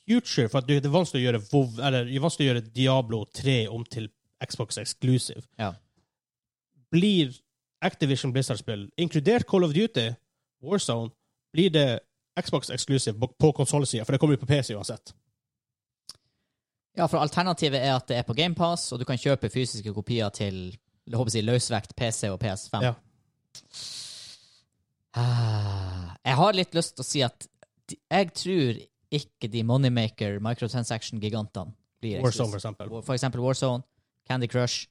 Speaker 1: future For at det er vanskelig å gjøre WoW, eller det er vanskelig å gjøre Diablo 3 om til Xbox Exclusive.
Speaker 2: Ja.
Speaker 1: Blir Activision Blizzard-spill, inkludert Call of Duty, Warzone, blir det Xbox Exclusive på- på konsollsida? For det kommer jo på PC uansett.
Speaker 2: Ja, for alternativet er at det er på GamePass, og du kan kjøpe fysiske kopier til jeg håper å si, løsvekt PC og PS5.
Speaker 1: Ja.
Speaker 2: Ah, Jeg har litt lyst til å si at de- jeg tror ikke de Moneymaker microtransaction-gigantene blir
Speaker 1: Warzone, for
Speaker 2: eksklusive.
Speaker 1: eksempel.
Speaker 2: For eksempel Warzone, Candy Crush,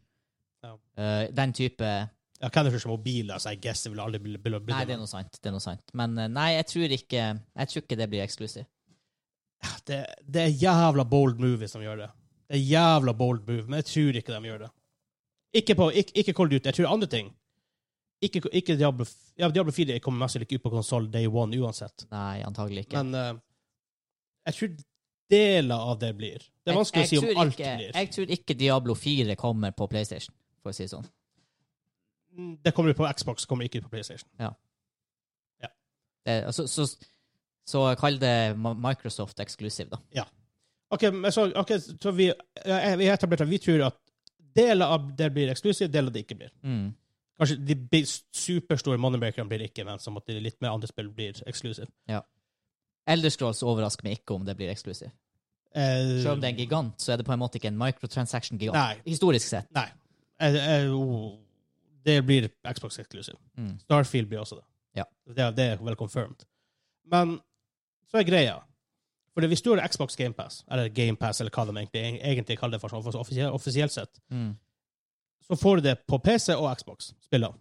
Speaker 1: Ja.
Speaker 2: eh, den type
Speaker 1: Ja, Candy Crush er mobil, altså I guess det vil aldri bli, bli, bli
Speaker 2: Nei, det er noe sant. Det er noe sant. Men eh, nei, jeg tror ikke, jeg tror ikke det blir eksklusivt.
Speaker 1: det, det er jævla bold move hvis de gjør det. Det er jævla bold move, men jeg tror ikke de gjør det. Ikke, på, ikke, ikke Call of Duty. Jeg tror andre ting. Ikke, ikke Diablo, ja, Diablo 4 kommer mest sannsynlig ikke ut på konsoll day one uansett.
Speaker 2: Nei, antagelig ikke.
Speaker 1: Men eh, jeg tror deler av det blir. Det er vanskelig
Speaker 2: Jeg- jeg
Speaker 1: å si
Speaker 2: tror
Speaker 1: om alt
Speaker 2: ikke,
Speaker 1: blir.
Speaker 2: Jeg tror ikke Diablo 4 kommer på PlayStation, for å si det sånn.
Speaker 1: Mm, Det kommer ut på Xbox, kommer ikke ut på PlayStation.
Speaker 2: Det, altså, så, så, så kall det Ma- Microsoft Exclusive, da.
Speaker 1: OK, men så, ok, så vi, ja, vi har etablert at vi tror at deler av det blir eksklusivt, deler av det ikke blir.
Speaker 2: Mm.
Speaker 1: Kanskje de bi- superstore moneymakerne blir ikke, men som at de litt mer andre spill blir eksklusive.
Speaker 2: Elder Scrolls overrasker meg ikke om det blir eksklusivt.
Speaker 1: Eh,
Speaker 2: Selv om det er en gigant, så er det på en måte ikke en microtransaction-gigant.
Speaker 1: Nei.
Speaker 2: Historisk sett.
Speaker 1: Nei. Eh, eh, oh, det blir Xbox eksklusiv.
Speaker 2: Mm.
Speaker 1: Starfield blir også det.
Speaker 2: Ja.
Speaker 1: Det, det er vel confirmed. Men så er greia For det- hvis du har Xbox GamePass, eller GamePass, eller hva de egentlig, egentlig kaller det for, sånn, for offisiell, offisielt sett, så får du det på PC og Xbox. Spiller.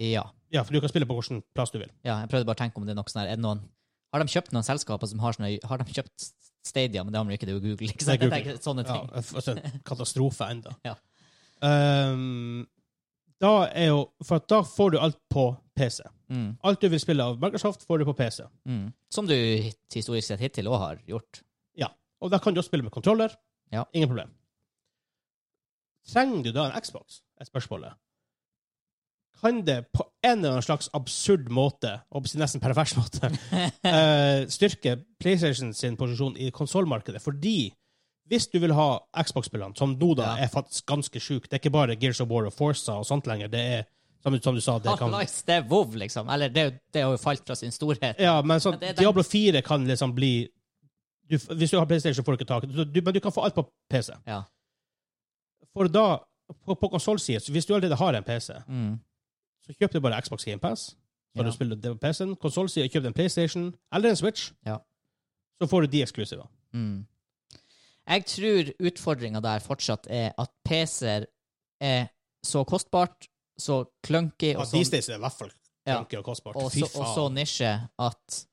Speaker 2: Ja.
Speaker 1: Ja, for du kan spille på hvilken plass du vil.
Speaker 2: ja. Jeg prøvde bare å tenke om det er noe sånn her. Er det noen Har de kjøpt noen selskaper som har sånne Har de kjøpt Stadia, men det har de jo ikke, det er jo Google. Ikke sant?
Speaker 1: Det er
Speaker 2: Jeg tenker sånne
Speaker 1: Ja,
Speaker 2: ting.
Speaker 1: altså, en katastrofe ennå.
Speaker 2: Ja.
Speaker 1: Ehm, da er jo For at da får du alt på PC.
Speaker 2: Mm.
Speaker 1: Alt du vil spille av Microsoft, får du på PC.
Speaker 2: Mm. Som du hit- historisk sett hittil òg har gjort.
Speaker 1: Og da kan du også spille med kontroller.
Speaker 2: Ja.
Speaker 1: Ingen problem. Trenger du da en Xbox? er spørsmålet. Kan det på en eller annen slags absurd måte, og på sin nesten pervers måte, eh, styrke PlayStation sin posisjon i konsollmarkedet? Fordi hvis du vil ha Xbox-spillene, som nå da
Speaker 2: Ja.
Speaker 1: er faktisk ganske sjukt Det er ikke bare Gears of War og Forza og sånt lenger. Det er, som, som du sa, det kan
Speaker 2: Half-Life, det er WoW, liksom. Eller det, er jo- det har jo falt fra sin storhet.
Speaker 1: Ja, men sånn,
Speaker 2: Men det er den-
Speaker 1: Diablo 4 kan liksom bli du, Hvis du har PlayStation, får du ikke tak i det. Du- Men du kan få alt på PC.
Speaker 2: Ja.
Speaker 1: For da, på, på konsollsida, så hvis du allerede har en PC,
Speaker 2: Mm.
Speaker 1: så kjøp du bare Xbox Game Pass. Så
Speaker 2: Ja.
Speaker 1: kan du spiller det på PC-en. Konsollsida, kjøp en PlayStation eller en Switch.
Speaker 2: Ja.
Speaker 1: Så får du de eksklusive.
Speaker 2: Mm. Jeg tror utfordringa der fortsatt er at PC-er er så kostbart, så clunky og,
Speaker 1: Og
Speaker 2: så,
Speaker 1: These days er det i hvert fall
Speaker 2: Ja.
Speaker 1: funky og kostbart.
Speaker 2: og, sånn-
Speaker 1: Fy
Speaker 2: så, og så
Speaker 1: faen.
Speaker 2: nisje at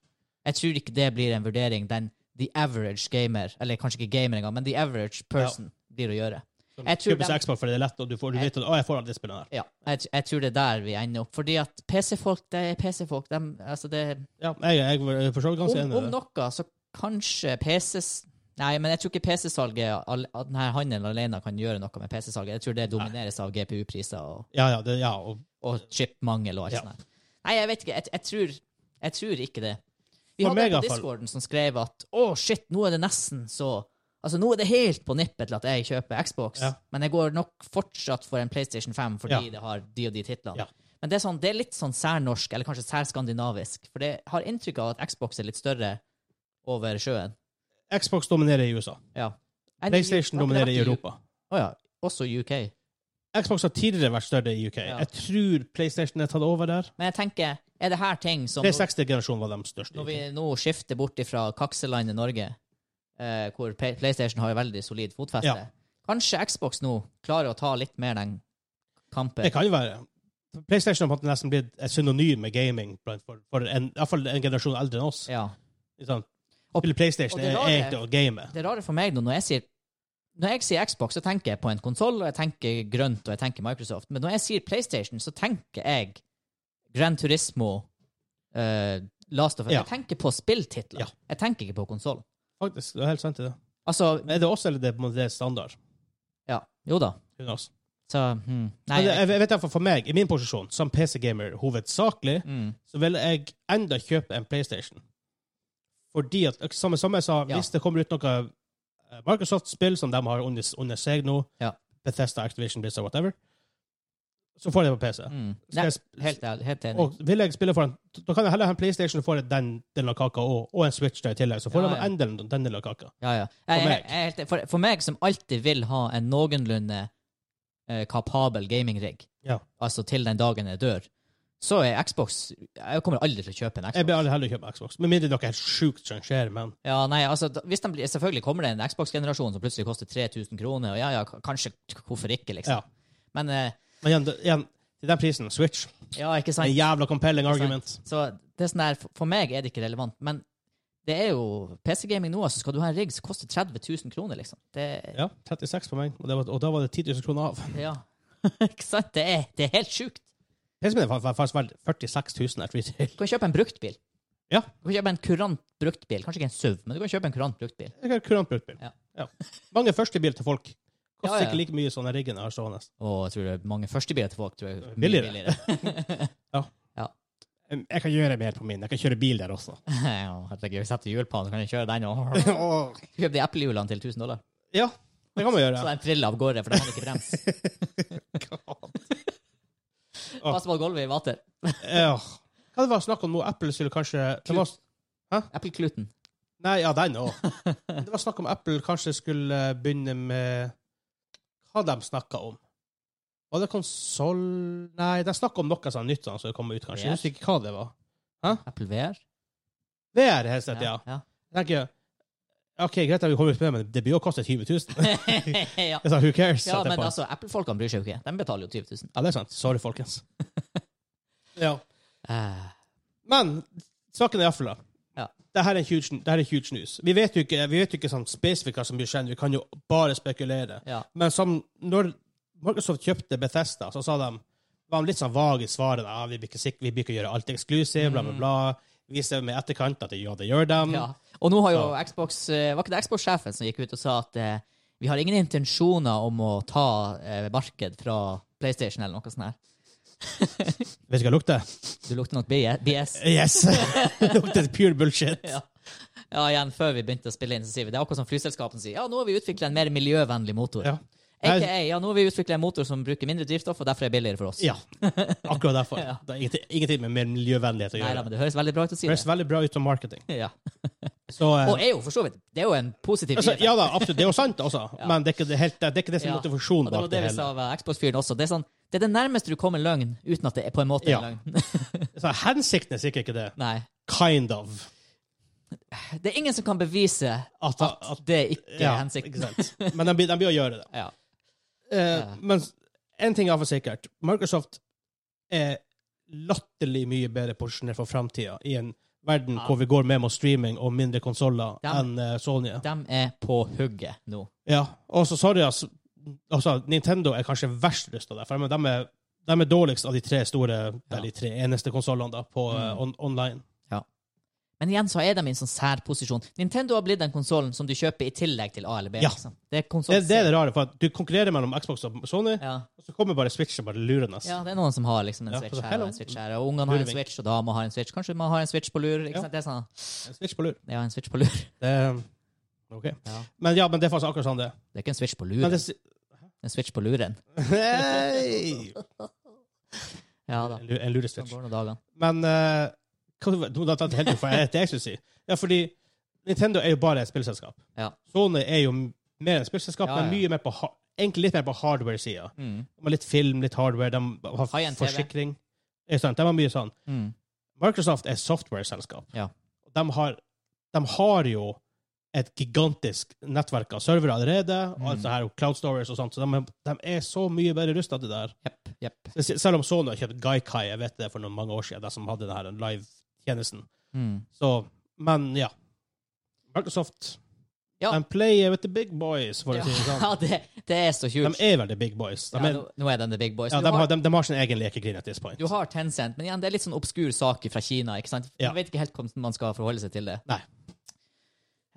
Speaker 2: jeg tror ikke det blir en vurdering den the average gamer, eller kanskje ikke gamer engang, men the average person blir å gjøre. jeg tror
Speaker 1: Kjøp
Speaker 2: dem-
Speaker 1: seg Xbox fordi det er lett, og du, får, du vet at 'Å, jeg får alle de spillene her'.
Speaker 2: Ja, jeg, jeg tror det er der vi ender opp. Fordi at PC-folk, det er PC-folk. dem- Altså det,
Speaker 1: Ja, jeg, jeg er for så vidt ganske enig
Speaker 2: om,
Speaker 1: i
Speaker 2: om
Speaker 1: det.
Speaker 2: noe, så kanskje PCs Nei, men jeg tror ikke PC-salget, all- at denne handelen alene kan gjøre noe med PC-salget. Jeg tror det domineres av GPU-priser og,
Speaker 1: Ja, ja, det, ja, og
Speaker 2: og chip-mangel og alt
Speaker 1: Ja.
Speaker 2: sånt. der. Nei, jeg vet ikke. Jeg, jeg, tror, jeg tror ikke det. Vi
Speaker 1: For
Speaker 2: hadde
Speaker 1: meg
Speaker 2: en
Speaker 1: i
Speaker 2: på
Speaker 1: hvert fall.
Speaker 2: Discorden som skrev at å, shit, nå er det nesten så Altså, nå er det helt på nippet til at jeg kjøper Xbox,
Speaker 1: Ja.
Speaker 2: men jeg går nok fortsatt for en PlayStation 5 fordi
Speaker 1: Ja.
Speaker 2: det har de og de titlene.
Speaker 1: Ja.
Speaker 2: Men det er, sånn, det er litt sånn særnorsk, eller kanskje særskandinavisk, for det har inntrykk av at Xbox er litt større over sjøen.
Speaker 1: Xbox dominerer i USA.
Speaker 2: Ja. Enn i-
Speaker 1: PlayStation
Speaker 2: Har ikke det
Speaker 1: dominerer i
Speaker 2: vært
Speaker 1: Europa.
Speaker 2: Å ja. Også UK.
Speaker 1: Xbox har tidligere vært større i UK.
Speaker 2: Ja. Sånn-
Speaker 1: Jeg tror PlayStation er tatt over der.
Speaker 2: Men jeg tenker, er det her ting som
Speaker 1: 360-generasjonen var de største. i
Speaker 2: Når
Speaker 1: UK.
Speaker 2: vi nå skifter bort ifra kakselandet Norge, eh, hvor P- PlayStation har jo veldig solid fotfeste,
Speaker 1: Ja.
Speaker 2: kanskje Xbox nå klarer å ta litt mer den kampen.
Speaker 1: Det kan jo være. PlayStation har på en måte nesten blitt et synonym med gaming blant- for, for en, i hvert fall en generasjon eldre enn oss.
Speaker 2: Ja.
Speaker 1: Ikke sant?
Speaker 2: Og-
Speaker 1: Spille PlayStation
Speaker 2: og det
Speaker 1: er
Speaker 2: rare-
Speaker 1: egentlig å game.
Speaker 2: Det rare for meg nå, når jeg sier når jeg sier Xbox, så tenker jeg på en konsoll, og jeg tenker grønt, og jeg tenker Microsoft. Men når jeg sier PlayStation, så tenker jeg Grand Turismo eh, Last of Us.
Speaker 1: Ja.
Speaker 2: Jeg tenker på spilltitler.
Speaker 1: Ja.
Speaker 2: Jeg tenker ikke på konsollen.
Speaker 1: Faktisk, det er helt sant i det.
Speaker 2: Altså,
Speaker 1: Men er det oss, eller er det på en måte det er standard?
Speaker 2: ja. Jo da.
Speaker 1: Who knows?
Speaker 2: Så hmm. Nei,
Speaker 1: Men det-
Speaker 2: jeg,
Speaker 1: jeg, jeg vet derfor, for meg, i min posisjon, som PC-gamer hovedsakelig,
Speaker 2: mm.
Speaker 1: så vil jeg enda kjøpe en PlayStation. Fordi at, som, som jeg sa,
Speaker 2: Ja.
Speaker 1: hvis det kommer ut noe eh, Microsoft-spill som de har under, under seg nå,
Speaker 2: Ja.
Speaker 1: Bethesda, Activision, Blizzard, whatever, så får jeg det på PC. Skal
Speaker 2: Mm. Nei,
Speaker 1: jeg sp-
Speaker 2: helt, ærlig, helt enig.
Speaker 1: og vil jeg spille for en, da kan jeg heller ha en PlayStation og få den delen av kaka, og, og en Switch der i tillegg, så får
Speaker 2: Ja,
Speaker 1: jeg
Speaker 2: ja.
Speaker 1: en del, den delen av kaka.
Speaker 2: Ja, ja. Jeg,
Speaker 1: For
Speaker 2: jeg,
Speaker 1: meg.
Speaker 2: jeg, er helt- for, for meg som alltid vil ha en noenlunde eh, kapabel gaming-rigg,
Speaker 1: Ja.
Speaker 2: altså til den dagen jeg dør, så er Xbox Jeg kommer aldri til å kjøpe en Xbox.
Speaker 1: Jeg vil aldri heller kjøpe Xbox, med mindre dere er helt sjukt sjangerer, men
Speaker 2: Ja, nei, altså, da- hvis de blir, Selvfølgelig kommer det en Xbox-generasjon som plutselig koster 3000 kroner, og ja, ja, k- kanskje Hvorfor ikke, liksom?
Speaker 1: Ja.
Speaker 2: Men eh,
Speaker 1: Men igjen, det- igjen til den prisen, Switch.
Speaker 2: ja, ikke
Speaker 1: En
Speaker 2: sant?
Speaker 1: jævla compelling
Speaker 2: Ikke sant.
Speaker 1: argument.
Speaker 2: Så det er sånn der, for- for meg er det ikke relevant. Men det er jo PC-gaming nå, altså. Skal du ha en rigg som koster 30 000 kroner, liksom? Det,
Speaker 1: Ja, 36 på meg, og, det var, og da var det 10 000 kroner av.
Speaker 2: ja. ikke sant? Det er, det er helt sjukt.
Speaker 1: PC-en min var var faktisk verdt 46 000 at retail.
Speaker 2: Du kan kjøpe en bruktbil.
Speaker 1: Ja.
Speaker 2: Du kan kjøpe en kurant bruktbil. Kanskje ikke en SUV, men du kan kjøpe en kurant bruktbil.
Speaker 1: Jeg har kurant brukt bil.
Speaker 2: Ja.
Speaker 1: Ja. Mange førstebil til folk. Koster
Speaker 2: Ja, ja.
Speaker 1: ikke like mye sånn den riggen jeg har stående.
Speaker 2: Og jeg tror det er mange førstebiler til folk. Tror jeg, er mye
Speaker 1: Billigere. Um, Jeg kan gjøre mer på min. Jeg kan kjøre bil der også.
Speaker 2: Ja, Herregud, setter hjul på den, så kan jeg kjøre den. Og... Kjøp de eplehjulene til 1000 dollar.
Speaker 1: ja, det kan man
Speaker 2: Så
Speaker 1: gjøre.
Speaker 2: den triller av gårde, for den hadde ikke brems.
Speaker 1: Åh.
Speaker 2: Pass på gulvet i vater.
Speaker 1: Ja. Hva det var snakk om nå? Apple skulle kanskje det var,
Speaker 2: Eplekluten.
Speaker 1: Nei, ja, den òg. Det var snakk om Apple kanskje skulle begynne med hva de snakka om. Var det konsoll Nei, de snakka om noe sånn nytt sånn som kommer ut, kanskje. Jeg husker ikke hva det var.
Speaker 2: Apple VR.
Speaker 1: VR, helt slett, ja.
Speaker 2: ja.
Speaker 1: Jeg tenker OK, greit at vi kommer ut med det, men det blir jo koste 20 000.
Speaker 2: ja.
Speaker 1: Jeg sa, who cares?
Speaker 2: ja, men
Speaker 1: etterpå.
Speaker 2: altså, Apple-folkene bryr seg jo ikke. De betaler jo 20 000.
Speaker 1: Ja, det er sant. Sorry, folkens. ja.
Speaker 2: Eh,
Speaker 1: Men saken er iallfall da.
Speaker 2: Ja.
Speaker 1: Det her er huge, det her er huge news. Vi vet jo ikke, vi vet jo ikke sånn spesifikt hva som blir skjedd. Vi kan jo bare spekulere.
Speaker 2: ja.
Speaker 1: Men som når Microsoft kjøpte Bethesda, så sa de var de litt sånn vage i svaret. Ja, vi blir ikke sikre, vi blir ikke gjøre alt eksklusivt, bla, bla, bla. Vi ser med etterkant at det, ja, det gjør dem.
Speaker 2: Mm. Ja. Og nå har jo Xbox eh, Var ikke det Xbox-sjefen som gikk ut og sa at eh, vi har ingen intensjoner om å ta eh, marked fra PlayStation eller noe sånt her.
Speaker 1: Vet du hva det lukter?
Speaker 2: Du lukter nok BS. BS.
Speaker 1: Yes! det lukter pure bullshit.
Speaker 2: Ja. ja, igjen, før vi begynte å spille inn, så sier vi det er akkurat som flyselskapene sier. Ja, nå har vi utvikla en mer miljøvennlig motor.
Speaker 1: Ja.
Speaker 2: AKA, ja, nå har vi utvikla en motor som bruker mindre drivstoff, og derfor er det billigere for oss.
Speaker 1: Ja, akkurat derfor.
Speaker 2: Ja.
Speaker 1: Det er ingenting, ingenting med mer miljøvennlighet å
Speaker 2: Nei,
Speaker 1: gjøre.
Speaker 2: da, men det høres veldig bra ut å si
Speaker 1: det
Speaker 2: det.
Speaker 1: høres veldig bra ut om marketing.
Speaker 2: Ja.
Speaker 1: Så, eh,
Speaker 2: Og er jo for så vidt Det er jo en positiv
Speaker 1: altså,
Speaker 2: bieffekt.
Speaker 1: ja da, absolutt. Det er jo sant, altså. Men det er ikke det, helt, det, er ikke det som er
Speaker 2: Ja.
Speaker 1: motivasjonen
Speaker 2: Og det
Speaker 1: bak
Speaker 2: var
Speaker 1: det
Speaker 2: det vi sa
Speaker 1: hele.
Speaker 2: av Xbox-fyren også. Det er, sånn, det er det nærmeste du kommer løgn uten at det er på en måte
Speaker 1: Ja.
Speaker 2: en løgn.
Speaker 1: Så, hensikten er sikkert ikke det.
Speaker 2: Nei.
Speaker 1: Kind of.
Speaker 2: Det er ingen som kan bevise
Speaker 1: At,
Speaker 2: at
Speaker 1: at,
Speaker 2: det
Speaker 1: ja,
Speaker 2: ikke er
Speaker 1: ikke
Speaker 2: hensikten.
Speaker 1: sant. Men de, blir- de blir å gjøre det.
Speaker 2: Ja.
Speaker 1: Eh,
Speaker 2: Ja.
Speaker 1: Men én ting er for sikkert. Microsoft er latterlig mye bedre posisjonert for framtida i en verden
Speaker 2: Ja.
Speaker 1: hvor vi går mer mot streaming og mindre konsoller
Speaker 2: Ja.
Speaker 1: enn eh, Sony.
Speaker 2: De er på hugget nå.
Speaker 1: Ja, og så sorry, ass. Altså, Nintendo er kanskje verst rusta der, for de de er, de er dårligst av de tre store, eller de tre eneste konsollene på
Speaker 2: Mm.
Speaker 1: eh, on online.
Speaker 2: Men igjen så er de i en sånn særposisjon. Nintendo har blitt den konsollen som du kjøper i tillegg til A eller B.
Speaker 1: Ja.
Speaker 2: Liksom. Det er konsol
Speaker 1: Det, det er det rare, for at du konkurrerer mellom Xbox og Sony,
Speaker 2: Ja.
Speaker 1: og så kommer bare Switch og bare lurer oss.
Speaker 2: ja, det er noen som har liksom en
Speaker 1: Ja,
Speaker 2: Switch
Speaker 1: altså,
Speaker 2: her
Speaker 1: hello.
Speaker 2: og en Switch her. Og ungene har en
Speaker 1: Lurevink.
Speaker 2: Switch, og dama har en Switch. Kanskje man har en Switch på lur. ikke
Speaker 1: Ja.
Speaker 2: sant? Det er sånn,
Speaker 1: Switch på lur.
Speaker 2: ja, en Switch på lur.
Speaker 1: Det, ok.
Speaker 2: Ja.
Speaker 1: Men ja, men det er faktisk akkurat sånn det er.
Speaker 2: Det er ikke en Switch på
Speaker 1: Men
Speaker 2: luren.
Speaker 1: det
Speaker 2: En Switch på luren.
Speaker 1: Hei!
Speaker 2: Ja da.
Speaker 1: En lu- En
Speaker 2: Sånn
Speaker 1: lureswitch.
Speaker 2: går nå dagene.
Speaker 1: Men eh, hva var det- Nå datt jeg helt ut, for jeg- det jeg skulle si. Ja, fordi Nintendo er jo bare et spillselskap.
Speaker 2: Ja.
Speaker 1: Sony er jo mer et spillselskap,
Speaker 2: Ja,
Speaker 1: men
Speaker 2: ja.
Speaker 1: mye mer på, ha- egentlig litt mer på hardware-sida.
Speaker 2: Mm.
Speaker 1: De har litt film, litt hardware, de har
Speaker 2: High-end TV.
Speaker 1: forsikring. Det er sant, de har mye sånn.
Speaker 2: Mm.
Speaker 1: Microsoft er et software-selskap.
Speaker 2: Ja.
Speaker 1: De, har, de har jo et gigantisk nettverk av servere allerede,
Speaker 2: Mm.
Speaker 1: og alt det her, og cloud stories og sånt, så de, de er så mye bedre rusta til det der.
Speaker 2: Jepp. Jepp.
Speaker 1: Spesielt- Selv om Sony har kjøpt Gaikai, jeg vet det for noen mange år siden, de som hadde denne live-tjenesten.
Speaker 2: Mm.
Speaker 1: Så, men ja. Microsoft
Speaker 2: Ja.
Speaker 1: And play with the big boys, for å
Speaker 2: Ja,
Speaker 1: si det sånn.
Speaker 2: det, det er så
Speaker 1: De
Speaker 2: kult.
Speaker 1: er vel the big boys. De,
Speaker 2: Ja,
Speaker 1: er,
Speaker 2: nå, nå er den The Big Boys.
Speaker 1: ja,
Speaker 2: Du
Speaker 1: de,
Speaker 2: har-
Speaker 1: har, de, de har sin egen lekegrin at this point.
Speaker 2: Du har Tencent, men igjen, det er litt sånn obskur sak fra Kina. ikke sant?
Speaker 1: Ja.
Speaker 2: Jeg vet ikke helt hvordan man skal forholde seg til det.
Speaker 1: Nei.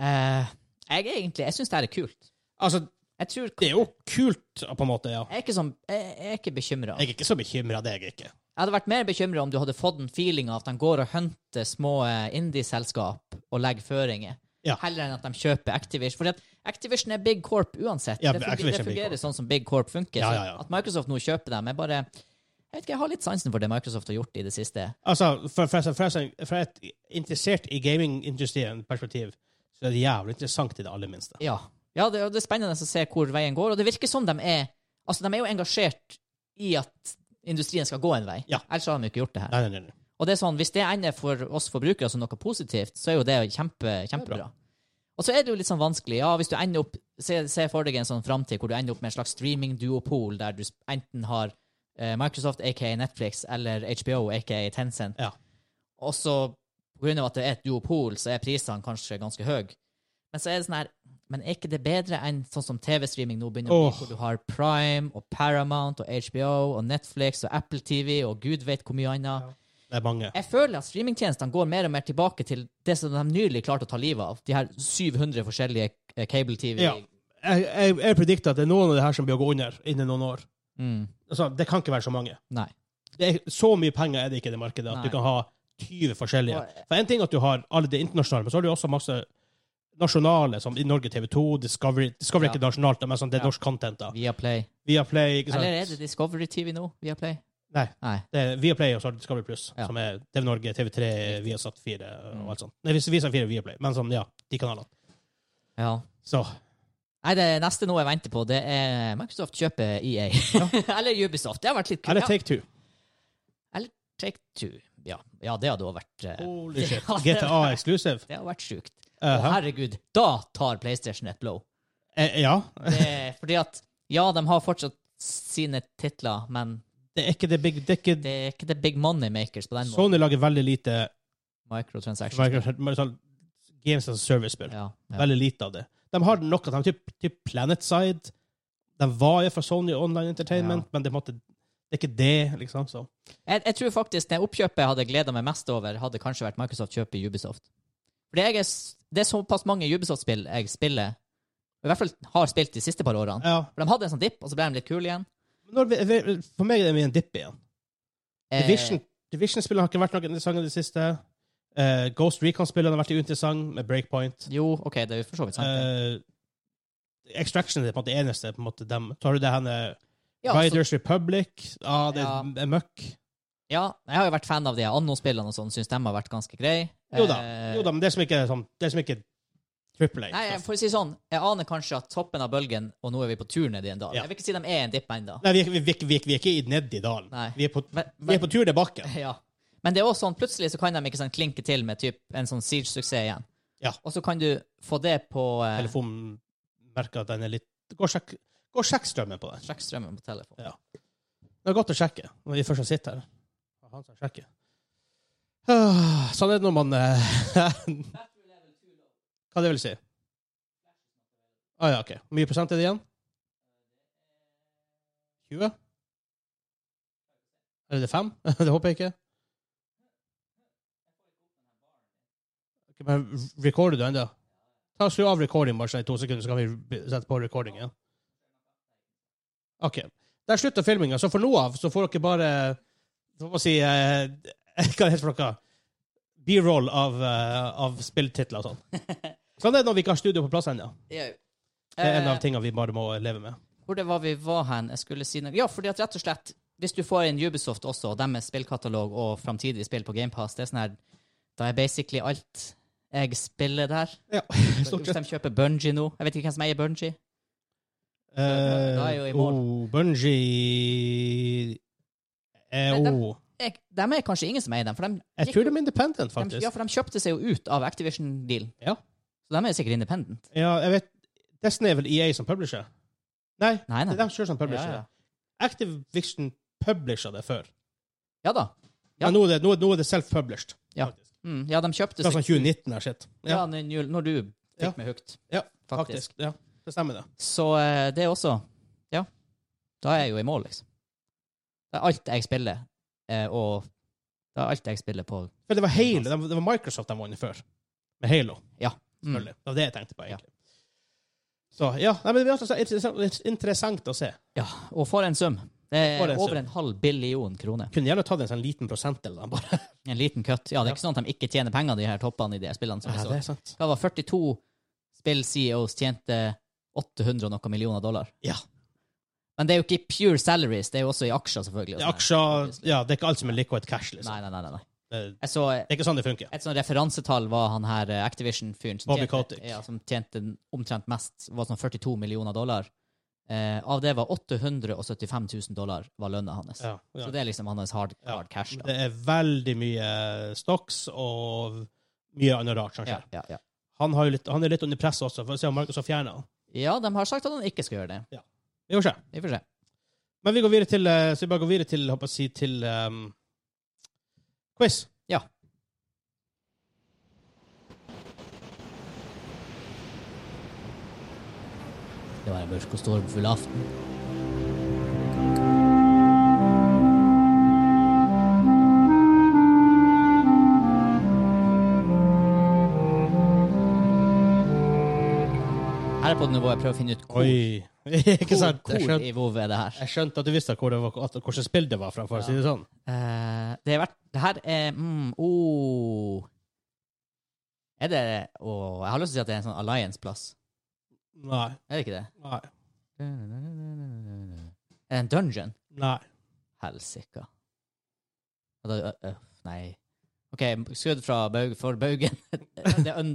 Speaker 2: Eh, jeg er egentlig, jeg syns det her er kult.
Speaker 1: Altså,
Speaker 2: Jeg tror,
Speaker 1: det er jo kult, på en måte, ja.
Speaker 2: jeg er ikke, sånn, jeg, jeg er ikke bekymra. Jeg
Speaker 1: Jeg er ikke så bekymra, det er jeg ikke.
Speaker 2: hadde vært mer bekymra om du hadde fått den feelinga at de går og hunter små eh, indie-selskap og legger føringer,
Speaker 1: Ja.
Speaker 2: heller enn at de kjøper Activision. Fordi at Activision er big corp uansett.
Speaker 1: Ja,
Speaker 2: det fungerer,
Speaker 1: Activision er
Speaker 2: det
Speaker 1: big
Speaker 2: fungerer sånn som big corp funker.
Speaker 1: Ja,
Speaker 2: så
Speaker 1: ja, ja.
Speaker 2: At Microsoft nå kjøper dem, er bare Jeg vet ikke, jeg har litt sansen for det Microsoft har gjort i det siste.
Speaker 1: Altså, fra, fra, fra, fra et interessert i gamingindustrien perspektiv, så er det jævlig interessant i det aller minste.
Speaker 2: Ja, ja det, og det er spennende å se hvor veien går. Og det virker som de er Altså, de er jo engasjert i at industrien skal gå en vei.
Speaker 1: Ja.
Speaker 2: Ellers hadde de jo ikke gjort det her.
Speaker 1: Nei, nei, nei, nei.
Speaker 2: Og det er sånn, hvis det ender for oss forbrukere som noe positivt, så er jo det kjempe,
Speaker 1: Det er
Speaker 2: kjempebra.
Speaker 1: bra.
Speaker 2: Og så er det jo litt sånn vanskelig. Ja, hvis du ender opp Se, se for deg en sånn framtid hvor du ender opp med en slags streaming-duopol der du sp- enten har eh, Microsoft, aka Netflix, eller HBO, aka Tencent.
Speaker 1: Ja.
Speaker 2: Og så, på grunn av at det er et duopol, så er prisene kanskje ganske høye. Men så er det sånn her Men er ikke det bedre enn sånn som TV-streaming nå begynner å bli,
Speaker 1: Åh.
Speaker 2: hvor du har Prime og Paramount og HBO og Netflix og Apple TV og gud vet hvor mye annet?
Speaker 1: Det er mange.
Speaker 2: Jeg føler at streamingtjenestene går mer og mer tilbake til det som de nylig klarte å ta livet av. De her 700 forskjellige eh, cable-TV.
Speaker 1: Ja. Jeg, jeg, jeg predikter at det er noen av det her som blir å gå under innen noen år.
Speaker 2: Mm.
Speaker 1: Altså, det kan ikke være så mange.
Speaker 2: Nei.
Speaker 1: Det er, så mye penger er det ikke i det markedet at
Speaker 2: Nei.
Speaker 1: du kan ha 20 forskjellige.
Speaker 2: Og- eh,
Speaker 1: For en ting er at du har alle de internasjonale, men så har du også masse nasjonale, som i Norge TV 2, Discovery Discovery er
Speaker 2: Ja.
Speaker 1: ikke nasjonalt, men sånn, det er
Speaker 2: Ja.
Speaker 1: norsk content. da.
Speaker 2: Viaplay.
Speaker 1: Viaplay, ikke sant?
Speaker 2: Eller er det Discovery TV nå? Viaplay?
Speaker 1: Nei.
Speaker 2: Nei.
Speaker 1: Det er Viaplay og så har du Discovery Plus,
Speaker 2: Ja. Mm.
Speaker 1: som er TV Norge, TV3, Viasat 4 og alt sånt. Nei, Viasat 4 og Viaplay, men sånn, ja, de kanalene.
Speaker 2: Ja.
Speaker 1: Så
Speaker 2: Nei, det neste nå jeg venter på, det er Microsoft kjøper EA. Eller Ubisoft. Det har vært litt
Speaker 1: Eller
Speaker 2: kult. Ja.
Speaker 1: Take Two.
Speaker 2: Take Two. Ja. ja, det hadde også vært eh,
Speaker 1: Holy shit.
Speaker 2: Ja, det-
Speaker 1: GTA Exclusive.
Speaker 2: Det hadde vært sjukt. Å,
Speaker 1: Uh
Speaker 2: herregud, da tar PlayStation et blow.
Speaker 1: eh, ja.
Speaker 2: Det, fordi at ja, de har fortsatt sine titler, men
Speaker 1: Det er ikke det big det er ikke
Speaker 2: det er ikke the big money makers på den måten.
Speaker 1: Sony lager veldig lite
Speaker 2: Microtransactions.
Speaker 1: Microsoft- games as a service-spill.
Speaker 2: Ja, ja.
Speaker 1: Veldig lite av det. De har nok av dem. Typ, typ Planetside. De var jo for Sony Online Entertainment, men det, er på en måte, det er ikke det, liksom. Så.
Speaker 2: Jeg, jeg tror faktisk det oppkjøpet jeg hadde gleda meg mest over, hadde kanskje vært Microsoft kjøpe Ubisoft. Fordi jeg er, s- det er såpass mange Ubisoft-spill jeg spiller, i hvert fall har spilt de siste par årene.
Speaker 1: Ja.
Speaker 2: For De hadde en sånn dipp, og så ble de litt kule igjen.
Speaker 1: Når vi, vi- for meg er det en dipp igjen.
Speaker 2: Eh,
Speaker 1: Division, Division-spillene har ikke vært noe interessante i det siste. Eh, Ghost Recon-spillene har vært uinteressante, med Breakpoint.
Speaker 2: Jo, OK, det er jo for så vidt sant. det.
Speaker 1: Eh, Extraction er på en måte det eneste. På en måte, dem. Tar du det henne
Speaker 2: Ja, så-
Speaker 1: Riders Republic? Ja, det
Speaker 2: Ja.
Speaker 1: er møkk.
Speaker 2: ja, jeg har jo vært fan av de Anno-spillene og sånn, syns de har vært ganske greie.
Speaker 1: Jo da,
Speaker 2: Eh,
Speaker 1: jo da, men det som ikke er sånn Det som ikke er triple A. altså.
Speaker 2: Nei, jeg- for å si sånn, jeg aner kanskje at toppen av bølgen, og nå er vi på tur ned i en dal.
Speaker 1: Ja.
Speaker 2: Jeg vil ikke si de er en dipp ennå.
Speaker 1: Nei, vi, er- vi, vi, er ikke- vi, er ikke- vi er ikke i- ned i dalen.
Speaker 2: Nei.
Speaker 1: Vi, er på,
Speaker 2: Men- Eh.
Speaker 1: vi er på tur ned bakken.
Speaker 2: Ja. Men det er også sånn, plutselig så kan de ikke sånn klinke til med typ en sånn Siege-suksess igjen.
Speaker 1: Ja.
Speaker 2: Og så kan du få det på eh,
Speaker 1: Telefonen merker at den er litt Gå og sjekk, gå og sjekk strømmen på den.
Speaker 2: Sjekk strømmen på telefon.
Speaker 1: Ja. Det er godt å sjekke når vi først sitter her. Det er Han som sjekker. Ah, Sånn er det når man eh, Hva det vil si? Ah, ja, OK. Hvor mye prosent er det igjen? 20? Eller er det 5? det håper jeg ikke. Ok, men recorder du ennå? Ta og Skru av recording bare sånn i to sekunder, så kan vi sette på recording igjen. OK. Det er slutt av filminga, så for nå av så får dere bare Hva må jeg si eh, Hva heter det for noe? B-roll av, eh, av spilltitler og sånn. Sånn er det når vi ikke har studio på plass ennå.
Speaker 2: Jau.
Speaker 1: Det er en
Speaker 2: Eh,
Speaker 1: av tingene vi bare må leve med.
Speaker 2: Hvor det var vi var hen? Jeg skulle si noe. Ja, fordi at rett og slett, hvis du får inn Ubisoft også, og deres spillkatalog og framtidige spill på GamePass, det er sånn her Da er basically alt jeg spiller der.
Speaker 1: Ja, stort
Speaker 2: Hvis
Speaker 1: sett.
Speaker 2: de kjøper Bungie nå Jeg vet ikke hvem som eier Bungie. Da er jo i
Speaker 1: Eh,
Speaker 2: mål.
Speaker 1: oh, Bungie eh,
Speaker 2: Men
Speaker 1: oh.
Speaker 2: Jeg, de er kanskje ingen som eier dem, for de,
Speaker 1: Jeg
Speaker 2: gikk
Speaker 1: tror
Speaker 2: jo-
Speaker 1: de er independent,
Speaker 2: de, ja,
Speaker 1: faktisk.
Speaker 2: for de kjøpte seg jo ut av Activision-dealen.
Speaker 1: Ja.
Speaker 2: Så de er sikkert independent.
Speaker 1: Ja, jeg vet Destiny er vel EA som publisher? Nei,
Speaker 2: Nei,
Speaker 1: det
Speaker 2: nei.
Speaker 1: er dem selv som
Speaker 2: Ja,
Speaker 1: publisher.
Speaker 2: ja.
Speaker 1: Activision publisher det før.
Speaker 2: Ja da. Ja.
Speaker 1: Men nå er det, nå, er- nå er det self-published.
Speaker 2: Ja.
Speaker 1: faktisk.
Speaker 2: Mm, ja, de kjøpte
Speaker 1: Det er sånn 2019 her, shit.
Speaker 2: Ja,
Speaker 1: Ja.
Speaker 2: når, når du fikk
Speaker 1: Ja.
Speaker 2: meg hooked.
Speaker 1: Ja,
Speaker 2: faktisk.
Speaker 1: faktisk. Ja, det stemmer, det.
Speaker 2: Så eh, det også Ja. Da er jeg jo i mål, liksom. Det er alt jeg spiller, eh, og det er alt jeg spiller på
Speaker 1: For det var Halo, det var- det var Microsoft de vant før. Med Halo,
Speaker 2: mm.
Speaker 1: selvfølgelig. Det var det jeg tenkte på, egentlig. Så ja, Nei, men det blir altså interessant- interessant å se.
Speaker 2: Ja, og for en sum. Det
Speaker 1: For
Speaker 2: er
Speaker 1: en
Speaker 2: over
Speaker 1: sum.
Speaker 2: en halv billion kroner.
Speaker 1: Kunne gjerne tatt en sånn liten prosentdel, da, bare.
Speaker 2: En liten kutt. Ja, det
Speaker 1: Ja.
Speaker 2: er ikke sånn at de ikke tjener penger, de her toppene i de her spillene. Som jeg så.
Speaker 1: er sant.
Speaker 2: Hva var 42 spill-CEOs E tjente 800 og noe millioner dollar?
Speaker 1: Ja.
Speaker 2: Men det er jo ikke i pure salaries, det er jo også i aksjer, selvfølgelig. og sånn her.
Speaker 1: Aksjer Ja, det er ikke alt som er liquid cash, liksom.
Speaker 2: Nei, nei, nei. nei, nei.
Speaker 1: Det,
Speaker 2: Jeg så
Speaker 1: det er ikke sånn det funker.
Speaker 2: et sånn referansetall var han her eh, Activision-fyren som,
Speaker 1: Bobby
Speaker 2: tjente-
Speaker 1: Kotick.
Speaker 2: ja, som tjente omtrent mest, var sånn 42 millioner dollar. Eh, av det var 875 000 dollar var lønna hans.
Speaker 1: Ja, ja.
Speaker 2: Så det er liksom hans hard,
Speaker 1: Ja.
Speaker 2: hard cash. Da.
Speaker 1: Det er veldig mye stocks og mye annet rart som
Speaker 2: Ja,
Speaker 1: skjer.
Speaker 2: ja, ja.
Speaker 1: Han, har jo litt, han er litt under press også, for å se om Microsoft fjerner han.
Speaker 2: ja, de har sagt at han ikke skal gjøre det.
Speaker 1: Vi får se.
Speaker 2: Vi får se.
Speaker 1: Men vi går videre til eh, Så vi bare går videre til, håper jeg å si, til ehm, quiz.
Speaker 2: Ja. Det var en mørk og stormfull aften. Her er på et nivå jeg prøver å finne ut hvor,
Speaker 1: Oi. Ikke
Speaker 2: hvor,
Speaker 1: sant? Jeg
Speaker 2: hvor
Speaker 1: skjønte,
Speaker 2: i WoW er det her.
Speaker 1: jeg skjønte at du visste hvor det var, at, hvordan spill det var fra, for å si det sånn.
Speaker 2: Eh, det er vært Det her er mm, oh. Er det Åh, Jeg har lyst til å si at det er en sånn Alliance-plass.
Speaker 1: Nei.
Speaker 2: Er det ikke det?
Speaker 1: Nei.
Speaker 2: Er det en dungeon?
Speaker 1: Nei.
Speaker 2: Helsika. Og da- ø- ø, Nei. OK, skudd fra baug, for baugen. det, er un,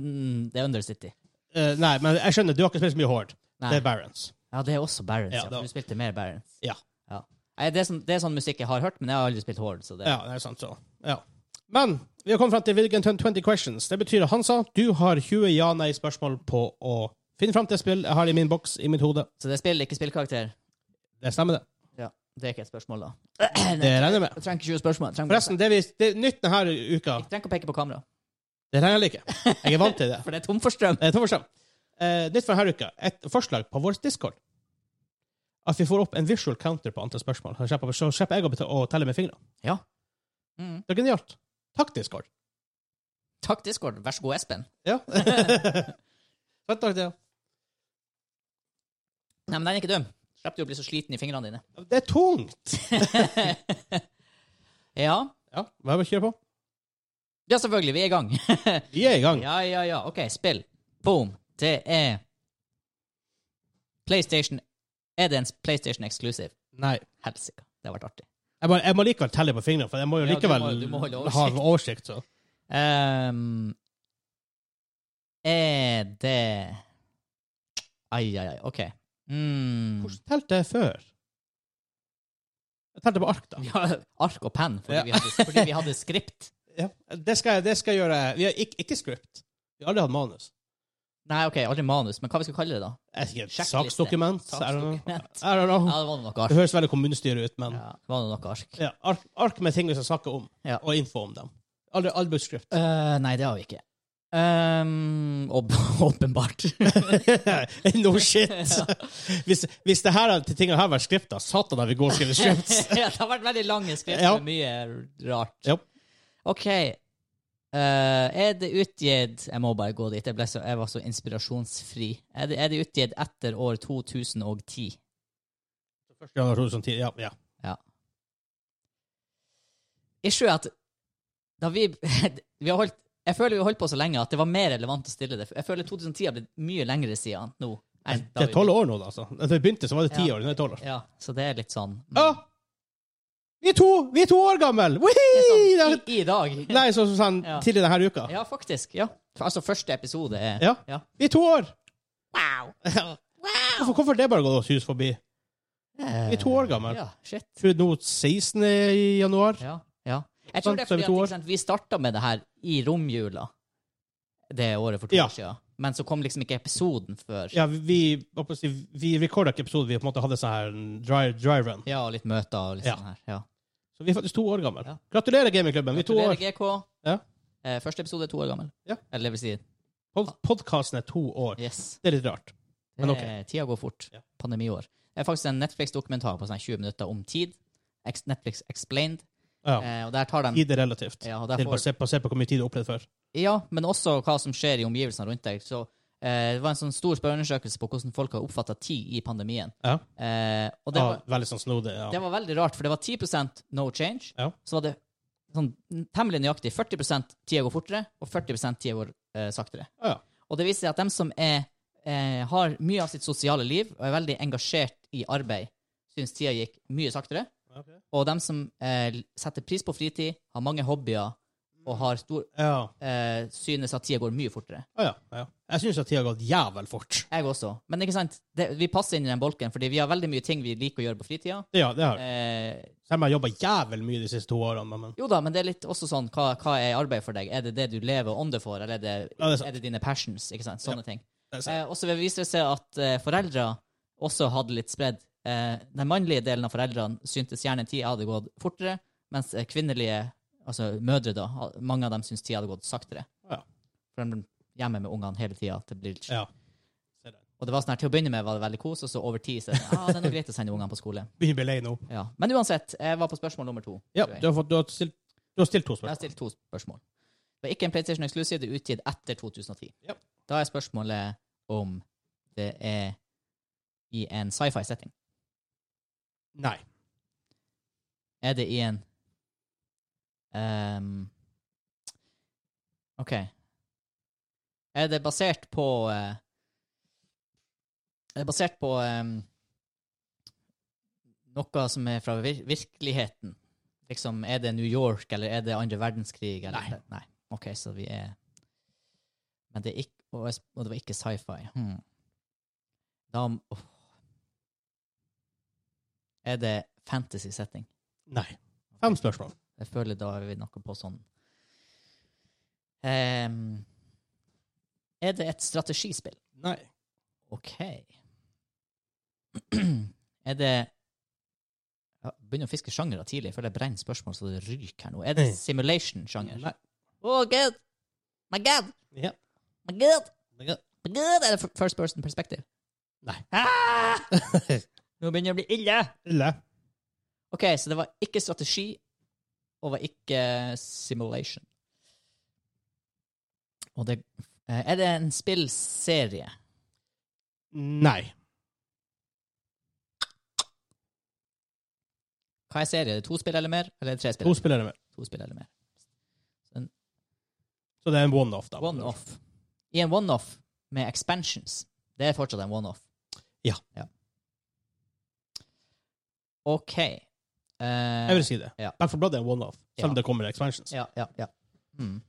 Speaker 2: det er Undercity.
Speaker 1: Eh, nei, men jeg skjønner, du har ikke spilt så mye Horde.
Speaker 2: Nei.
Speaker 1: Det er Barents.
Speaker 2: Ja, det er også Barents.
Speaker 1: Ja,
Speaker 2: Ja,
Speaker 1: da-
Speaker 2: for du spilte mer Barents.
Speaker 1: Ja.
Speaker 2: Nei, det, er sånn, det er sånn musikk jeg har hørt, men jeg har aldri spilt Horde. Så det,
Speaker 1: Ja, det er sant, så. Ja. Men vi har kommet fram til Wilgen 20 questions. Det betyr at Hansa, du har 20 ja-nei-spørsmål på å finne fram til et spill jeg har i min boks i mitt hode.
Speaker 2: så det er spill, ikke spillkarakter.
Speaker 1: Det stemmer, det.
Speaker 2: Ja, Det er ikke et spørsmål, da.
Speaker 1: Det regner jeg med.
Speaker 2: Jeg trenger ikke 20 spørsmål. Jeg trenger, bare-
Speaker 1: Forresten, det, vi, det er nytt denne uka.
Speaker 2: jeg trenger ikke å peke på kamera,
Speaker 1: Det regner jeg ikke. Jeg er vant til det.
Speaker 2: for det er tom for strøm.
Speaker 1: Eh, Tommar Strøm, eh, nytt fra denne uka. Et forslag på vår Discord. At vi får opp en visual counter på antall spørsmål. Så slipper, så slipper jeg å, beta- å telle med fingrene.
Speaker 2: Mm.
Speaker 1: Det er genialt. Takk, Discord.
Speaker 2: Takk, Discord. Vær så god, Espen.
Speaker 1: Ja. Fett, takk, det.
Speaker 2: Nei, men den er ikke dum. Slipp du å bli så sliten i fingrene dine.
Speaker 1: Det er tungt!
Speaker 2: Ja,
Speaker 1: Ja, hva er det vi kjører på?
Speaker 2: ja selvfølgelig. Vi er i gang.
Speaker 1: Vi er i gang.
Speaker 2: ja, ja, ja. OK, spill. Boom. Det er PlayStation Er det en PlayStation Exclusive?
Speaker 1: Nei.
Speaker 2: Helsike. Det har vært artig.
Speaker 1: Jeg må, jeg må likevel telle på fingrene, for jeg må jo
Speaker 2: Ja, du
Speaker 1: likevel
Speaker 2: må- du må holde
Speaker 1: ha
Speaker 2: oversikt.
Speaker 1: oversikt. Så.
Speaker 2: Ehm, er det Ai, ai, ai. OK. Mm.
Speaker 1: Hvordan telte jeg før? Jeg telte på ark, da.
Speaker 2: Ja, ark og penn, fordi,
Speaker 1: Ja.
Speaker 2: vi hadde, fordi vi hadde skript.
Speaker 1: Ja. Det, skal jeg, det skal jeg gjøre. Vi har ikke, ikke script. Vi har aldri hatt manus.
Speaker 2: Nei, ok, aldri manus, men hva vi skal kalle det, da?
Speaker 1: Jeg vet ikke,
Speaker 2: Sjekkliste.
Speaker 1: Saksdokument? I don't know.
Speaker 2: Saksdokument.
Speaker 1: I don't know.
Speaker 2: Ja, det var noe
Speaker 1: Det
Speaker 2: ark.
Speaker 1: høres veldig kommunestyre ut, men
Speaker 2: Ja, det var noe ark.
Speaker 1: ja, ark, ark med ting vi skal snakke om,
Speaker 2: Ja.
Speaker 1: og info om dem. Aldri albuskript.
Speaker 2: Eh, nei, det har vi ikke. Ehm, åp- åpenbart.
Speaker 1: no shit! hvis, hvis det her, de tingene her var skripta, satan at vi går og skriver skript.
Speaker 2: Ja, det har vært veldig lange skrift
Speaker 1: Ja.
Speaker 2: med mye rart.
Speaker 1: Japp.
Speaker 2: OK. Eh, er det utgitt Jeg må bare gå dit. Jeg, ble så, jeg var så inspirasjonsfri. Er det, er det utgitt etter år 2010?
Speaker 1: Første gang jeg tror det sånn tid, ja, ja.
Speaker 2: Issue er at da vi, vi har holdt Jeg føler vi har holdt på så lenge at det var mer relevant å stille det. Jeg føler 2010 har blitt mye lengre siden nå. enn da
Speaker 1: Det er
Speaker 2: vi
Speaker 1: tolv år nå, da. altså. Da vi begynte, så var det ti
Speaker 2: Ja.
Speaker 1: år. Nå er det 12 år.
Speaker 2: Ja, så det er litt sånn
Speaker 1: Ja! Vi er to, vi er to år gamle! Wihii!
Speaker 2: Det er
Speaker 1: Det
Speaker 2: sånn, i, I
Speaker 1: er-
Speaker 2: dag.
Speaker 1: Nei, så, så, sånn
Speaker 2: Ja.
Speaker 1: tidligere denne uka.
Speaker 2: Ja, faktisk. Ja. Altså, første episode er
Speaker 1: Ja.
Speaker 2: Ja.
Speaker 1: Vi er to år!
Speaker 2: Wow!
Speaker 1: Hvorfor, hvorfor det bare gått oss hus forbi?
Speaker 2: Vi
Speaker 1: Vi er to år gamle.
Speaker 2: Ja, shit.
Speaker 1: Tror du nå 16. i januar?
Speaker 2: Ja. ja. Jeg tror
Speaker 1: Sant,
Speaker 2: det
Speaker 1: Sånn,
Speaker 2: er
Speaker 1: så er vi
Speaker 2: fordi
Speaker 1: to
Speaker 2: at,
Speaker 1: år.
Speaker 2: ikke sant, vi starta med det her i romjula det året for to
Speaker 1: Ja.
Speaker 2: år siden, men så kom liksom ikke episoden før. Ja,
Speaker 1: Ja, vi, vi- hva skal jeg si, vi recorda ikke episoden, vi på en måte hadde sånn her dry, dry run.
Speaker 2: og litt møter og litt
Speaker 1: Ja.
Speaker 2: sånn her. Ja.
Speaker 1: Så vi er faktisk to år gamle.
Speaker 2: Ja.
Speaker 1: Gratulerer, gamingklubben. Vi er to år
Speaker 2: Gratulerer, GK.
Speaker 1: Ja.
Speaker 2: Eh, første episode er to år gammel.
Speaker 1: Ja.
Speaker 2: Eller det vil si
Speaker 1: Podkasten er to år.
Speaker 2: Yes.
Speaker 1: Det er litt rart. Men ok.
Speaker 2: Eh, Tida går fort.
Speaker 1: Ja.
Speaker 2: Pandemiår. Det er faktisk en Netflix-dokumentar på sånn 20 minutter om tid. Ex Netflix Explained.
Speaker 1: Ja.
Speaker 2: Eh, og der tar de
Speaker 1: Tid er relativt.
Speaker 2: ja, og
Speaker 1: Det
Speaker 2: der
Speaker 1: er
Speaker 2: får,
Speaker 1: basert, basert på hvor mye tid du har opplevd før.
Speaker 2: ja, men også hva som skjer i omgivelsene rundt deg. Så eh, Det var en sånn stor spørreundersøkelse på hvordan folk har oppfatta tid i pandemien.
Speaker 1: Ja.
Speaker 2: Eh, og det
Speaker 1: Ja,
Speaker 2: var,
Speaker 1: veldig sånn snodig. Ja.
Speaker 2: det var veldig rart, for det var 10 no change.
Speaker 1: Ja.
Speaker 2: Så var det sånn temmelig nøyaktig 40 tida går fortere, og 40 tida går eh, saktere.
Speaker 1: Ja, ja.
Speaker 2: Og det viser seg at dem som er, eh, har mye av sitt sosiale liv, og er veldig engasjert i arbeid, syns tida gikk mye saktere. Og dem som eh, l- setter pris på fritid, har mange hobbyer, og har stor,
Speaker 1: Ja.
Speaker 2: eh, synes at tida går mye fortere.
Speaker 1: Ja, ja, ja. Jeg syns at tida har gått jævel fort.
Speaker 2: Jeg også. Men ikke sant? Det, vi passer inn i den bolken, fordi vi har veldig mye ting vi liker å gjøre på fritida.
Speaker 1: Ja, det har jeg.
Speaker 2: Eh,
Speaker 1: Selv om jeg har jobba jævel mye de siste to årene. men- Men
Speaker 2: jo da, men det er litt også sånn hva, hva er arbeid for deg? Er det det du lever og ånder for, eller er det,
Speaker 1: Ja, det er
Speaker 2: er
Speaker 1: sant.
Speaker 2: det dine passions? ikke sant? Sånne ting.
Speaker 1: det er sant.
Speaker 2: Eh, og så viser det seg at eh, foreldre også hadde litt spredd. Eh, den mannlige delen av foreldrene syntes gjerne tida hadde gått fortere, mens eh, kvinnelige, altså mødre, da, ha- mange av dem syntes tida hadde gått saktere.
Speaker 1: Ja.
Speaker 2: For de er hjemme med ungene hele tida. at det blir litt-
Speaker 1: ja.
Speaker 2: Og det var sånn her, til å begynne med var det veldig kos, og så over tid så er det sånn, ah, det er noe greit å sende ungene på skole.
Speaker 1: Begynner å bli lei nå.
Speaker 2: Ja. Men uansett, jeg var på spørsmål nummer to.
Speaker 1: Ja,
Speaker 2: tror jeg.
Speaker 1: du har, fått, du har, stilt, du har stilt to
Speaker 2: Jeg har
Speaker 1: spørsmål.
Speaker 2: stilt to spørsmål. Det er ikke en PlayStation Exclusive, det er utgitt etter 2010.
Speaker 1: Ja.
Speaker 2: Da er spørsmålet om det er i en sci-fi-setting.
Speaker 1: Nei.
Speaker 2: Er det i en ehm, OK. Er det basert på eh, Er det basert på ehm, noe som er fra vir virkeligheten? Liksom, er det New York, eller er det andre verdenskrig? Eller?
Speaker 1: Nei.
Speaker 2: Nei. OK, så vi er Men det er ikke Og, jeg sp- og det var ikke sci-fi. Hmm. Da åh. Er det fantasy-setting?
Speaker 1: Nei. Fem spørsmål.
Speaker 2: Jeg føler da er vi noe på sånn Ehm, Er det et strategispill?
Speaker 1: Nei.
Speaker 2: OK. er det Jeg begynner å fiske sjangere tidlig. Jeg føler jeg brenner spørsmål så det ryker her nå. Er det simulation-sjanger?
Speaker 1: Nei.
Speaker 2: Oh, God! My God!
Speaker 1: Ja.
Speaker 2: My God!
Speaker 1: Det er-
Speaker 2: My God! Er det f- first person perspective?
Speaker 1: Nei.
Speaker 2: Ah! Nå begynner det å bli ille!
Speaker 1: Ille.
Speaker 2: OK, så det var ikke strategi, og var ikke simulation. Og det eh, Er det en spillserie?
Speaker 1: Nei.
Speaker 2: Hva er serie? Er det to spill eller mer? Eller er det tre spill?
Speaker 1: To spillere med.
Speaker 2: To spill eller mer.
Speaker 1: Så det er en one-off, da.
Speaker 2: One-off. I en one-off med expansions. Det er fortsatt en one-off.
Speaker 1: Ja.
Speaker 2: OK. Eh,
Speaker 1: Jeg vil si det.
Speaker 2: Ja.
Speaker 1: Back for Blood er en one-off, selv om
Speaker 2: Ja.
Speaker 1: det kommer expansions.
Speaker 2: Ja, ja, ja. Mm.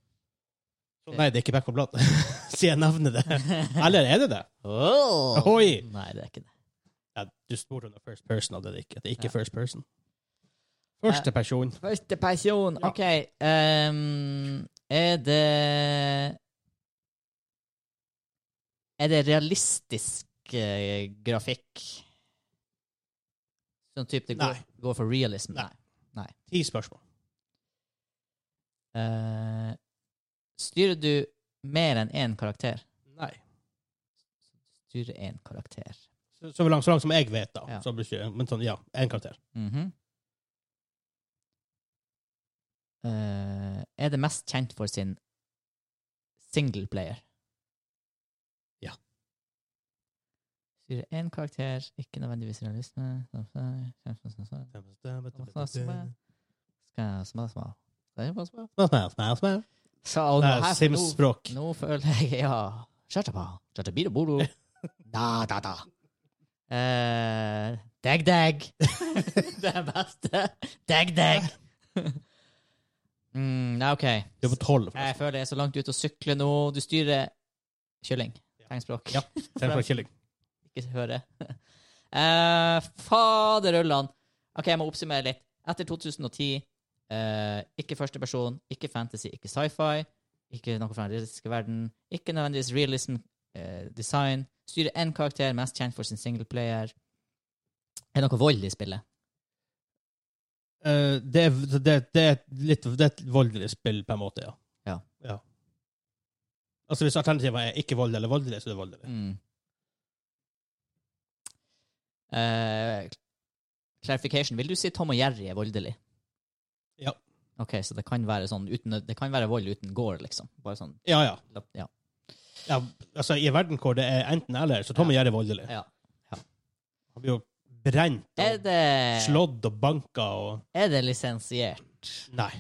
Speaker 1: Så nei, det er ikke Back for Blood. Siden jeg nevner det. Eller er det det?
Speaker 2: Oh.
Speaker 1: Ahoy!
Speaker 2: Nei, det er ikke det.
Speaker 1: Ja, du spurte om det er first person, og det er det ikke. Det er ikke
Speaker 2: Ja.
Speaker 1: first person. Første person.
Speaker 2: Første person.
Speaker 1: Ja.
Speaker 2: OK. ehm, er det Er det realistisk eh, grafikk? Sånn type det går,
Speaker 1: Nei.
Speaker 2: går for realism?
Speaker 1: Nei. Ti spørsmål.
Speaker 2: Eh, styrer du mer enn én karakter?
Speaker 1: Nei.
Speaker 2: Styrer én karakter.
Speaker 1: Så, så, langt, så langt som jeg vet, da.
Speaker 2: Ja.
Speaker 1: Så blir ikke, men sånn, ja, én karakter.
Speaker 2: Mhm. Eh, er det mest kjent for sin singleplayer?
Speaker 1: Ja.
Speaker 2: Styrer én karakter, ikke nødvendigvis realisme Skal sma, sma. Skal jeg bare sma? Så, og
Speaker 1: Det
Speaker 2: nå her-
Speaker 1: er Sims-språk.
Speaker 2: Nå, nå føler jeg Ja. Shatapa. Shatabira boro. Da, da, da. Eh, deg, deg. det er beste. Deg, deg. mm, nei, OK.
Speaker 1: Du er på tolv.
Speaker 2: Jeg føler jeg er så langt ute å sykle nå. Du styrer kylling. Tegnspråk.
Speaker 1: Ja. Selv fra Killing.
Speaker 2: Ikke høre. Eh, Faderullan. OK, jeg må oppsummere litt. Etter 2010, eh, ikke første person, ikke fantasy, ikke sci-fi, ikke noe fra den realistiske verden, ikke nødvendigvis realism, eh, design, styrer én karakter, mest kjent for sin singleplayer. Er det noe vold i spillet?
Speaker 1: Eh, det, er- det, det er et litt, det er et voldelig spill, på en måte, ja.
Speaker 2: Ja.
Speaker 1: Altså Hvis alternativet er ikke vold eller voldelig, så er det voldelig.
Speaker 2: Mm. Eh, clarification. Vil du si Tom og Jerry er voldelig?
Speaker 1: Ja.
Speaker 2: Ok, så det kan være sånn uten, det kan være vold uten gore, liksom. Bare sånn,
Speaker 1: Ja, ja.
Speaker 2: ja.
Speaker 1: ja altså I en verden hvor det er enten eller, så Tom og Jerry er voldelig.
Speaker 2: ja.
Speaker 1: Han blir jo brent
Speaker 2: Er
Speaker 1: og
Speaker 2: det,
Speaker 1: slått og banka og
Speaker 2: er det lisensiert?
Speaker 1: Nei.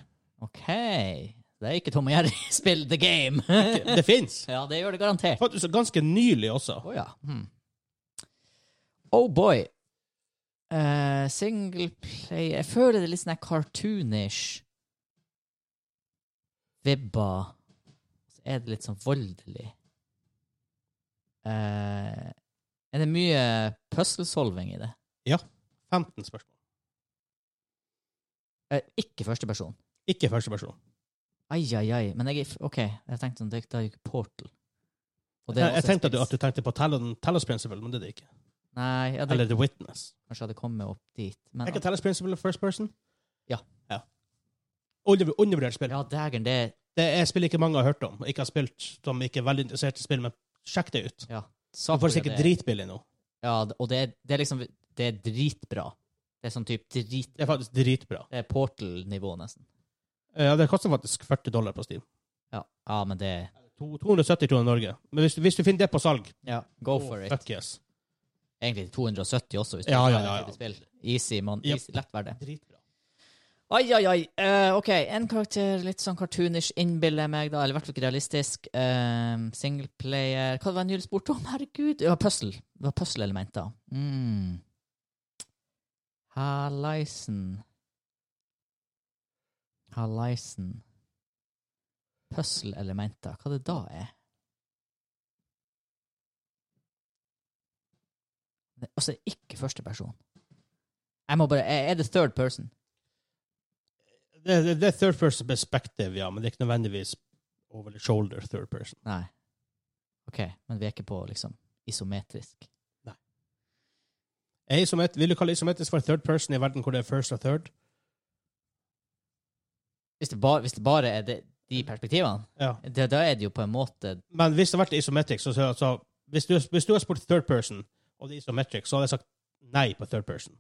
Speaker 2: Ok. Det er ikke Tom og Jerry spill the game.
Speaker 1: Det fins!
Speaker 2: ja, det gjør det garantert.
Speaker 1: Faktisk ganske nylig også.
Speaker 2: Å ja. Hmm. Oh boy. Uh, Singleplay Jeg føler det er litt sånn her cartoonish vibber. Så er det litt sånn voldelig. Eh, er det mye puzzle-solving i det?
Speaker 1: 15 spørsmål.
Speaker 2: Eh, ikke første person.
Speaker 1: Ikke første person.
Speaker 2: Ai, ai, ai. Men jeg er f- OK, jeg tenkte sånn, det, det er jo ikke Portal. Og det er
Speaker 1: Jeg, jeg
Speaker 2: også et
Speaker 1: tenkte at du,
Speaker 2: spill.
Speaker 1: at du tenkte på Talon, Talos Principle, men det er det ikke.
Speaker 2: Nei, ja, det
Speaker 1: Eller The Witness.
Speaker 2: kanskje hadde kommet opp dit.
Speaker 1: Er
Speaker 2: Men
Speaker 1: ikke Talos Principle first person?
Speaker 2: Ja.
Speaker 1: ja. Under- Undervurdert spill.
Speaker 2: ja, dægeren, det er
Speaker 1: Det er spill ikke mange har hørt om, ikke har spilt, som ikke er veldig interessert i spill, men sjekk det ut.
Speaker 2: Sakuya,
Speaker 1: Det får sikkert
Speaker 2: det er-
Speaker 1: dritbillig nå.
Speaker 2: Ja, d- og det er, det er liksom Det er dritbra. Det er sånn type drit...
Speaker 1: Det er faktisk dritbra. Eh,
Speaker 2: Det er Portal-nivå, nesten.
Speaker 1: Ja, det koster faktisk 40 dollar på Steam.
Speaker 2: Ja, ja men det
Speaker 1: To- 270 kroner i Norge. Men hvis, du- hvis du finner det på salg
Speaker 2: Ja, go
Speaker 1: oh,
Speaker 2: for it.
Speaker 1: Fuck yes.
Speaker 2: Egentlig 270 også, hvis du
Speaker 1: Ja,
Speaker 2: har
Speaker 1: ja,
Speaker 2: den
Speaker 1: ja,
Speaker 2: type
Speaker 1: ja.
Speaker 2: spill. Easy, man.
Speaker 1: Yep.
Speaker 2: Easy, lett verdt det.
Speaker 1: Dritbra.
Speaker 2: Ai, ai, ai. Eh, OK, en karakter litt sånn cartoonish, innbiller jeg meg, da. Eller i hvert fall ikke realistisk. Um, Singleplayer Hva var det Nils spurte om? Herregud! Det var puzzle. Det var puzzle-elementer. Mm. Hallaisen. Hallaisen. Puzzle-elementer. Hva det da er? Det- Altså, det er ikke første person. Jeg må bare Er er det third person?
Speaker 1: Det, det, det er third person perspective, ja, men det er ikke nødvendigvis over the shoulder third person.
Speaker 2: Nei. OK, men vi er ikke på liksom isometrisk.
Speaker 1: Er isomet, vil du kalle isometrisk for third person i verden hvor det er first og third?
Speaker 2: Hvis det bare, hvis det bare er det, de perspektivene,
Speaker 1: Ja.
Speaker 2: det, da er det jo på en måte
Speaker 1: Men hvis det hadde vært isometrisk, så, så, så hvis, du, hvis du har spurt third person, og det er isometrisk, så hadde jeg sagt nei på third person.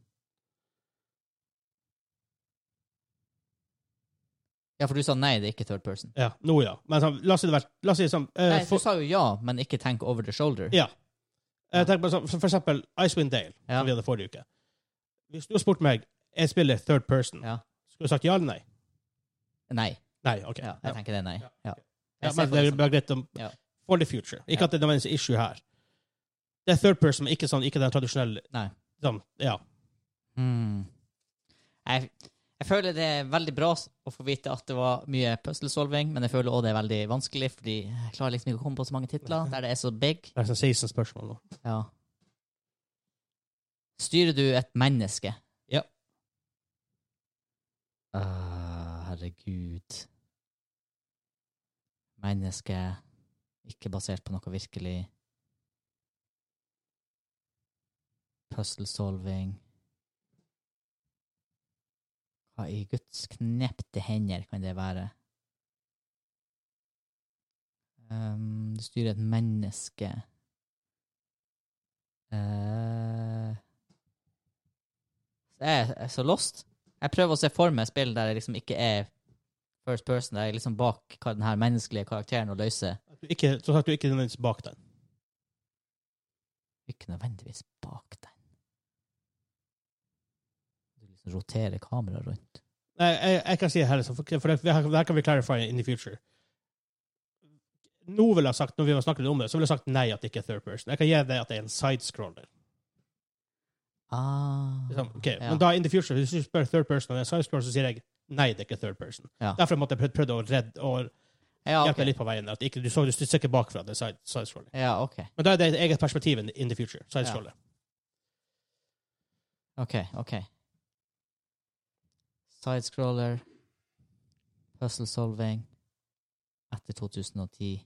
Speaker 2: Ja, for du sa nei, det er ikke third person.
Speaker 1: Ja, nå ja. Men sånn, la oss si det vært, la oss si det sånn, eh,
Speaker 2: Nei, du
Speaker 1: for,
Speaker 2: sa jo ja, men ikke tenk over the shoulder.
Speaker 1: Ja. jeg tenker på sånn, for for eksempel Icewind Dale,
Speaker 2: Ja.
Speaker 1: som vi hadde forrige uke. Hvis du har spurt meg, jeg spiller third person,
Speaker 2: Ja.
Speaker 1: skulle du sagt ja eller nei?
Speaker 2: Nei.
Speaker 1: Nei, ok.
Speaker 2: Ja, jeg tenker det er nei.
Speaker 1: Ja. Ja,
Speaker 2: Ja. Jeg ser
Speaker 1: men
Speaker 2: for
Speaker 1: det
Speaker 2: det
Speaker 1: er
Speaker 2: som-
Speaker 1: bare greit om
Speaker 2: Ja.
Speaker 1: For the future. Ikke
Speaker 2: Ja.
Speaker 1: at det er nødvendigvis er issue her. Det er third person, men ikke, sånn, ikke den tradisjonelle
Speaker 2: Nei.
Speaker 1: sånn, Ja.
Speaker 2: Hmm. Jeg, jeg føler det er veldig bra s- å få vite at det var mye puzzle-solving, men jeg føler også det er veldig vanskelig, fordi jeg klarer liksom ikke å komme på så mange titler der det er så big.
Speaker 1: Det er sånn 16 spørsmål nå.
Speaker 2: Ja. Styrer du et menneske?
Speaker 1: Ja.
Speaker 2: Ah, herregud. Menneske ikke basert på noe virkelig. Puzzle-solving. Hva i Guds knepte hender kan det være? Um, du styrer et menneske. Eh, jeg er så lost. Jeg prøver å se for meg spill der jeg liksom ikke er first person, der jeg er liksom bak hva den her menneskelige karakteren å løse.
Speaker 1: At du Ikke, som sagt, du er ikke nødvendigvis bak den.
Speaker 2: Ikke nødvendigvis bak den. Du liksom roterer kameraet rundt.
Speaker 1: Nei, jeg, jeg kan si det her, liksom, for, for det, det her kan vi clarify in the future. Nå vil jeg ha sagt, når vi har snakket litt om det, så vil jeg ha sagt nei at det ikke er third person. Jeg kan gi deg at det er en sidescroller.
Speaker 2: Ah.
Speaker 1: Liksom, ok,
Speaker 2: ja.
Speaker 1: Men da in the future, hvis du spør third person, og det er en sidescroller, så sier jeg nei, det er ikke third person.
Speaker 2: Ja.
Speaker 1: Derfor måtte jeg prøvd prøvd å redde og
Speaker 2: ja,
Speaker 1: hjelpe
Speaker 2: ok.
Speaker 1: deg litt på veien. At ikke, du så du ser ikke bakfra. det er side, sidescroller.
Speaker 2: Ja, ok.
Speaker 1: Men da er det et eget perspektiv in in the future. Sidescroller.
Speaker 2: Ok, ok. Sidescroller, puzzle solving, etter 2010.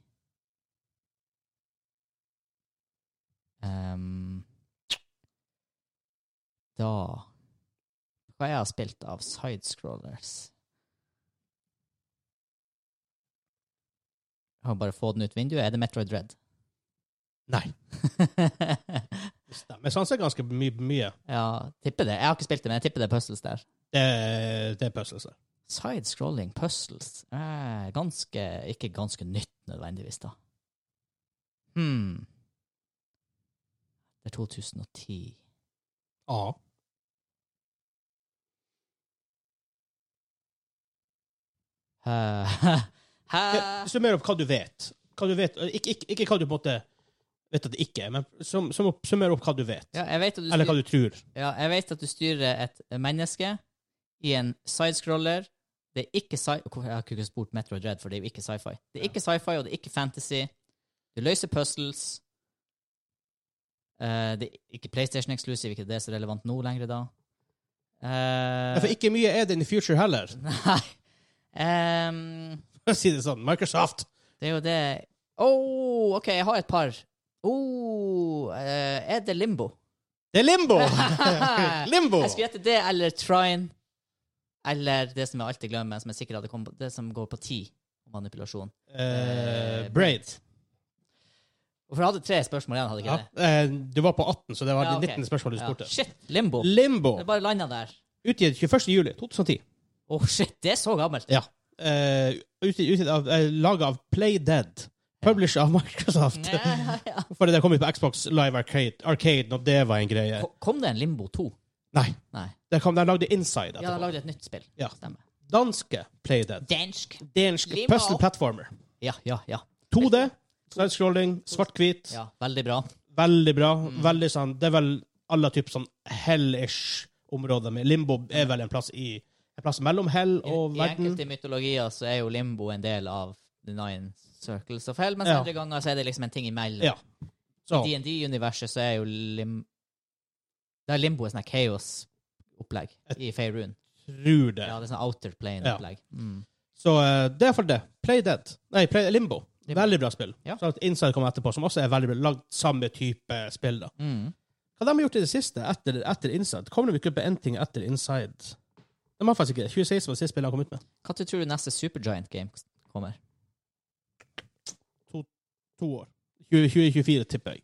Speaker 2: Ehm, da Hva jeg har spilt av sidescrollers? Jeg har bare få den ut vinduet. Er det Metroid Dread?
Speaker 1: Nei. Det stemmer. Jeg sanser ganske my mye.
Speaker 2: ja, tipper det. Jeg har ikke spilt det, men jeg tipper det er puzzles der.
Speaker 1: Det, det er puzzles. der.
Speaker 2: Side-scrolling puzzles eh, Ganske Ikke ganske nytt nødvendigvis, da. Hmm. Det er 2010.
Speaker 1: Ja.
Speaker 2: Eh, Hæ?
Speaker 1: Eh, Summer opp hva du vet. Hva du vet. Ikke, ikke, ikke hva du på en måte vet at det ikke er, men sum, sum opp, summer opp hva du vet.
Speaker 2: Ja, jeg vet at du
Speaker 1: Eller hva du tror.
Speaker 2: Ja, jeg vet at du styrer et menneske i en sidescroller. Det er ikke sci... Hvorfor- Jeg har ikke spurt Metroid Dread, for det er jo ikke sci-fi. Det er ikke sci-fi, og det er ikke fantasy. Du løser puzzles. Eh, det er ikke PlayStation Exclusive, ikke det er så relevant nå lenger, da. Eh,
Speaker 1: Ja, For ikke mye er det in the future heller.
Speaker 2: Nei. Ehm,
Speaker 1: For å si det sånn. Microsoft.
Speaker 2: det er jo det Å, OK, jeg har et par. Oh, eh, er det Limbo?
Speaker 1: Det er limbo! limbo!
Speaker 2: Jeg skulle gjette det eller Trine. Eller det som jeg alltid glemmer, som jeg sikkert hadde kommet på, det som går på ti. Manipulasjon.
Speaker 1: Eh, braid.
Speaker 2: Hvorfor hadde jeg tre spørsmål igjen? hadde jeg
Speaker 1: Ja.
Speaker 2: ikke det?
Speaker 1: Eh, du var på 18, så det var
Speaker 2: Ja, ok.
Speaker 1: det 19. spørsmålet du spurte.
Speaker 2: Ja. Shit, Limbo.
Speaker 1: Limbo.
Speaker 2: Det bare landa der.
Speaker 1: Utgitt 21. juli 2010.
Speaker 2: Å, shit, det er så gammelt.
Speaker 1: Ja. Eh, utgitt, utgitt av, eh, laget av Playdead. Publisher av Microsoft.
Speaker 2: Ja, ja.
Speaker 1: For det der kom ut på Xbox Live Arcade, Arcade når det var en greie.
Speaker 2: Ko- Kom det en Limbo 2?
Speaker 1: Nei.
Speaker 2: Nei.
Speaker 1: Der kom, de lagde Inside
Speaker 2: Ja, de
Speaker 1: etterpå.
Speaker 2: lagde et nytt spill.
Speaker 1: Ja.
Speaker 2: Stemmer.
Speaker 1: Danske Playdead.
Speaker 2: Dansk.
Speaker 1: Dansk
Speaker 2: Limbo.
Speaker 1: puzzle platformer.
Speaker 2: Ja, ja, ja.
Speaker 1: 2D, slidescrolling, svart-hvit.
Speaker 2: ja. Mm. Veldig bra.
Speaker 1: Veldig bra. Veldig sånn Det er vel alle typer sånn hell-ish områder med Limbo er vel en plass i En plass mellom hell
Speaker 2: I,
Speaker 1: og
Speaker 2: I
Speaker 1: verden.
Speaker 2: enkelte mytologier så er jo Limbo en del av The Nine Circles of Hell, mens
Speaker 1: Ja.
Speaker 2: andre ganger så er det liksom en ting imellom.
Speaker 1: Ja. Så
Speaker 2: I D&D-universet så er jo lim... Da er limbo et sånt her chaos-opplegg i Faerun.
Speaker 1: tror det.
Speaker 2: Ja, det er sånn outer plane-opplegg. Mm.
Speaker 1: Så eh, det er for det. Play Dead. Nei, Play Limbo.
Speaker 2: Limbo.
Speaker 1: Veldig bra spill.
Speaker 2: Ja.
Speaker 1: Så at Inside kommer etterpå, som også er veldig bra. Lagd samme type spill, da.
Speaker 2: Mm.
Speaker 1: Hva de har gjort i det siste, etter, etter Inside? Kommer de ikke opp med én ting etter Inside? De har faktisk ikke det. 2016 var det siste spillet de kom ut med.
Speaker 2: Hva tror du neste Supergiant game kommer?
Speaker 1: To år. 20- 2024, tipper jeg.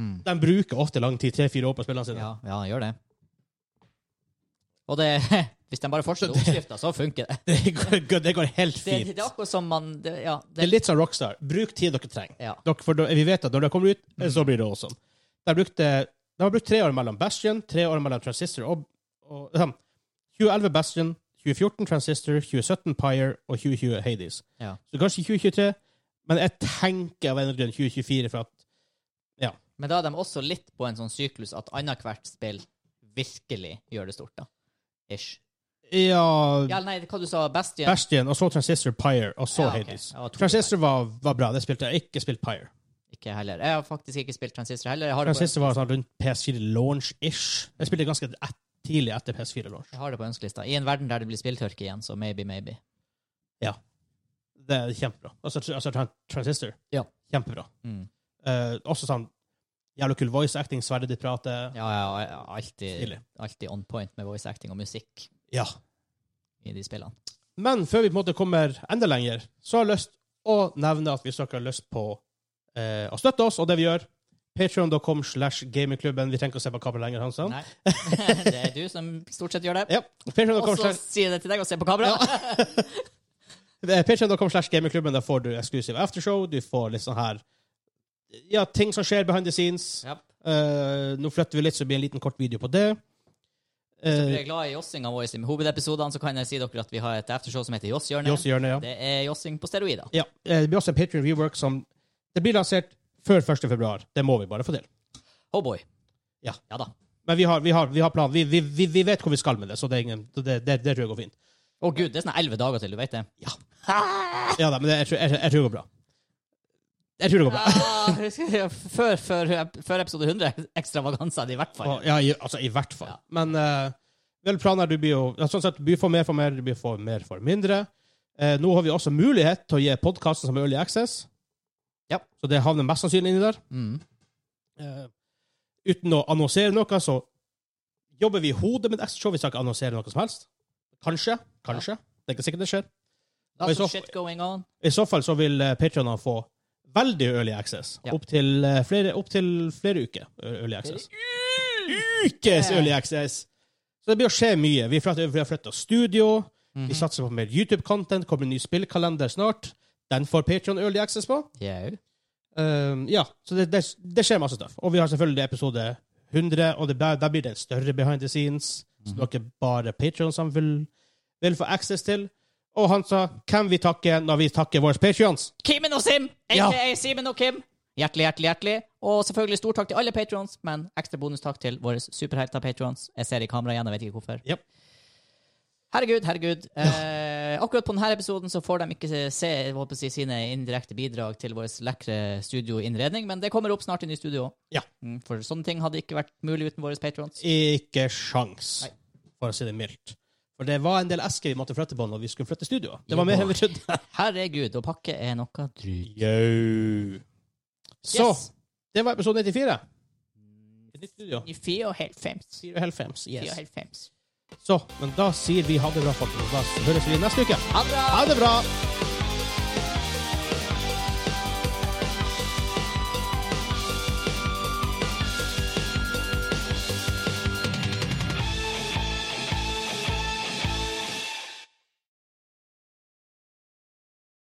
Speaker 2: Mm.
Speaker 1: De bruker ofte lang tid, tre-fire år, på spillene sine.
Speaker 2: Ja, ja, gjør det. Og det Hvis de bare fortsetter oppskrifta, så funker det.
Speaker 1: Det, går, det går helt
Speaker 2: Det,
Speaker 1: fint.
Speaker 2: det er akkurat som man det, Ja.
Speaker 1: Det
Speaker 2: Det,
Speaker 1: er litt sånn Rockstar. Bruk tid dere trenger.
Speaker 2: ja. Hmm.
Speaker 1: Dere, for da, vi vet at når det kommer ut, så blir det awesome. De, brukte, de har brukt tre år mellom Bastion, tre år mellom Transistor og, og ahem, 2011 Bastion, 2014 Transistor, 2017 Pyre og 2020 Hades.
Speaker 2: Ja.
Speaker 1: Så kanskje 2023, men jeg tenker av en eller annen grunn 2024 for at
Speaker 2: Men da er de også litt på en sånn syklus at annethvert spill virkelig gjør det stort, da. Ish.
Speaker 1: ja,
Speaker 2: Ja, nei, hva du sa Bastion?
Speaker 1: Bastion, og så Transistor, Pyre, og så
Speaker 2: Ja, ok.
Speaker 1: Hades.
Speaker 2: Jeg var to
Speaker 1: Transistor var, var bra, det spilte jeg. Ikke spilt Pyre.
Speaker 2: Ikke heller. Jeg har faktisk ikke spilt Transistor heller. Jeg har, det på,
Speaker 1: Transistor var sånn rundt PS4 launch-ish. Jeg spilte ganske et, tidlig etter PS4 launch.
Speaker 2: jeg har det på ønskelista. I en verden der det blir spilltørke igjen, så maybe, maybe.
Speaker 1: Det er kjempebra. Altså, tr- altså tran- Transistor.
Speaker 2: Ja.
Speaker 1: Kjempebra.
Speaker 2: Mm.
Speaker 1: Eh, også sånn jævla kul voice acting, sverdet ditt prater.
Speaker 2: Ja, ja, ja, alltid,
Speaker 1: Stilig.
Speaker 2: alltid on point med voice acting og musikk
Speaker 1: Ja.
Speaker 2: i de spillene.
Speaker 1: Men før vi på en måte kommer enda lenger, så har jeg lyst å nevne at hvis dere har lyst på eh, å støtte oss og det vi gjør, patreon.com slash gamingklubben. Vi trenger ikke å se på kamera lenger, Hansan.
Speaker 2: Nei. det er du som stort sett gjør det.
Speaker 1: Ja. Patreon.com
Speaker 2: Og så
Speaker 1: slash,
Speaker 2: sier jeg det til deg og ser på kamera.
Speaker 1: eh, patreon.com slash gamingklubben. Der får du eksklusiv aftershow. Du får litt sånn her Ja, ting som skjer behind the scenes.
Speaker 2: Ja.
Speaker 1: Eh, nå flytter vi litt, så det blir en liten kort video på det.
Speaker 2: Hvis dere
Speaker 1: Eh,
Speaker 2: er glad i jossinga vår i hovedepisodene, så kan jeg si dere at vi har et aftershow som heter Josshjørnet.
Speaker 1: Joss Hjørne, ja.
Speaker 2: Det er jossing på steroider.
Speaker 1: Ja, eh, det blir også en Patreon rework som Det blir lansert før 1. februar. Det må vi bare få til.
Speaker 2: Oh boy.
Speaker 1: Ja.
Speaker 2: ja da.
Speaker 1: Men vi har, vi har, vi har plan. Vi, vi, vi, vi vet hvor vi skal med det, så det, er ingen, det, det, det tror jeg går fint.
Speaker 2: Å gud, det er sånn elleve dager til, du vet det. Ja.
Speaker 1: Ja da, men det, jeg, tror- jeg, jeg tror det går bra. Jeg tror det går bra.
Speaker 2: før, før, før episode 100 ekstravaganser, i hvert fall.
Speaker 1: Og, ja, i, altså, i hvert fall.
Speaker 2: Ja.
Speaker 1: Men eh, vel, planen er du blir jo ja, Sånn sett, du blir for mer for mer, du blir for mer for mindre. Eh, nå har vi også mulighet til å gi podkasten som er Early Access.
Speaker 2: Ja.
Speaker 1: Så det havner mest sannsynlig inni der.
Speaker 2: Mm.
Speaker 1: Eh, uten å annonsere noe, så jobber vi i hodet med et ekstra show. Vi skal ikke annonsere noe som helst. Kanskje. Kanskje. Det er ikke sikkert det skjer. Og i
Speaker 2: Lots
Speaker 1: så
Speaker 2: of
Speaker 1: fall-
Speaker 2: shit going on.
Speaker 1: I så fall så vil eh, Patreonene få veldig early access.
Speaker 2: Ja.
Speaker 1: Opptil eh, flere, opp til flere uker eh, early access. Ukes early access! Så det blir å skje mye. Vi flytter- vi har flytta studio. Vi satser på mer YouTube-content. Kommer en ny spillkalender snart. Den får Patreon early access på.
Speaker 2: Yeah.
Speaker 1: Um, ja, så det, det, det skjer masse stuff. Og vi har selvfølgelig episode 100, og det, blir- der blir det en større behind the scenes, som dere bare Patreons som vil, vil få access til. Og han sa 'Hvem vi takker når vi takker våre Patreons?'
Speaker 2: Kimen og Sim,
Speaker 1: Ja.
Speaker 2: aka Simen og Kim. Hjertelig, hjertelig, hjertelig. Og selvfølgelig stor takk til alle patrons, men ekstra bonustakk til våre superhelter patrons. Jeg ser i kamera igjen, jeg vet ikke hvorfor.
Speaker 1: Yep.
Speaker 2: Herregud, herregud. Eh, akkurat på denne episoden så får de ikke se, se jeg holdt på å si, sine indirekte bidrag til vår lekre studioinnredning, men det kommer opp snart i ny studio òg.
Speaker 1: Ja.
Speaker 2: Mm, for sånne ting hadde ikke vært mulig uten våre patrons.
Speaker 1: Ikke sjans,
Speaker 2: Nei.
Speaker 1: for å si det mildt. For det var en del esker vi måtte flytte på når vi skulle flytte studio. Det var mer enn vi trodde.
Speaker 2: Herregud, å pakke er noe drut.
Speaker 1: Yo. Så det var episode 94. Et nytt studio.
Speaker 2: I fire og helt fems.
Speaker 1: 94.
Speaker 2: Fire og
Speaker 1: Yes.
Speaker 2: helt fems.
Speaker 1: Så, men da sier vi ha det bra, folkens. Da høres vi neste uke.
Speaker 2: Ha det bra!
Speaker 1: Ha det bra!